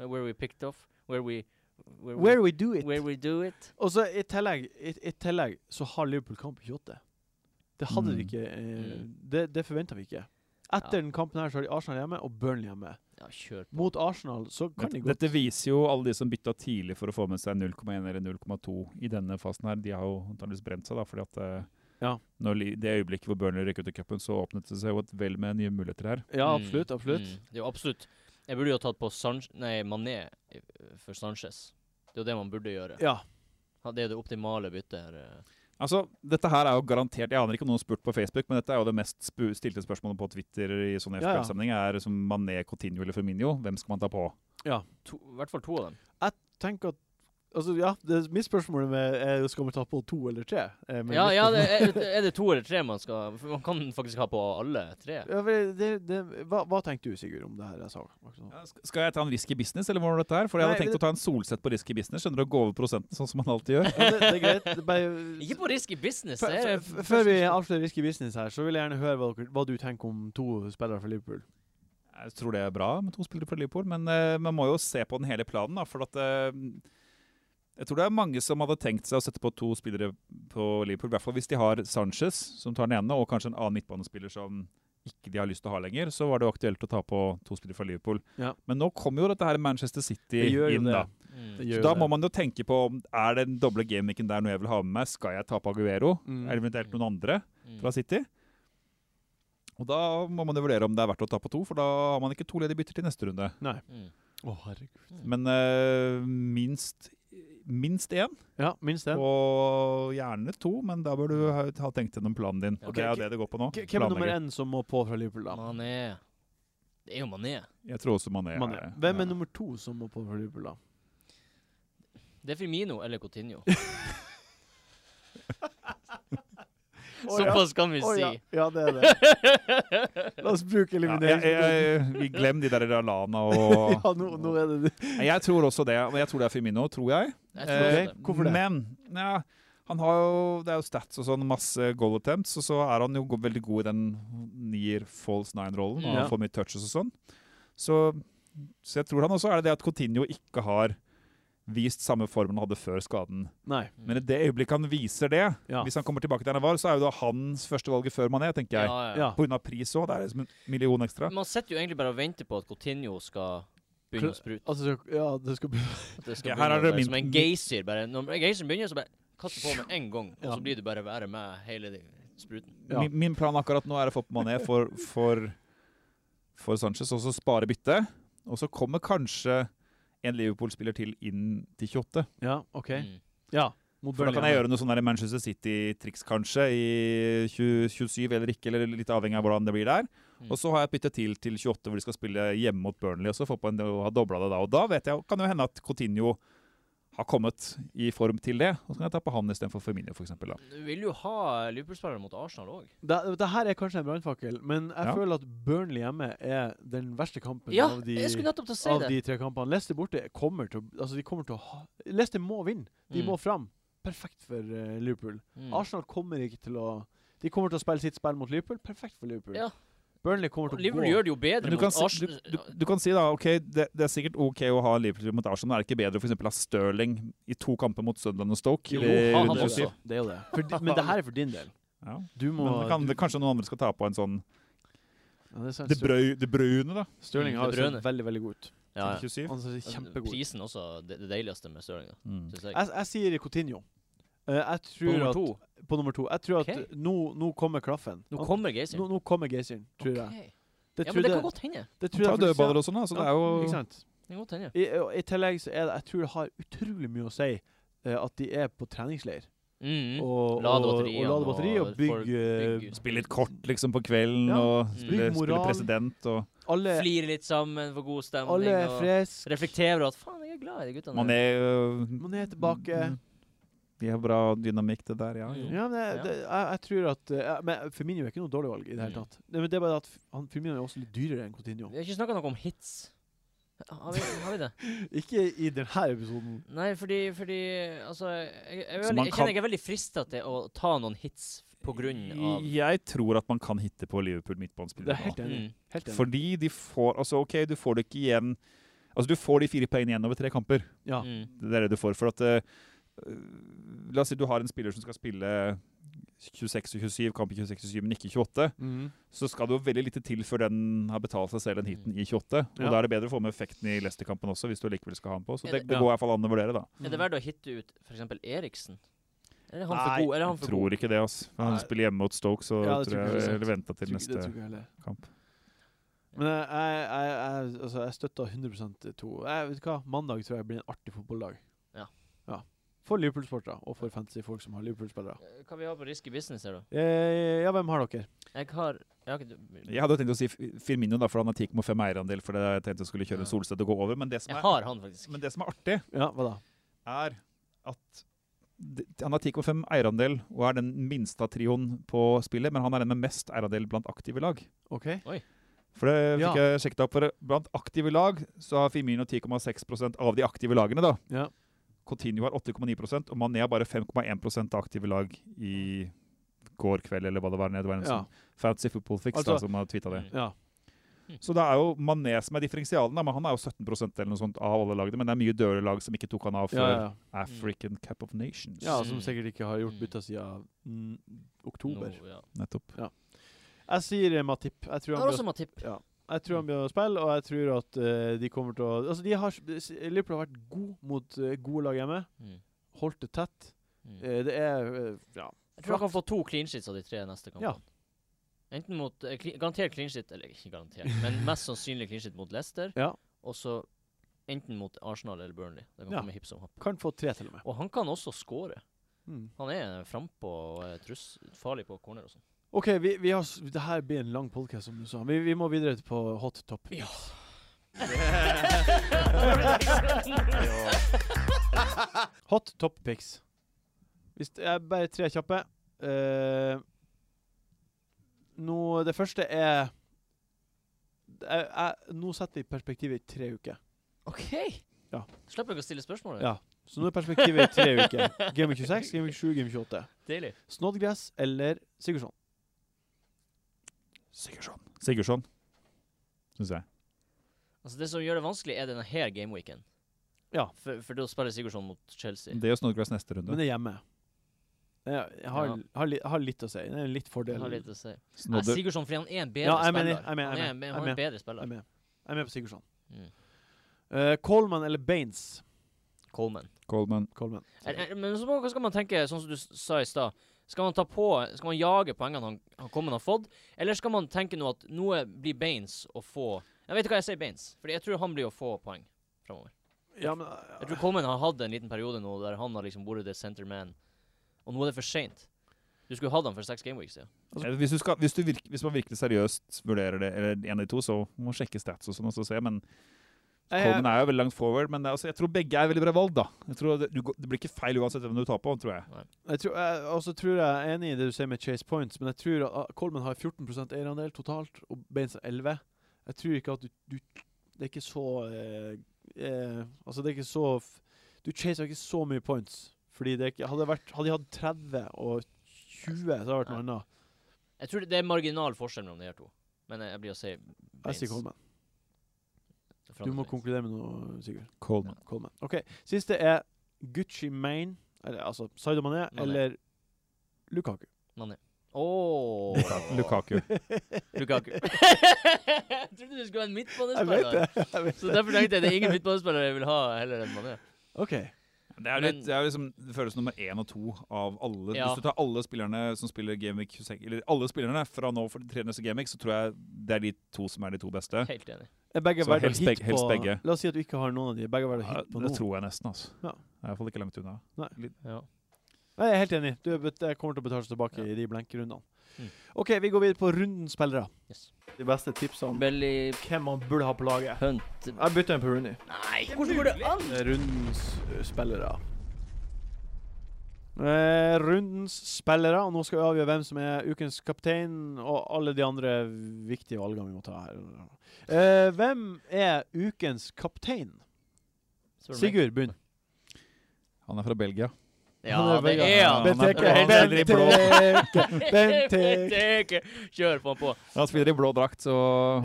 Speaker 2: uh, Where we picked off. Where we Where we,
Speaker 1: Where we do it.
Speaker 2: where we do it.
Speaker 1: Og så i tillegg, i, i tillegg så har Liverpool kamp 28. Det hadde
Speaker 4: Mm.
Speaker 1: de ikke eh,
Speaker 2: Mm.
Speaker 1: Det, det forventa vi ikke. Etter
Speaker 2: Ja.
Speaker 1: den kampen her så har de Arsenal hjemme og Burnley hjemme.
Speaker 2: Ja, kjør på.
Speaker 1: Mot Arsenal så kan de
Speaker 4: Dette,
Speaker 1: gå
Speaker 4: dette viser jo alle de som bytta tidlig for å få med seg 0,1 eller 0,2 i denne fasen her. De har jo antakeligvis brent seg, da, fordi at eh,
Speaker 1: Ja.
Speaker 4: når Li- det øyeblikket hvor Burnley røk ut i cupen, så åpnet det seg jo et vel med nye muligheter her.
Speaker 1: Ja,
Speaker 2: Mm,
Speaker 1: absolutt. absolutt.
Speaker 2: mm. Det er jo absolutt Jeg burde jo tatt på Sanch- nei, Mané eh, for Sanchez. Det er jo det man burde gjøre.
Speaker 1: Ja.
Speaker 2: Ha- Det er det optimale byttet her. eh.
Speaker 4: Altså, Dette her er jo garantert Jeg aner ikke om noen har spurt på Facebook, men dette er jo det mest spu stilte spørsmålet på Twitter i sånn sånne
Speaker 1: Ja, ja.
Speaker 4: FPL-sammenheng. Er som Mané, Coutinho eller Firmino, hvem skal man ta på?
Speaker 2: To, I hvert fall to av dem.
Speaker 1: Tenk at Altså, ja, det, mitt spørsmål er med er, skal vi ta på to eller tre. Eh, men
Speaker 2: Ja,
Speaker 1: mitt
Speaker 2: ja
Speaker 1: spørsmål-
Speaker 2: det, er, er det to eller tre man skal For man kan faktisk ha på alle tre.
Speaker 1: (laughs) Ja, for det, det, hva, hva tenkte du, Sigurd, om det her jeg sa? akkurat sånn. nå?
Speaker 4: Ja, sk- Skal jeg ta en risky business, eller hva var dette her? For jeg hadde
Speaker 1: Nei,
Speaker 4: tenkt
Speaker 1: det-
Speaker 4: å ta en solsett på risky business, skjønner du, og gå over prosenten, sånn som man alltid gjør.
Speaker 1: Ja, det, det er greit. Det er bare,
Speaker 2: Ikke på risky business.
Speaker 1: Før-
Speaker 2: det er-
Speaker 1: før- Før vi avslører risky business her, så vil jeg gjerne høre hva, dere- hva du tenker om to spillere fra Liverpool.
Speaker 4: Jeg tror det er bra med to spillere fra Liverpool, men eh, man må jo se på den hele planen, da, for at eh, jeg tror det er mange som hadde tenkt seg å sette på to spillere på Liverpool, i hvert fall hvis de har Sanchez, som tar den ene, og kanskje en annen midtbanespiller som ikke de har lyst til å ha lenger, så var det jo aktuelt å ta på to spillere fra Liverpool.
Speaker 1: Ja.
Speaker 4: Men nå kommer jo dette her Manchester City
Speaker 1: Det gjør jo
Speaker 4: inn,
Speaker 1: det.
Speaker 4: da.
Speaker 2: Mm.
Speaker 1: Det
Speaker 4: Så
Speaker 1: gjør
Speaker 4: da
Speaker 1: det.
Speaker 4: må man jo tenke på om er den doble gameweeken der noe jeg vil ha med meg. Skal jeg ta på Aguero,
Speaker 1: Mm.
Speaker 4: eller eventuelt noen andre
Speaker 2: Mm.
Speaker 4: fra City? Og da må man jo vurdere om det er verdt å ta på to, for da har man ikke to ledige bytter til neste runde.
Speaker 2: Mm.
Speaker 1: Å, herregud.
Speaker 4: Men eh, minst minst én,
Speaker 1: Ja, minst det.
Speaker 4: og gjerne to, men da bør du ha, ha tenkt gjennom planen din.
Speaker 2: Ja.
Speaker 4: Og det er jo det det går på nå.
Speaker 1: K- Hvem er nummer
Speaker 4: Planlegger.
Speaker 1: én som må på fra Liverpool, da?
Speaker 2: Mané. Det er jo Mané.
Speaker 4: Jeg tror også Mané.
Speaker 1: Mané. Hvem er nummer to som må på fra Liverpool, da?
Speaker 2: Det er Firmino eller Coutinho.
Speaker 1: Å, ja.
Speaker 2: Såpass kan vi
Speaker 1: Å,
Speaker 2: si.
Speaker 1: ja. ja, det er det.
Speaker 2: (laughs)
Speaker 1: La oss bruke
Speaker 4: ja, jeg,
Speaker 1: eliminering.
Speaker 4: jeg, vi Glem de der Ralana og
Speaker 1: (laughs) Ja, nå, nå er det
Speaker 4: Nei, Jeg tror også det. Men jeg tror det er Firmino, tror jeg.
Speaker 2: Jeg tror
Speaker 4: Eh,
Speaker 2: det.
Speaker 1: Hvorfor det?
Speaker 4: Men ja, han har jo, det er jo stats og sånn, masse goal attempts, og så er han jo go- veldig god i den nier false nine-rollen,
Speaker 2: Mm.
Speaker 4: og
Speaker 1: Ja.
Speaker 4: han får mye touches og sånn. Så, så jeg tror han også er det det at Coutinho ikke har vist samme formen han hadde før skaden.
Speaker 2: Mm.
Speaker 1: Nei.
Speaker 4: Men i det øyeblikket han viser det,
Speaker 1: Ja.
Speaker 4: hvis han kommer tilbake der han var, så er jo da hans første valget før Mané, tenker jeg.
Speaker 2: Ja, ja.
Speaker 1: Ja.
Speaker 4: På grunn av pris òg, det er liksom en million ekstra.
Speaker 2: Man sitter jo egentlig bare og venter på at Coutinho skal begynne å sprute.
Speaker 1: Altså, ja, det skal bli
Speaker 2: At det skal
Speaker 4: Ok, her
Speaker 2: begynne å
Speaker 4: er det
Speaker 2: være
Speaker 4: min-
Speaker 2: Som en geysir. bare. Når en geysir begynner, så bare kaster på med en gang. Og
Speaker 1: Ja.
Speaker 2: så blir det bare å være med hele de- spruten.
Speaker 1: Ja.
Speaker 4: Min, min plan akkurat nå er å få på Mané for, for, for Sanchez, og så spare byttet. Og så kommer kanskje en Liverpool-spiller til inn til 28.
Speaker 1: Ja, OK.
Speaker 2: Mm.
Speaker 1: Ja. Mot
Speaker 4: For da kan jeg gjøre noe sånn der Manchester City-triks kanskje, i 20, 27 eller ikke, eller litt avhengig av hvordan det blir der.
Speaker 2: Mm.
Speaker 4: Og så har jeg byttet til til 28, hvor de skal spille hjemme mot Burnley, og så få på en og ha dobla det da. Og da vet jeg, kan det jo hende at Coutinho har kommet i form til det, og så kan jeg ta på han istedenfor Firmino, for eksempel, da.
Speaker 2: Du vil jo ha Liverpool-spillere mot Arsenal òg.
Speaker 1: Det, det her er kanskje en brannfakkel, men jeg
Speaker 4: Ja.
Speaker 1: føler at Burnley hjemme er den verste kampen
Speaker 2: Ja,
Speaker 1: av, de,
Speaker 2: jeg skulle nettopp til å si
Speaker 1: av
Speaker 2: det.
Speaker 1: de tre kampene. Leicester borte kommer til å Altså, de kommer til å ha Leicester må vinne. De må
Speaker 2: Mm.
Speaker 1: fram. Perfekt for eh, Liverpool.
Speaker 2: Mm.
Speaker 1: Arsenal kommer ikke til å De kommer til å spille sitt spill mot Liverpool. Perfekt for Liverpool.
Speaker 2: Ja.
Speaker 1: Burnley kommer til
Speaker 2: Og
Speaker 1: å
Speaker 2: Mm. Liverpool
Speaker 1: gå
Speaker 2: gjør det jo bedre
Speaker 4: Men du kan,
Speaker 2: mot
Speaker 4: si, du,
Speaker 2: Arsenal.
Speaker 4: du, du kan si da, ok, det, det er sikkert ok å ha Liverpool mot Arsenal, men er det ikke bedre å for eksempel ha Stirling i to kamper mot Sunderland og Stoke?
Speaker 2: Jo,
Speaker 4: i
Speaker 2: ha han
Speaker 4: runde
Speaker 1: det, er
Speaker 2: også.
Speaker 1: jo
Speaker 4: 27?
Speaker 1: det. det er jo det. For, di- men det her er for din del.
Speaker 4: Ja.
Speaker 1: Du må
Speaker 4: Men det kan, det, kanskje noen andre skal ta på en sånn
Speaker 1: ja, det er sant.
Speaker 4: Det, brøy, det brune, da.
Speaker 1: Stirling har
Speaker 2: Det
Speaker 1: jo
Speaker 2: brønne.
Speaker 1: sett veldig, veldig god ut.
Speaker 2: Ja, ja.
Speaker 4: til 27.
Speaker 1: Han ser kjempegod ut.
Speaker 2: Altså, Prisen også, det, det deiligste med Stirling, da,
Speaker 4: Mm.
Speaker 2: synes jeg.
Speaker 1: Jeg, jeg sier Coutinho. Eh, jeg
Speaker 2: På
Speaker 1: tror
Speaker 2: nummer
Speaker 1: at
Speaker 2: to.
Speaker 1: på nummer to. Jeg tror at
Speaker 2: Ok.
Speaker 1: nå, nå kommer klaffen.
Speaker 2: Nå
Speaker 1: Han-
Speaker 2: kommer geysiren.
Speaker 1: nå, nå kommer geysiren, tror jeg.
Speaker 2: Ok.
Speaker 1: Det tror
Speaker 2: Ja, men det
Speaker 1: jeg-
Speaker 2: kan godt hende.
Speaker 1: det tror
Speaker 4: Han tar
Speaker 1: jeg faktisk,
Speaker 4: dødballer og sånn, da, så
Speaker 1: Ja,
Speaker 4: det er
Speaker 1: ja. Ikke
Speaker 4: jo
Speaker 1: sant?
Speaker 2: Det kan godt hende.
Speaker 1: I, og I tillegg så er det Jeg tror det har utrolig mye å si eh, at de er på treningsleir.
Speaker 2: Mm.
Speaker 1: Og, eh,
Speaker 2: Lade
Speaker 1: og-
Speaker 2: batteriene
Speaker 1: og, lade batteri og
Speaker 2: og folk
Speaker 1: bygge
Speaker 2: bygger-
Speaker 4: Spille litt kort, liksom, på kvelden,
Speaker 1: Ja.
Speaker 4: og spille,
Speaker 1: Bygg
Speaker 4: spille
Speaker 1: moral.
Speaker 4: president og
Speaker 1: alle,
Speaker 2: Flire litt sammen, få god stemning.
Speaker 1: alle er
Speaker 2: og
Speaker 1: friske.
Speaker 2: reflektere over at faen, jeg er glad i de
Speaker 1: Sånn
Speaker 2: guttene.
Speaker 4: Man er
Speaker 1: Man er
Speaker 4: eh. Mm,
Speaker 1: tilbake.
Speaker 4: De har bra dynamikk, det der, ja.
Speaker 2: Mm.
Speaker 4: ja.
Speaker 1: Ja, men jeg,
Speaker 2: Ja.
Speaker 1: det, jeg, jeg tror at eh, jeg- Men Firmino er ikke noe dårlig valg i det hele
Speaker 2: Mm.
Speaker 1: tatt. Det, men det er bare at f- han, Firmino er også litt dyrere enn Coutinho.
Speaker 2: Vi har ikke snakka noe om hits. Har vi, har vi det?
Speaker 1: Ikke i denne episoden.
Speaker 2: Nei, fordi, fordi Altså, jeg, jeg, er
Speaker 4: Så
Speaker 2: veldig-
Speaker 4: man
Speaker 2: jeg
Speaker 4: kan-
Speaker 2: kjenner jeg er veldig frista til å ta noen hits på grunn av
Speaker 4: Jeg tror at man kan hitte på Liverpool
Speaker 1: Det er
Speaker 4: midtbanespillere nå.
Speaker 1: helt enig.
Speaker 2: mm.
Speaker 1: Helt enig.
Speaker 4: Fordi de får Altså, OK, du får det ikke igjen Altså, du får de fire poengene igjen over tre kamper.
Speaker 1: Ja.
Speaker 2: Mm.
Speaker 4: Det er det du får. For at eh, La oss si du har en spiller som skal spille 26 og 27, kamp i 26 og 27, men ikke 28.
Speaker 2: Mm.
Speaker 1: Mhm.
Speaker 4: Så skal det jo veldig lite til før den har betalt seg selv den hiten i 28. Og
Speaker 1: Mm. Ja.
Speaker 4: da er det bedre å få med effekten i Leicester-kampen også, hvis du likevel skal ha den på. Så det, det
Speaker 1: Ja.
Speaker 4: går i hvert fall an å vurdere, da.
Speaker 1: Mm.
Speaker 2: Er det verdt å hitte ut f.eks. Eriksen? Eller er han
Speaker 1: Nei,
Speaker 2: for god? Eller er han
Speaker 4: Jeg
Speaker 2: for
Speaker 4: tror ikke det, altså. Han
Speaker 1: Nei.
Speaker 4: spiller hjemme mot Stoke, så
Speaker 1: Ja, det
Speaker 4: tror
Speaker 1: tror
Speaker 4: jeg
Speaker 1: jeg også.
Speaker 4: eller venter
Speaker 1: Tror
Speaker 4: til
Speaker 1: ikke-
Speaker 4: neste
Speaker 1: Det tror ikke jeg heller.
Speaker 4: kamp.
Speaker 1: Men jeg, jeg, jeg, jeg, altså jeg støtter 100 to. Jeg vet du hva, Mandag tror jeg blir en artig fotballdag.
Speaker 2: Ja.
Speaker 1: ja. For Liverpool-sportere, og for fantasy-folk som har Liverpool-spillere.
Speaker 2: god? Eh, Hva vi har på risky business her, da?
Speaker 1: Eh, ja, hvem har dere?
Speaker 2: Jeg har Jeg har ikke
Speaker 4: Jeg hadde jo tenkt å si F- Firmino, da, for han har 10,5 eierandel, for det jeg tenkte jeg skulle
Speaker 2: Ja.
Speaker 4: kjøre Solstedt og gå over. Men det som
Speaker 2: Jeg
Speaker 4: er,
Speaker 2: har han, faktisk.
Speaker 4: men det som er artig,
Speaker 1: Ja, hva da?
Speaker 4: er at d- han har 10,5 eierandel og er den minste av trioen på spillet, men han er den med mest eierandel blant aktive lag.
Speaker 1: OK?
Speaker 4: For det
Speaker 1: Ja.
Speaker 4: fikk jeg sjekket opp. For blant aktive lag så har Firmino 10,6 av de aktive lagene. da.
Speaker 1: Ja.
Speaker 4: Coutinho har 8,9 og Mané har bare 5,1 av aktive lag i går kveld, eller hva det var. Nede, var
Speaker 1: Ja.
Speaker 4: Fancy Football Fix da,
Speaker 1: Altså-
Speaker 4: som har tweetet det.
Speaker 1: ja.
Speaker 4: Så det er jo Mané som er differensialen, da, men han er jo 17 eller noe sånt av alle lagene. Men det er mye døde lag som ikke tok han av
Speaker 1: Ja,
Speaker 4: før
Speaker 1: ja, ja.
Speaker 4: African Cup of Nations.
Speaker 1: ja, som
Speaker 2: Mm.
Speaker 1: sikkert ikke har gjort
Speaker 2: Mm.
Speaker 1: bytta siden mm, oktober.
Speaker 2: Nå, ja.
Speaker 4: Nettopp.
Speaker 1: Jeg sier eh, Matip. Jeg tror han
Speaker 2: Jeg har
Speaker 1: blir å
Speaker 2: også Matip.
Speaker 1: Ja. Jeg tror han begynner å spille, og jeg tror at eh, de kommer til å Altså, de har, s- Liverpool har vært god mot eh, gode lag hjemme.
Speaker 2: Mm.
Speaker 1: Holdt det tett.
Speaker 2: Mm.
Speaker 1: Eh, det er eh, Ja.
Speaker 2: Jeg tror han kan få to clean sheets av de tre neste kampene.
Speaker 1: Ja.
Speaker 2: Enten mot eh, clean- Garantert clean sheet, eller ikke garantert, men mest sannsynlig clean sheet mot Leicester.
Speaker 1: Ja.
Speaker 2: Og så enten mot Arsenal eller Burnley. Det kan
Speaker 1: Ja.
Speaker 2: komme hip som happ.
Speaker 1: Kan få tre, til og med.
Speaker 2: Og han kan også score.
Speaker 1: Mm.
Speaker 2: Han er frampå og eh, truss, farlig på corner og sånn.
Speaker 1: OK, vi, vi har s- Det her blir en lang podkast, som du sa. Vi, vi må videre på hot top.
Speaker 2: Ja.
Speaker 1: Hot top picks. Hvis det er bare tre kjappe Eh, nå, Det første er det er- jeg, Nå setter vi perspektivet i tre uker.
Speaker 2: OK!
Speaker 1: Ja.
Speaker 2: Slipper dere å stille spørsmålet?
Speaker 1: Ja. Så nå er perspektivet i tre uker.
Speaker 2: (laughs)
Speaker 1: Game week 26, game week 7, game week 28.
Speaker 2: Deilig.
Speaker 1: Snodgrass eller Sigurdsson?
Speaker 4: Sigurdsson. Sigurdsson, syns jeg.
Speaker 2: Altså Det som gjør det vanskelig, er denne her gameweeken.
Speaker 1: Ja.
Speaker 2: For, for da spiller Sigurdsson mot Chelsea.
Speaker 4: Det er Snodgrass neste
Speaker 1: Men
Speaker 4: runde.
Speaker 1: det er hjemme. Jeg, jeg har,
Speaker 2: Ja.
Speaker 1: har, li, har litt å si. Det er litt
Speaker 2: Det
Speaker 1: fordel.
Speaker 2: har litt å si. Nei,
Speaker 4: Snodder.
Speaker 2: Sigurdsson fordi han er en bedre
Speaker 1: Ja, jeg
Speaker 2: spiller.
Speaker 1: mener- jeg mener- jeg
Speaker 2: han er, en-
Speaker 1: mener-
Speaker 2: han er
Speaker 1: jeg
Speaker 2: en bedre
Speaker 1: Jeg er
Speaker 2: spiller.
Speaker 1: med, jeg er med på Sigurdsson.
Speaker 2: Mm.
Speaker 1: Eh, Coleman eller Baines?
Speaker 2: Coleman.
Speaker 4: Coleman.
Speaker 1: Coleman.
Speaker 2: Er, er, men så må, hva skal man tenke, sånn som du s- sa i stad. Skal man ta på, skal man jage poengene han, han Coleman har fått, eller skal man tenke nå at noe blir Baines å få Jeg vet ikke hva jeg sier Baines, Fordi jeg tror han blir å få poeng framover.
Speaker 1: Ja, men eh,
Speaker 2: Jeg tror Coleman har hatt en liten periode nå der han har liksom vært the center man, og nå er det for seint. Du skulle hatt han for seks gameweeks siden.
Speaker 4: Eh, Hvis, du skal, hvis, du virk, hvis man virkelig seriøst vurderer det, eller en av de to, så må man sjekke stats og sånn. og så se, men Coleman er jo veldig langt forward, men det, er- altså, jeg tror begge er veldig bra valg. da. Jeg tror det, du, går- det blir ikke feil uansett hvem du tar på, tror jeg.
Speaker 1: Jeg tror, jeg, også tror jeg er enig i det du sier med Chase Points, men jeg tror at ah, Coleman har 14 eierandel totalt, og Baines har 11 Jeg tror ikke at du, du Det er ikke så eh, eh, Altså, det er ikke så f Du chaser ikke så mye points, fordi det er ikke Hadde, det vært, hadde de hatt 30 og 20, så hadde det vært noe annet.
Speaker 2: Jeg tror det det er marginal forskjell mellom de her to, men jeg, jeg blir å si
Speaker 1: Jeg sier
Speaker 2: Baines.
Speaker 1: Coleman. Du må konkludere med noe, Sigurd.
Speaker 4: Coleman.
Speaker 1: Coleman. OK. Siste er Gucci Maine, eller altså Saido Mané,
Speaker 2: Mané.
Speaker 1: eller Lukaku.
Speaker 2: Oh.
Speaker 4: (laughs)
Speaker 1: (laughs)
Speaker 4: Lukaku.
Speaker 2: Lukaku. (laughs) jeg trodde du skulle ha en midtbanespiller.
Speaker 1: (laughs) Jeg vet
Speaker 2: Så derfor tenkte jeg det er ingen midtbanespillere jeg vil ha heller enn Mané.
Speaker 1: OK.
Speaker 4: Det, er
Speaker 2: Men-
Speaker 4: litt, det, er liksom, det føles nummer én og to av alle.
Speaker 2: Ja.
Speaker 4: Hvis du tar alle spillerne som spiller Gameweek 26, eller alle spillerne fra nå for de tre neste Gameweek, så tror jeg det er de to som er de to beste.
Speaker 2: Helt enig.
Speaker 1: Er begge
Speaker 4: Så
Speaker 1: verdt å
Speaker 4: helst
Speaker 1: hit
Speaker 4: begge- helst
Speaker 1: på-
Speaker 4: begge.
Speaker 1: La oss si at du ikke har noen av de. Begge er verdt å
Speaker 4: Ja,
Speaker 1: hit på
Speaker 4: det
Speaker 1: nå.
Speaker 4: tror jeg nesten, altså.
Speaker 1: Ja.
Speaker 4: Det er i hvert fall ikke langt unna.
Speaker 2: Ja.
Speaker 1: Nei, Jeg er helt enig. Du er bet- det kommer til å betale seg tilbake i de blenke rundene.
Speaker 2: Mm.
Speaker 1: OK, vi går videre på rundens spillere.
Speaker 2: Yes.
Speaker 1: De beste tipsene om
Speaker 2: Belly
Speaker 1: hvem man burde ha på laget.
Speaker 2: Hunt
Speaker 1: Jeg bytter en på Rooney.
Speaker 2: Nei, hvordan går det an?
Speaker 1: Rundens eh, spillere. Eh, rundens spillere, og nå skal vi avgjøre hvem som er ukens kaptein, og alle de andre viktige valgene vi må ta her. Eh, hvem er ukens kaptein?
Speaker 2: Spør du meg?
Speaker 1: Sigurd, begynn.
Speaker 4: Han er fra Belgia.
Speaker 2: Ja,
Speaker 1: Han er
Speaker 2: det
Speaker 1: vegan.
Speaker 2: er han.
Speaker 4: Bent
Speaker 2: Han er
Speaker 4: Eke,
Speaker 2: fra-
Speaker 4: Bent Eke, Bent
Speaker 1: Bent Eke.
Speaker 2: Bent (laughs) Eke. Kjør på han på.
Speaker 4: Han spiller i blå drakt, så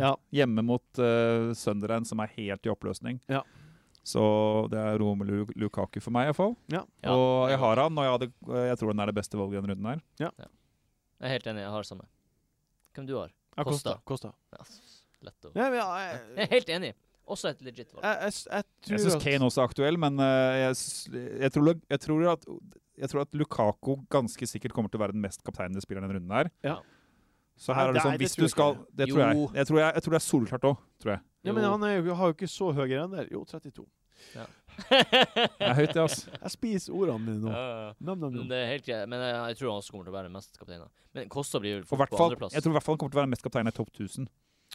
Speaker 1: Ja.
Speaker 4: hjemme mot uh, Sunderland, som er helt i oppløsning.
Speaker 1: Ja.
Speaker 4: Så det er Romelu Lukaku for meg, iallfall.
Speaker 2: Ja,
Speaker 4: og
Speaker 2: det er
Speaker 4: jeg har han, og jeg, hadde, eh, jeg tror han er det beste valget i denne runden her.
Speaker 2: Jeg er helt enig, jeg har samme. Hvem du har?
Speaker 1: Ja,
Speaker 2: Costa.
Speaker 1: Kosta. Kosta.
Speaker 2: Ja, Lett å
Speaker 1: Ja, men, ja,
Speaker 2: Jeg er
Speaker 1: jeg,
Speaker 2: helt enig. Også et legit valg.
Speaker 1: jeg, jeg, jeg tror
Speaker 4: Jeg syns
Speaker 1: at-
Speaker 4: Kane også er aktuell, men eh, jeg, s- jeg, tror, lu- jeg, tror at, jeg tror at Lukako ganske sikkert kommer til å være den mest kapteinende spilleren i denne runden her.
Speaker 1: Ja.
Speaker 4: Så
Speaker 1: Nei,
Speaker 4: her er det
Speaker 1: det-
Speaker 4: sånn,
Speaker 1: det
Speaker 4: hvis
Speaker 1: tror
Speaker 4: du
Speaker 1: jeg
Speaker 4: skal
Speaker 1: ikke.
Speaker 4: Det tror jeg.
Speaker 2: Jo.
Speaker 4: Jeg tror, jeg, jeg tror det er solklart òg, tror jeg.
Speaker 1: Ja, men han er jo, har jo ikke så høy der. Jo, 32.
Speaker 4: Det er høyt, det, altså.
Speaker 1: Jeg spiser ordene mine nå.
Speaker 2: (laughs) Ja, ja.
Speaker 1: Nam, nam,
Speaker 2: Men
Speaker 1: nam.
Speaker 2: det er helt greit. Men jeg, jeg tror han også kommer til å være den mest kapteinen. Men Kosta blir vel
Speaker 4: Og
Speaker 2: fort
Speaker 4: hvert
Speaker 2: på
Speaker 4: fall,
Speaker 2: andreplass.
Speaker 4: jeg tror i hvert fall han kommer til å være den mest kaptein i topp 1000.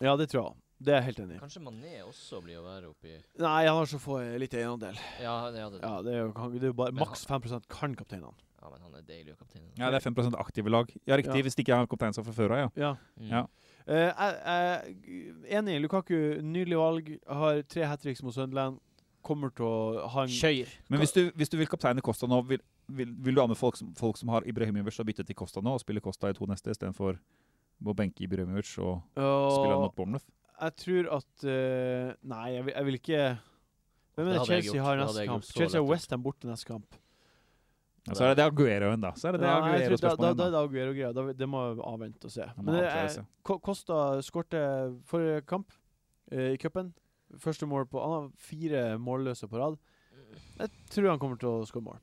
Speaker 1: Ja, det tror jeg. Det er jeg helt enig i.
Speaker 2: Kanskje Mané også blir å være oppi
Speaker 1: Nei, han har så få eh, litt eiendel.
Speaker 2: Ja, det hadde
Speaker 1: Ja, det er jo, kan- det er jo bare
Speaker 2: Men
Speaker 1: maks 5 kan kapteinene.
Speaker 2: ja men han er deilig, jo, kapteinen.
Speaker 4: Ja, det er 5 aktive lag. Ja, riktig,
Speaker 1: Ja.
Speaker 4: hvis ikke jeg har kaptein som fra før av, ja.
Speaker 1: Ja.
Speaker 2: Mm.
Speaker 4: Ja.
Speaker 1: Eh, jeg- jeg er enig. Lukaku, nydelig valg. Har tre hat tricks mot Sunderland. Kommer til å ha en
Speaker 2: Kjøyr.
Speaker 4: Men hvis du, hvis du vil kapteine Costa nå, vil, vil, vil du anbefale folk, som- folk som har Ibrahimovic å bytte til Costa nå, og spille Costa i to neste, istedenfor å benke Ibrahimovic og spille
Speaker 1: Og
Speaker 4: han mot Bournemouth?
Speaker 1: jeg tror at eh, Nei, jeg vil, jeg vil ikke Hvem er
Speaker 2: Det
Speaker 1: det
Speaker 2: hadde jeg
Speaker 1: Chelsea
Speaker 2: gjort.
Speaker 1: har
Speaker 2: Det hadde
Speaker 1: neste
Speaker 2: jeg
Speaker 1: kamp?
Speaker 2: gjort så
Speaker 1: Chelsea har
Speaker 2: lett.
Speaker 1: Westham borte neste kamp.
Speaker 4: Ja, så er det det Agueroen, da. Så er det det
Speaker 1: Ja, jeg tror da, da,
Speaker 4: Aguero-spørsmålet.
Speaker 1: da er
Speaker 4: igjen, da.
Speaker 1: det Aguero-greia. Da- Det må jeg avvente og se.
Speaker 4: Han må
Speaker 1: Men det
Speaker 4: avklare
Speaker 1: er,
Speaker 4: seg.
Speaker 1: Ko- Kosta skårte forrige kamp eh, i cupen. Første mål på Han har fire målløse på rad. Jeg tror han kommer til å skåre mål.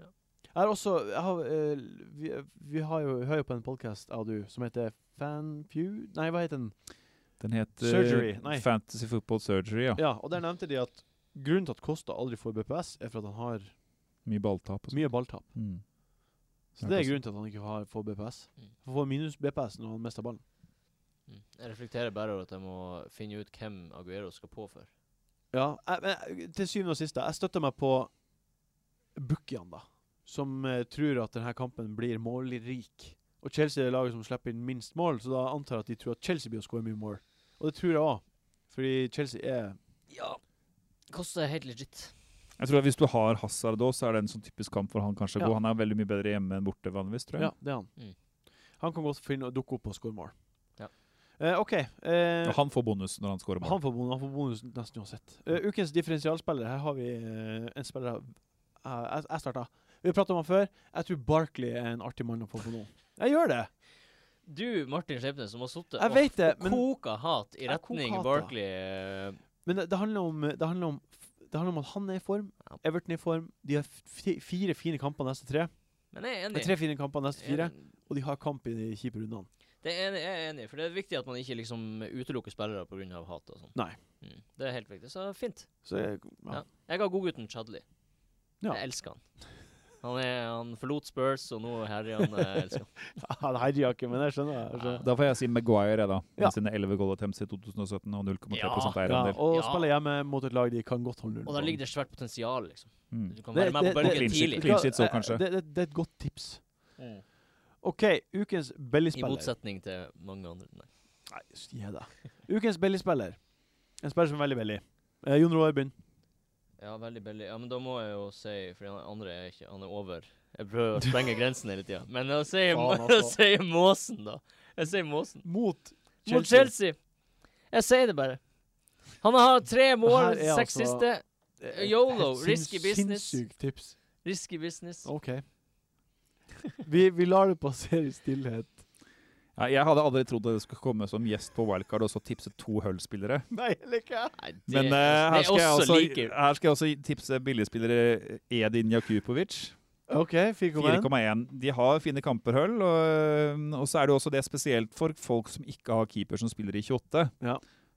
Speaker 2: Ja.
Speaker 1: Jeg har også jeg har, eh, vi, vi har jo hører jo på en podkast av du som heter Fanfew Nei, hva heter den?
Speaker 4: Den heter
Speaker 1: Surgery, nei.
Speaker 4: Fantasy Football Surgery, ja.
Speaker 1: Ja, og der nevnte de at grunnen til at Kosta aldri får BPS, er for at han har
Speaker 4: Mye balltap og sånn.
Speaker 1: mye balltap.
Speaker 4: Mm.
Speaker 1: Så
Speaker 4: Ja,
Speaker 1: det er
Speaker 4: Kosta.
Speaker 1: grunnen til at han ikke har, får BPS.
Speaker 2: Mm.
Speaker 1: Han får minus BPS når han mister ballen.
Speaker 2: Mm. Jeg reflekterer bare over at jeg må finne ut hvem Aguero skal på for.
Speaker 1: Ja, jeg, men, til syvende og siste, jeg støtter meg på Bukkian, da. Som eh, tror at denne kampen blir målrik. Og Chelsea er laget som slipper inn minst mål, så da antar jeg at de tror at Chelsea blir å skåre mye mål. Og det tror jeg òg, fordi Chelsea er
Speaker 2: Ja. Kosta er helt legit.
Speaker 4: Jeg tror at Hvis du har Hazard òg, så er det en sånn typisk kamp hvor han kanskje
Speaker 1: Ja.
Speaker 4: går. Han er veldig mye bedre hjemme enn borte, vanligvis, tror jeg.
Speaker 1: Ja, det er han.
Speaker 2: Mm.
Speaker 1: Han kan godt finne å dukke opp og skåre mål.
Speaker 2: Ja.
Speaker 1: Eh, OK. Eh,
Speaker 4: Og han får bonus når han scorer mål.
Speaker 1: Han får bonus, han får bonus nesten uansett. Eh, ukens differensialspiller. Her har vi eh, en spiller jeg- Jeg, jeg starta. Vi prata om han før. Jeg tror Barkley er en artig mann å få på nå. Jeg gjør det!
Speaker 2: Du, Martin Skjebne, som har sittet
Speaker 1: Jeg vet det, men,
Speaker 2: koka hat i
Speaker 1: Jeg
Speaker 2: retning
Speaker 1: koker hat,
Speaker 2: Barkley eh,
Speaker 1: men det, det, handler om, det, handler om, det handler om at han er i form.
Speaker 2: Ja.
Speaker 1: Everton er i form. De har fi- fire fine kamper neste tre.
Speaker 2: Men jeg er
Speaker 1: Det
Speaker 2: enig.
Speaker 1: er tre fine kamper neste fire,
Speaker 2: Jeg-
Speaker 1: og de har kamp i de kjipe rundene.
Speaker 2: Det er enig, jeg er enig, for det er viktig at man ikke liksom utelukker spillere pga. hat og sånn.
Speaker 1: Nei.
Speaker 2: Mm. Det er helt viktig. Så fint.
Speaker 1: Så jeg, (laughs) ja.
Speaker 2: Ja. Jeg har godgutten Chadley.
Speaker 1: Ja.
Speaker 2: Jeg elsker han. Han, er, han forlot Spurs, og nå herjer han.
Speaker 4: (laughs)
Speaker 2: Jeg elsker han.
Speaker 1: Han herjer ikke, men jeg skjønner. Jeg skjønner.
Speaker 4: Da får jeg si Maguire, jeg, da. Med
Speaker 1: Ja.
Speaker 4: sine 11 goal attempts i 2017 og 0,3
Speaker 1: Ja,
Speaker 4: eierandel.
Speaker 1: og
Speaker 2: Ja.
Speaker 1: spiller hjemme mot et lag de kan godt holde null.
Speaker 2: Og da ligger det svært potensial, liksom.
Speaker 4: Mm.
Speaker 2: Du kan være med på bølgen
Speaker 4: det-
Speaker 2: tidlig.
Speaker 4: Clean sheet så, kanskje.
Speaker 1: Det, det, det er et godt tips.
Speaker 2: Mm.
Speaker 1: OK, ukens
Speaker 2: I
Speaker 1: Belly-spiller.
Speaker 2: motsetning til mange andre. Nei.
Speaker 1: Nei, gi deg. Ukens Belly-spiller. En spiller som er veldig Belly. Eh, Jon Roar begynn.
Speaker 2: Ja, veldig billig. Ja, men da må jeg jo si For han andre er ikke Han er over. Jeg prøver å sprenge
Speaker 4: (laughs)
Speaker 2: grensen hele tida. Men jeg sier,
Speaker 1: Faen,
Speaker 2: (laughs) jeg
Speaker 1: altså.
Speaker 2: sier Måsen, da. Jeg sier Måsen.
Speaker 1: Mot
Speaker 2: Mot Chelsea. Jeg sier det bare. Han har tre mål,
Speaker 1: Det her er
Speaker 2: seks
Speaker 1: altså-
Speaker 2: siste.
Speaker 1: Eh,
Speaker 2: YOLO,
Speaker 1: helt
Speaker 2: risky business.
Speaker 1: Sinnssykt tips.
Speaker 2: Risky business.
Speaker 1: OK. Vi, vi lar det passere i stillhet.
Speaker 4: Ja, jeg hadde aldri trodd at jeg skulle komme som gjest på Wildcard og så tipse to Hull-spillere.
Speaker 1: (laughs) Nei, eller hva?
Speaker 2: Nei, det,
Speaker 4: Men eh,
Speaker 2: det
Speaker 4: her,
Speaker 2: er
Speaker 4: skal jeg
Speaker 2: også
Speaker 4: også,
Speaker 2: like.
Speaker 4: her skal jeg også tipse billigspillere Edin Jakupovic.
Speaker 1: OK, 4,1.
Speaker 4: 4,1. De har fine kamper, Hull. Og, eh, og så er det jo også det spesielt for folk som ikke har keeper som spiller i 28.
Speaker 1: Ja.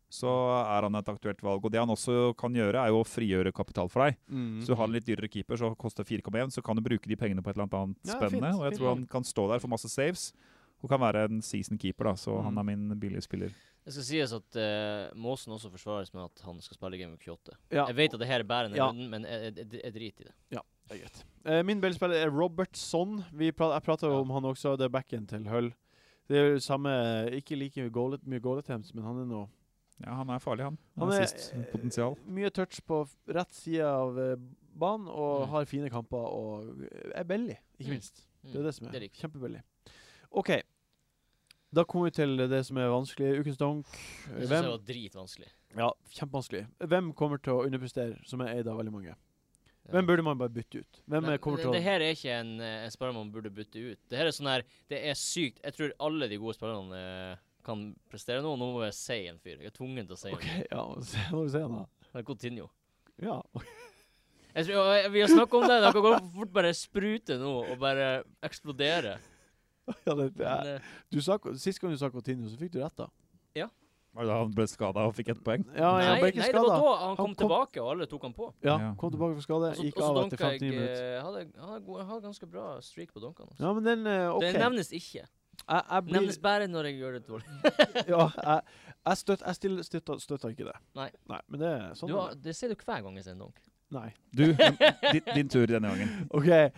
Speaker 4: Så er han et aktuelt valg. Og det han også kan gjøre, er jo å frigjøre kapital for deg.
Speaker 1: Mm.
Speaker 4: Så du har en litt dyrere keeper, så koster 4,1, så kan du bruke de pengene på et eller annet annet
Speaker 1: Ja,
Speaker 4: spennende.
Speaker 1: fint,
Speaker 4: og jeg
Speaker 1: fint.
Speaker 4: tror han kan stå der for masse saves. Og kan være en season keeper, da, så
Speaker 1: Mm.
Speaker 4: han er min billige spiller.
Speaker 2: Det skal sies at eh, Måsen også forsvares med at han skal spille Game of 28.
Speaker 1: Ja,
Speaker 2: Jeg vet at det her er bærende
Speaker 1: Ja.
Speaker 2: runden, men jeg, jeg, jeg, jeg driter i det.
Speaker 1: det er greit. Eh, min Belly-spiller er Robertson. Vi pra jeg prata jo
Speaker 2: Ja.
Speaker 1: om han også. Det er backen til Hull. Det er jo samme Ikke like goal, mye goal attempts, men han er nå
Speaker 4: Ja, han er farlig, han.
Speaker 1: Han
Speaker 4: Han
Speaker 1: er-
Speaker 4: har sist potensial.
Speaker 1: mye touch på f- rett side av eh, banen og
Speaker 2: Mm.
Speaker 1: har fine kamper og eh, er billig, ikke
Speaker 2: Mm.
Speaker 1: minst. Det er det som er.
Speaker 2: Det liker jeg.
Speaker 1: Kjempebillig. OK. Da kommer vi til det som er vanskelig. Ukens donk.
Speaker 2: Jeg synes det
Speaker 1: Hvem
Speaker 2: var dritvanskelig.
Speaker 1: Ja, kjempevanskelig. Hvem kommer til å underprestere, som er eid av veldig mange?
Speaker 2: Ja.
Speaker 1: Hvem burde man bare bytte ut? Hvem
Speaker 2: Nei,
Speaker 1: eh, kommer
Speaker 2: det,
Speaker 1: til å
Speaker 2: det her er ikke en, eh, en spiller man burde bytte ut. Det her er sånn her Det er sykt. Jeg tror alle de gode spillerne eh, kan prestere nå. Nå må jeg si en fyr. Jeg er tvungen til å si
Speaker 1: OK, ja, (laughs) se når du sier det.
Speaker 2: en. Det er Coutinho.
Speaker 1: Ja. (laughs)
Speaker 2: Jeg tror, og, jeg- vi har snakket om det. Dere kan fort bare sprute nå og bare eksplodere.
Speaker 1: ja det, det
Speaker 2: Men,
Speaker 1: er.
Speaker 2: eh,
Speaker 1: Du sa, sist gang du sa Coutinho, så fikk du rett, da.
Speaker 4: Var det da han ble skada og fikk ett poeng?
Speaker 1: Ja,
Speaker 2: nei,
Speaker 1: jeg ble ikke
Speaker 2: nei, det var
Speaker 1: skada.
Speaker 2: da han kom,
Speaker 1: kom-
Speaker 2: tilbake, og alle tok han på.
Speaker 1: Ja,
Speaker 4: Ja.
Speaker 1: kom tilbake fra skade,
Speaker 2: Og så-
Speaker 1: gikk
Speaker 2: og så
Speaker 1: av etter
Speaker 2: donka jeg,
Speaker 1: 59 minutter.
Speaker 2: eh, Hadde, hadde, gode- hadde ganske bra streak på donkene. altså.
Speaker 1: Ja, men den eh, OK.
Speaker 2: Det nevnes ikke.
Speaker 1: jeg, jeg blir
Speaker 2: Nevnes bare når jeg gjør det dårlig.
Speaker 1: Ja, jeg, jeg, støt, jeg still, støtter, støtter ikke det.
Speaker 2: Nei.
Speaker 1: Men det er sånn.
Speaker 2: Du har,
Speaker 1: er det.
Speaker 2: det sier du hver gang jeg sier noe.
Speaker 1: Nei. (laughs)
Speaker 4: Du, din, din tur denne gangen.
Speaker 1: OK. eh,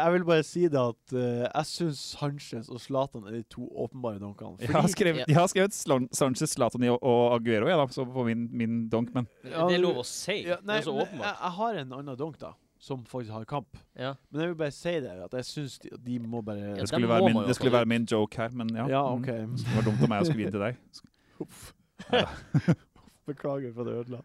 Speaker 1: jeg vil bare si det at eh, jeg syns Sanchez og Zlatan er de to åpenbare donkene.
Speaker 4: Jeg har
Speaker 1: Fordi-
Speaker 4: skrevet, jeg har skrevet Slan- Sanchez, Zlatan og og Aguero jeg da, så på min, min donk, men
Speaker 2: Det
Speaker 1: Ja,
Speaker 2: det er
Speaker 1: du-
Speaker 2: lov å si.
Speaker 1: Ja, nei,
Speaker 2: det er så
Speaker 1: men jeg,
Speaker 2: åpenbart.
Speaker 1: jeg har en annen donk, da, som faktisk har kamp.
Speaker 2: Ja.
Speaker 1: Men jeg vil bare si det, at jeg syns de, de må bare
Speaker 2: Ja,
Speaker 4: det skulle,
Speaker 2: den
Speaker 4: være
Speaker 2: må
Speaker 4: min,
Speaker 2: man jo
Speaker 4: det skulle
Speaker 2: ta
Speaker 4: være min joke her. Men ja,
Speaker 1: Ja,
Speaker 4: Mm.
Speaker 1: OK. (laughs)
Speaker 4: det var dumt av meg å skulle gi den til deg.
Speaker 1: Beklager for at jeg ødela.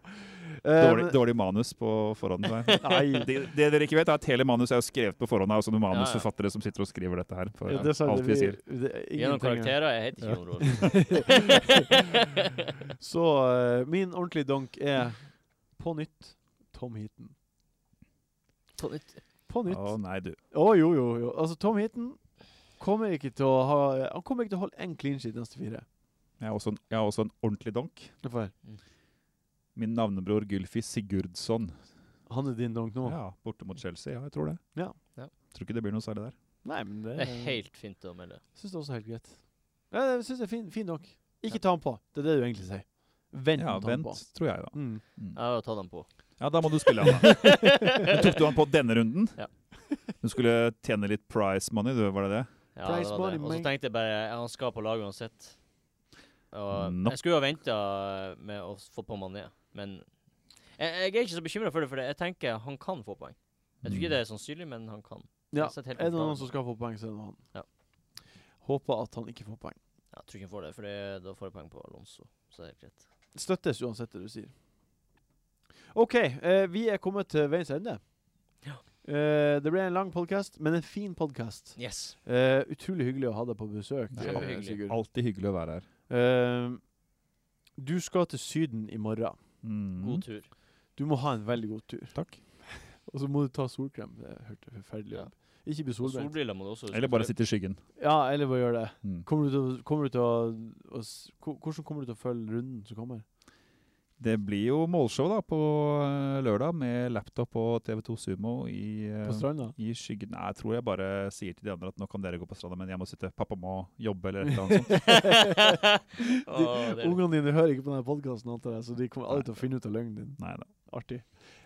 Speaker 1: Eh,
Speaker 4: Dårlig, dårlig manus på forhånd. Der.
Speaker 1: Nei.
Speaker 4: (laughs) Det, det dere ikke vet, er at hele manus er jo skrevet på forhånd av sånne
Speaker 2: ja.
Speaker 4: manusforfattere som sitter og skriver dette her. For,
Speaker 1: Ja, det sa
Speaker 4: alt vi sier.
Speaker 2: Gi noen karakterer. Jeg heter
Speaker 1: Ja.
Speaker 2: ikke noe råd.
Speaker 1: (laughs) Så eh, min ordentlige donk er på nytt Tom Heaton.
Speaker 2: På nytt.
Speaker 1: (laughs) På nytt.
Speaker 4: Å
Speaker 1: Å
Speaker 4: nei, du.
Speaker 1: jo, jo, jo. Altså, Tom Heaton kommer ikke til å ha Han kommer ikke til å holde én clean sheet neste fire.
Speaker 4: Jeg har også en, jeg har også en ordentlig donk.
Speaker 1: Hvorfor?
Speaker 4: Min navnebror Gylfi Sigurdsson.
Speaker 1: Han er din donk nå?
Speaker 4: Ja, Borte mot Chelsea, ja, jeg tror det.
Speaker 1: Ja.
Speaker 2: Ja.
Speaker 4: Tror ikke det blir noe særlig der.
Speaker 1: Nei, men det
Speaker 2: Det er helt fint å melde.
Speaker 1: Syns det også er helt greit. Ja, jeg syns det er fin, fin donk. Ikke ta han på. Det er det du egentlig sier. Vent
Speaker 4: Ja,
Speaker 1: med å ta han på.
Speaker 4: Vent, tror jeg, da.
Speaker 1: Mm.
Speaker 4: Mm.
Speaker 2: Jeg har tatt den
Speaker 1: (laughs)
Speaker 2: på.
Speaker 4: Ja, da må du spille han,
Speaker 2: (laughs)
Speaker 4: da. Men tok du han på denne runden?
Speaker 2: Ja.
Speaker 4: Du skulle tjene litt price money, du, var det det?
Speaker 2: Ja,
Speaker 1: Price
Speaker 2: det var
Speaker 1: money,
Speaker 2: det. Og så
Speaker 1: mate.
Speaker 2: tenkte jeg bare ja, Han skal på laget uansett. Og
Speaker 4: Nope.
Speaker 2: Jeg skulle jo ha venta med å få på Mané, men jeg, jeg er ikke så bekymra for det, for jeg tenker han kan få poeng. Jeg tror
Speaker 1: Mm.
Speaker 2: ikke det er sannsynlig, men han kan.
Speaker 1: Ja.
Speaker 2: Jeg setter helt
Speaker 1: Er det
Speaker 2: på
Speaker 1: noen
Speaker 2: planen.
Speaker 1: som skal få poeng, så er det han.
Speaker 2: Ja.
Speaker 1: Håper at han ikke får poeng.
Speaker 2: Jeg tror ikke han får det, for det, da får jeg poeng på Alonso. Så det er helt greit.
Speaker 1: Støttes uansett det du sier. OK, eh, vi er kommet til veiens ende.
Speaker 2: Ja.
Speaker 1: Eh, det ble en lang podkast, men en fin podkast.
Speaker 2: Yes.
Speaker 1: Eh, utrolig hyggelig å ha deg på besøk.
Speaker 4: Det er
Speaker 1: eh,
Speaker 2: kjempehyggelig.
Speaker 1: Sigurd.
Speaker 4: Alltid hyggelig å være her.
Speaker 1: Eh, du skal til Syden i morgen.
Speaker 4: Mm.
Speaker 2: God tur.
Speaker 1: Du må ha en veldig god tur.
Speaker 4: Takk.
Speaker 1: Og så må du ta solkrem. Det hørte forferdelig
Speaker 2: Ja.
Speaker 1: ut. Ikke bli
Speaker 2: Og
Speaker 1: solbrent.
Speaker 2: solbriller må du også huske. (laughs)
Speaker 4: Eller
Speaker 1: (laughs)
Speaker 4: bare sitte i skyggen.
Speaker 1: Ja, eller bare gjør det.
Speaker 4: Mm.
Speaker 1: Kommer du til, å- kommer du til å, å s- ko- Hvordan kommer du til å følge runden som kommer?
Speaker 4: Det blir jo målshow da på eh, lørdag med laptop og TV2 Sumo i, eh,
Speaker 1: På stranda?
Speaker 4: i skyggen. Nei, jeg tror jeg bare sier til de andre at nå kan dere gå på stranda, men jeg må sitte. Pappa må jobbe eller et eller annet
Speaker 1: (laughs)
Speaker 4: sånt. (laughs)
Speaker 2: Åh, det er-
Speaker 1: Ungene dine hører ikke på denne podkasten, antar jeg, så de kommer aldri til å finne ut av løgnen din.
Speaker 4: Nei da.
Speaker 1: Artig.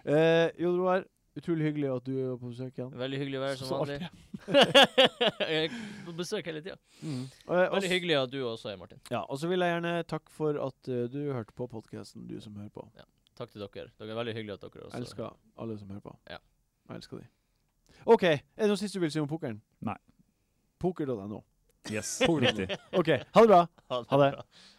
Speaker 1: Eh, Jon Roar, utrolig hyggelig at du er på besøk igjen.
Speaker 2: Veldig hyggelig å være som
Speaker 1: Så
Speaker 2: vanlig. (laughs) Jeg er på besøk hele tida.
Speaker 1: Eh, og
Speaker 2: Mm. Veldig
Speaker 1: s-
Speaker 2: hyggelig at du også er, Martin.
Speaker 1: Ja, og så vil jeg gjerne takke for at eh, du hørte på podkasten, du som hører på.
Speaker 2: Takk til dere. Dere er veldig hyggelige at dere også
Speaker 1: Jeg elsker alle som hører på.
Speaker 2: Altså- Ja.
Speaker 1: Jeg elsker de. OK, er det noe siste du vil si om pokeren?
Speaker 4: Nei.
Speaker 1: Poker.no.
Speaker 4: Yes, riktig.
Speaker 2: (laughs)
Speaker 1: OK, ha det bra.
Speaker 2: Ha det
Speaker 1: Ha det.
Speaker 2: bra.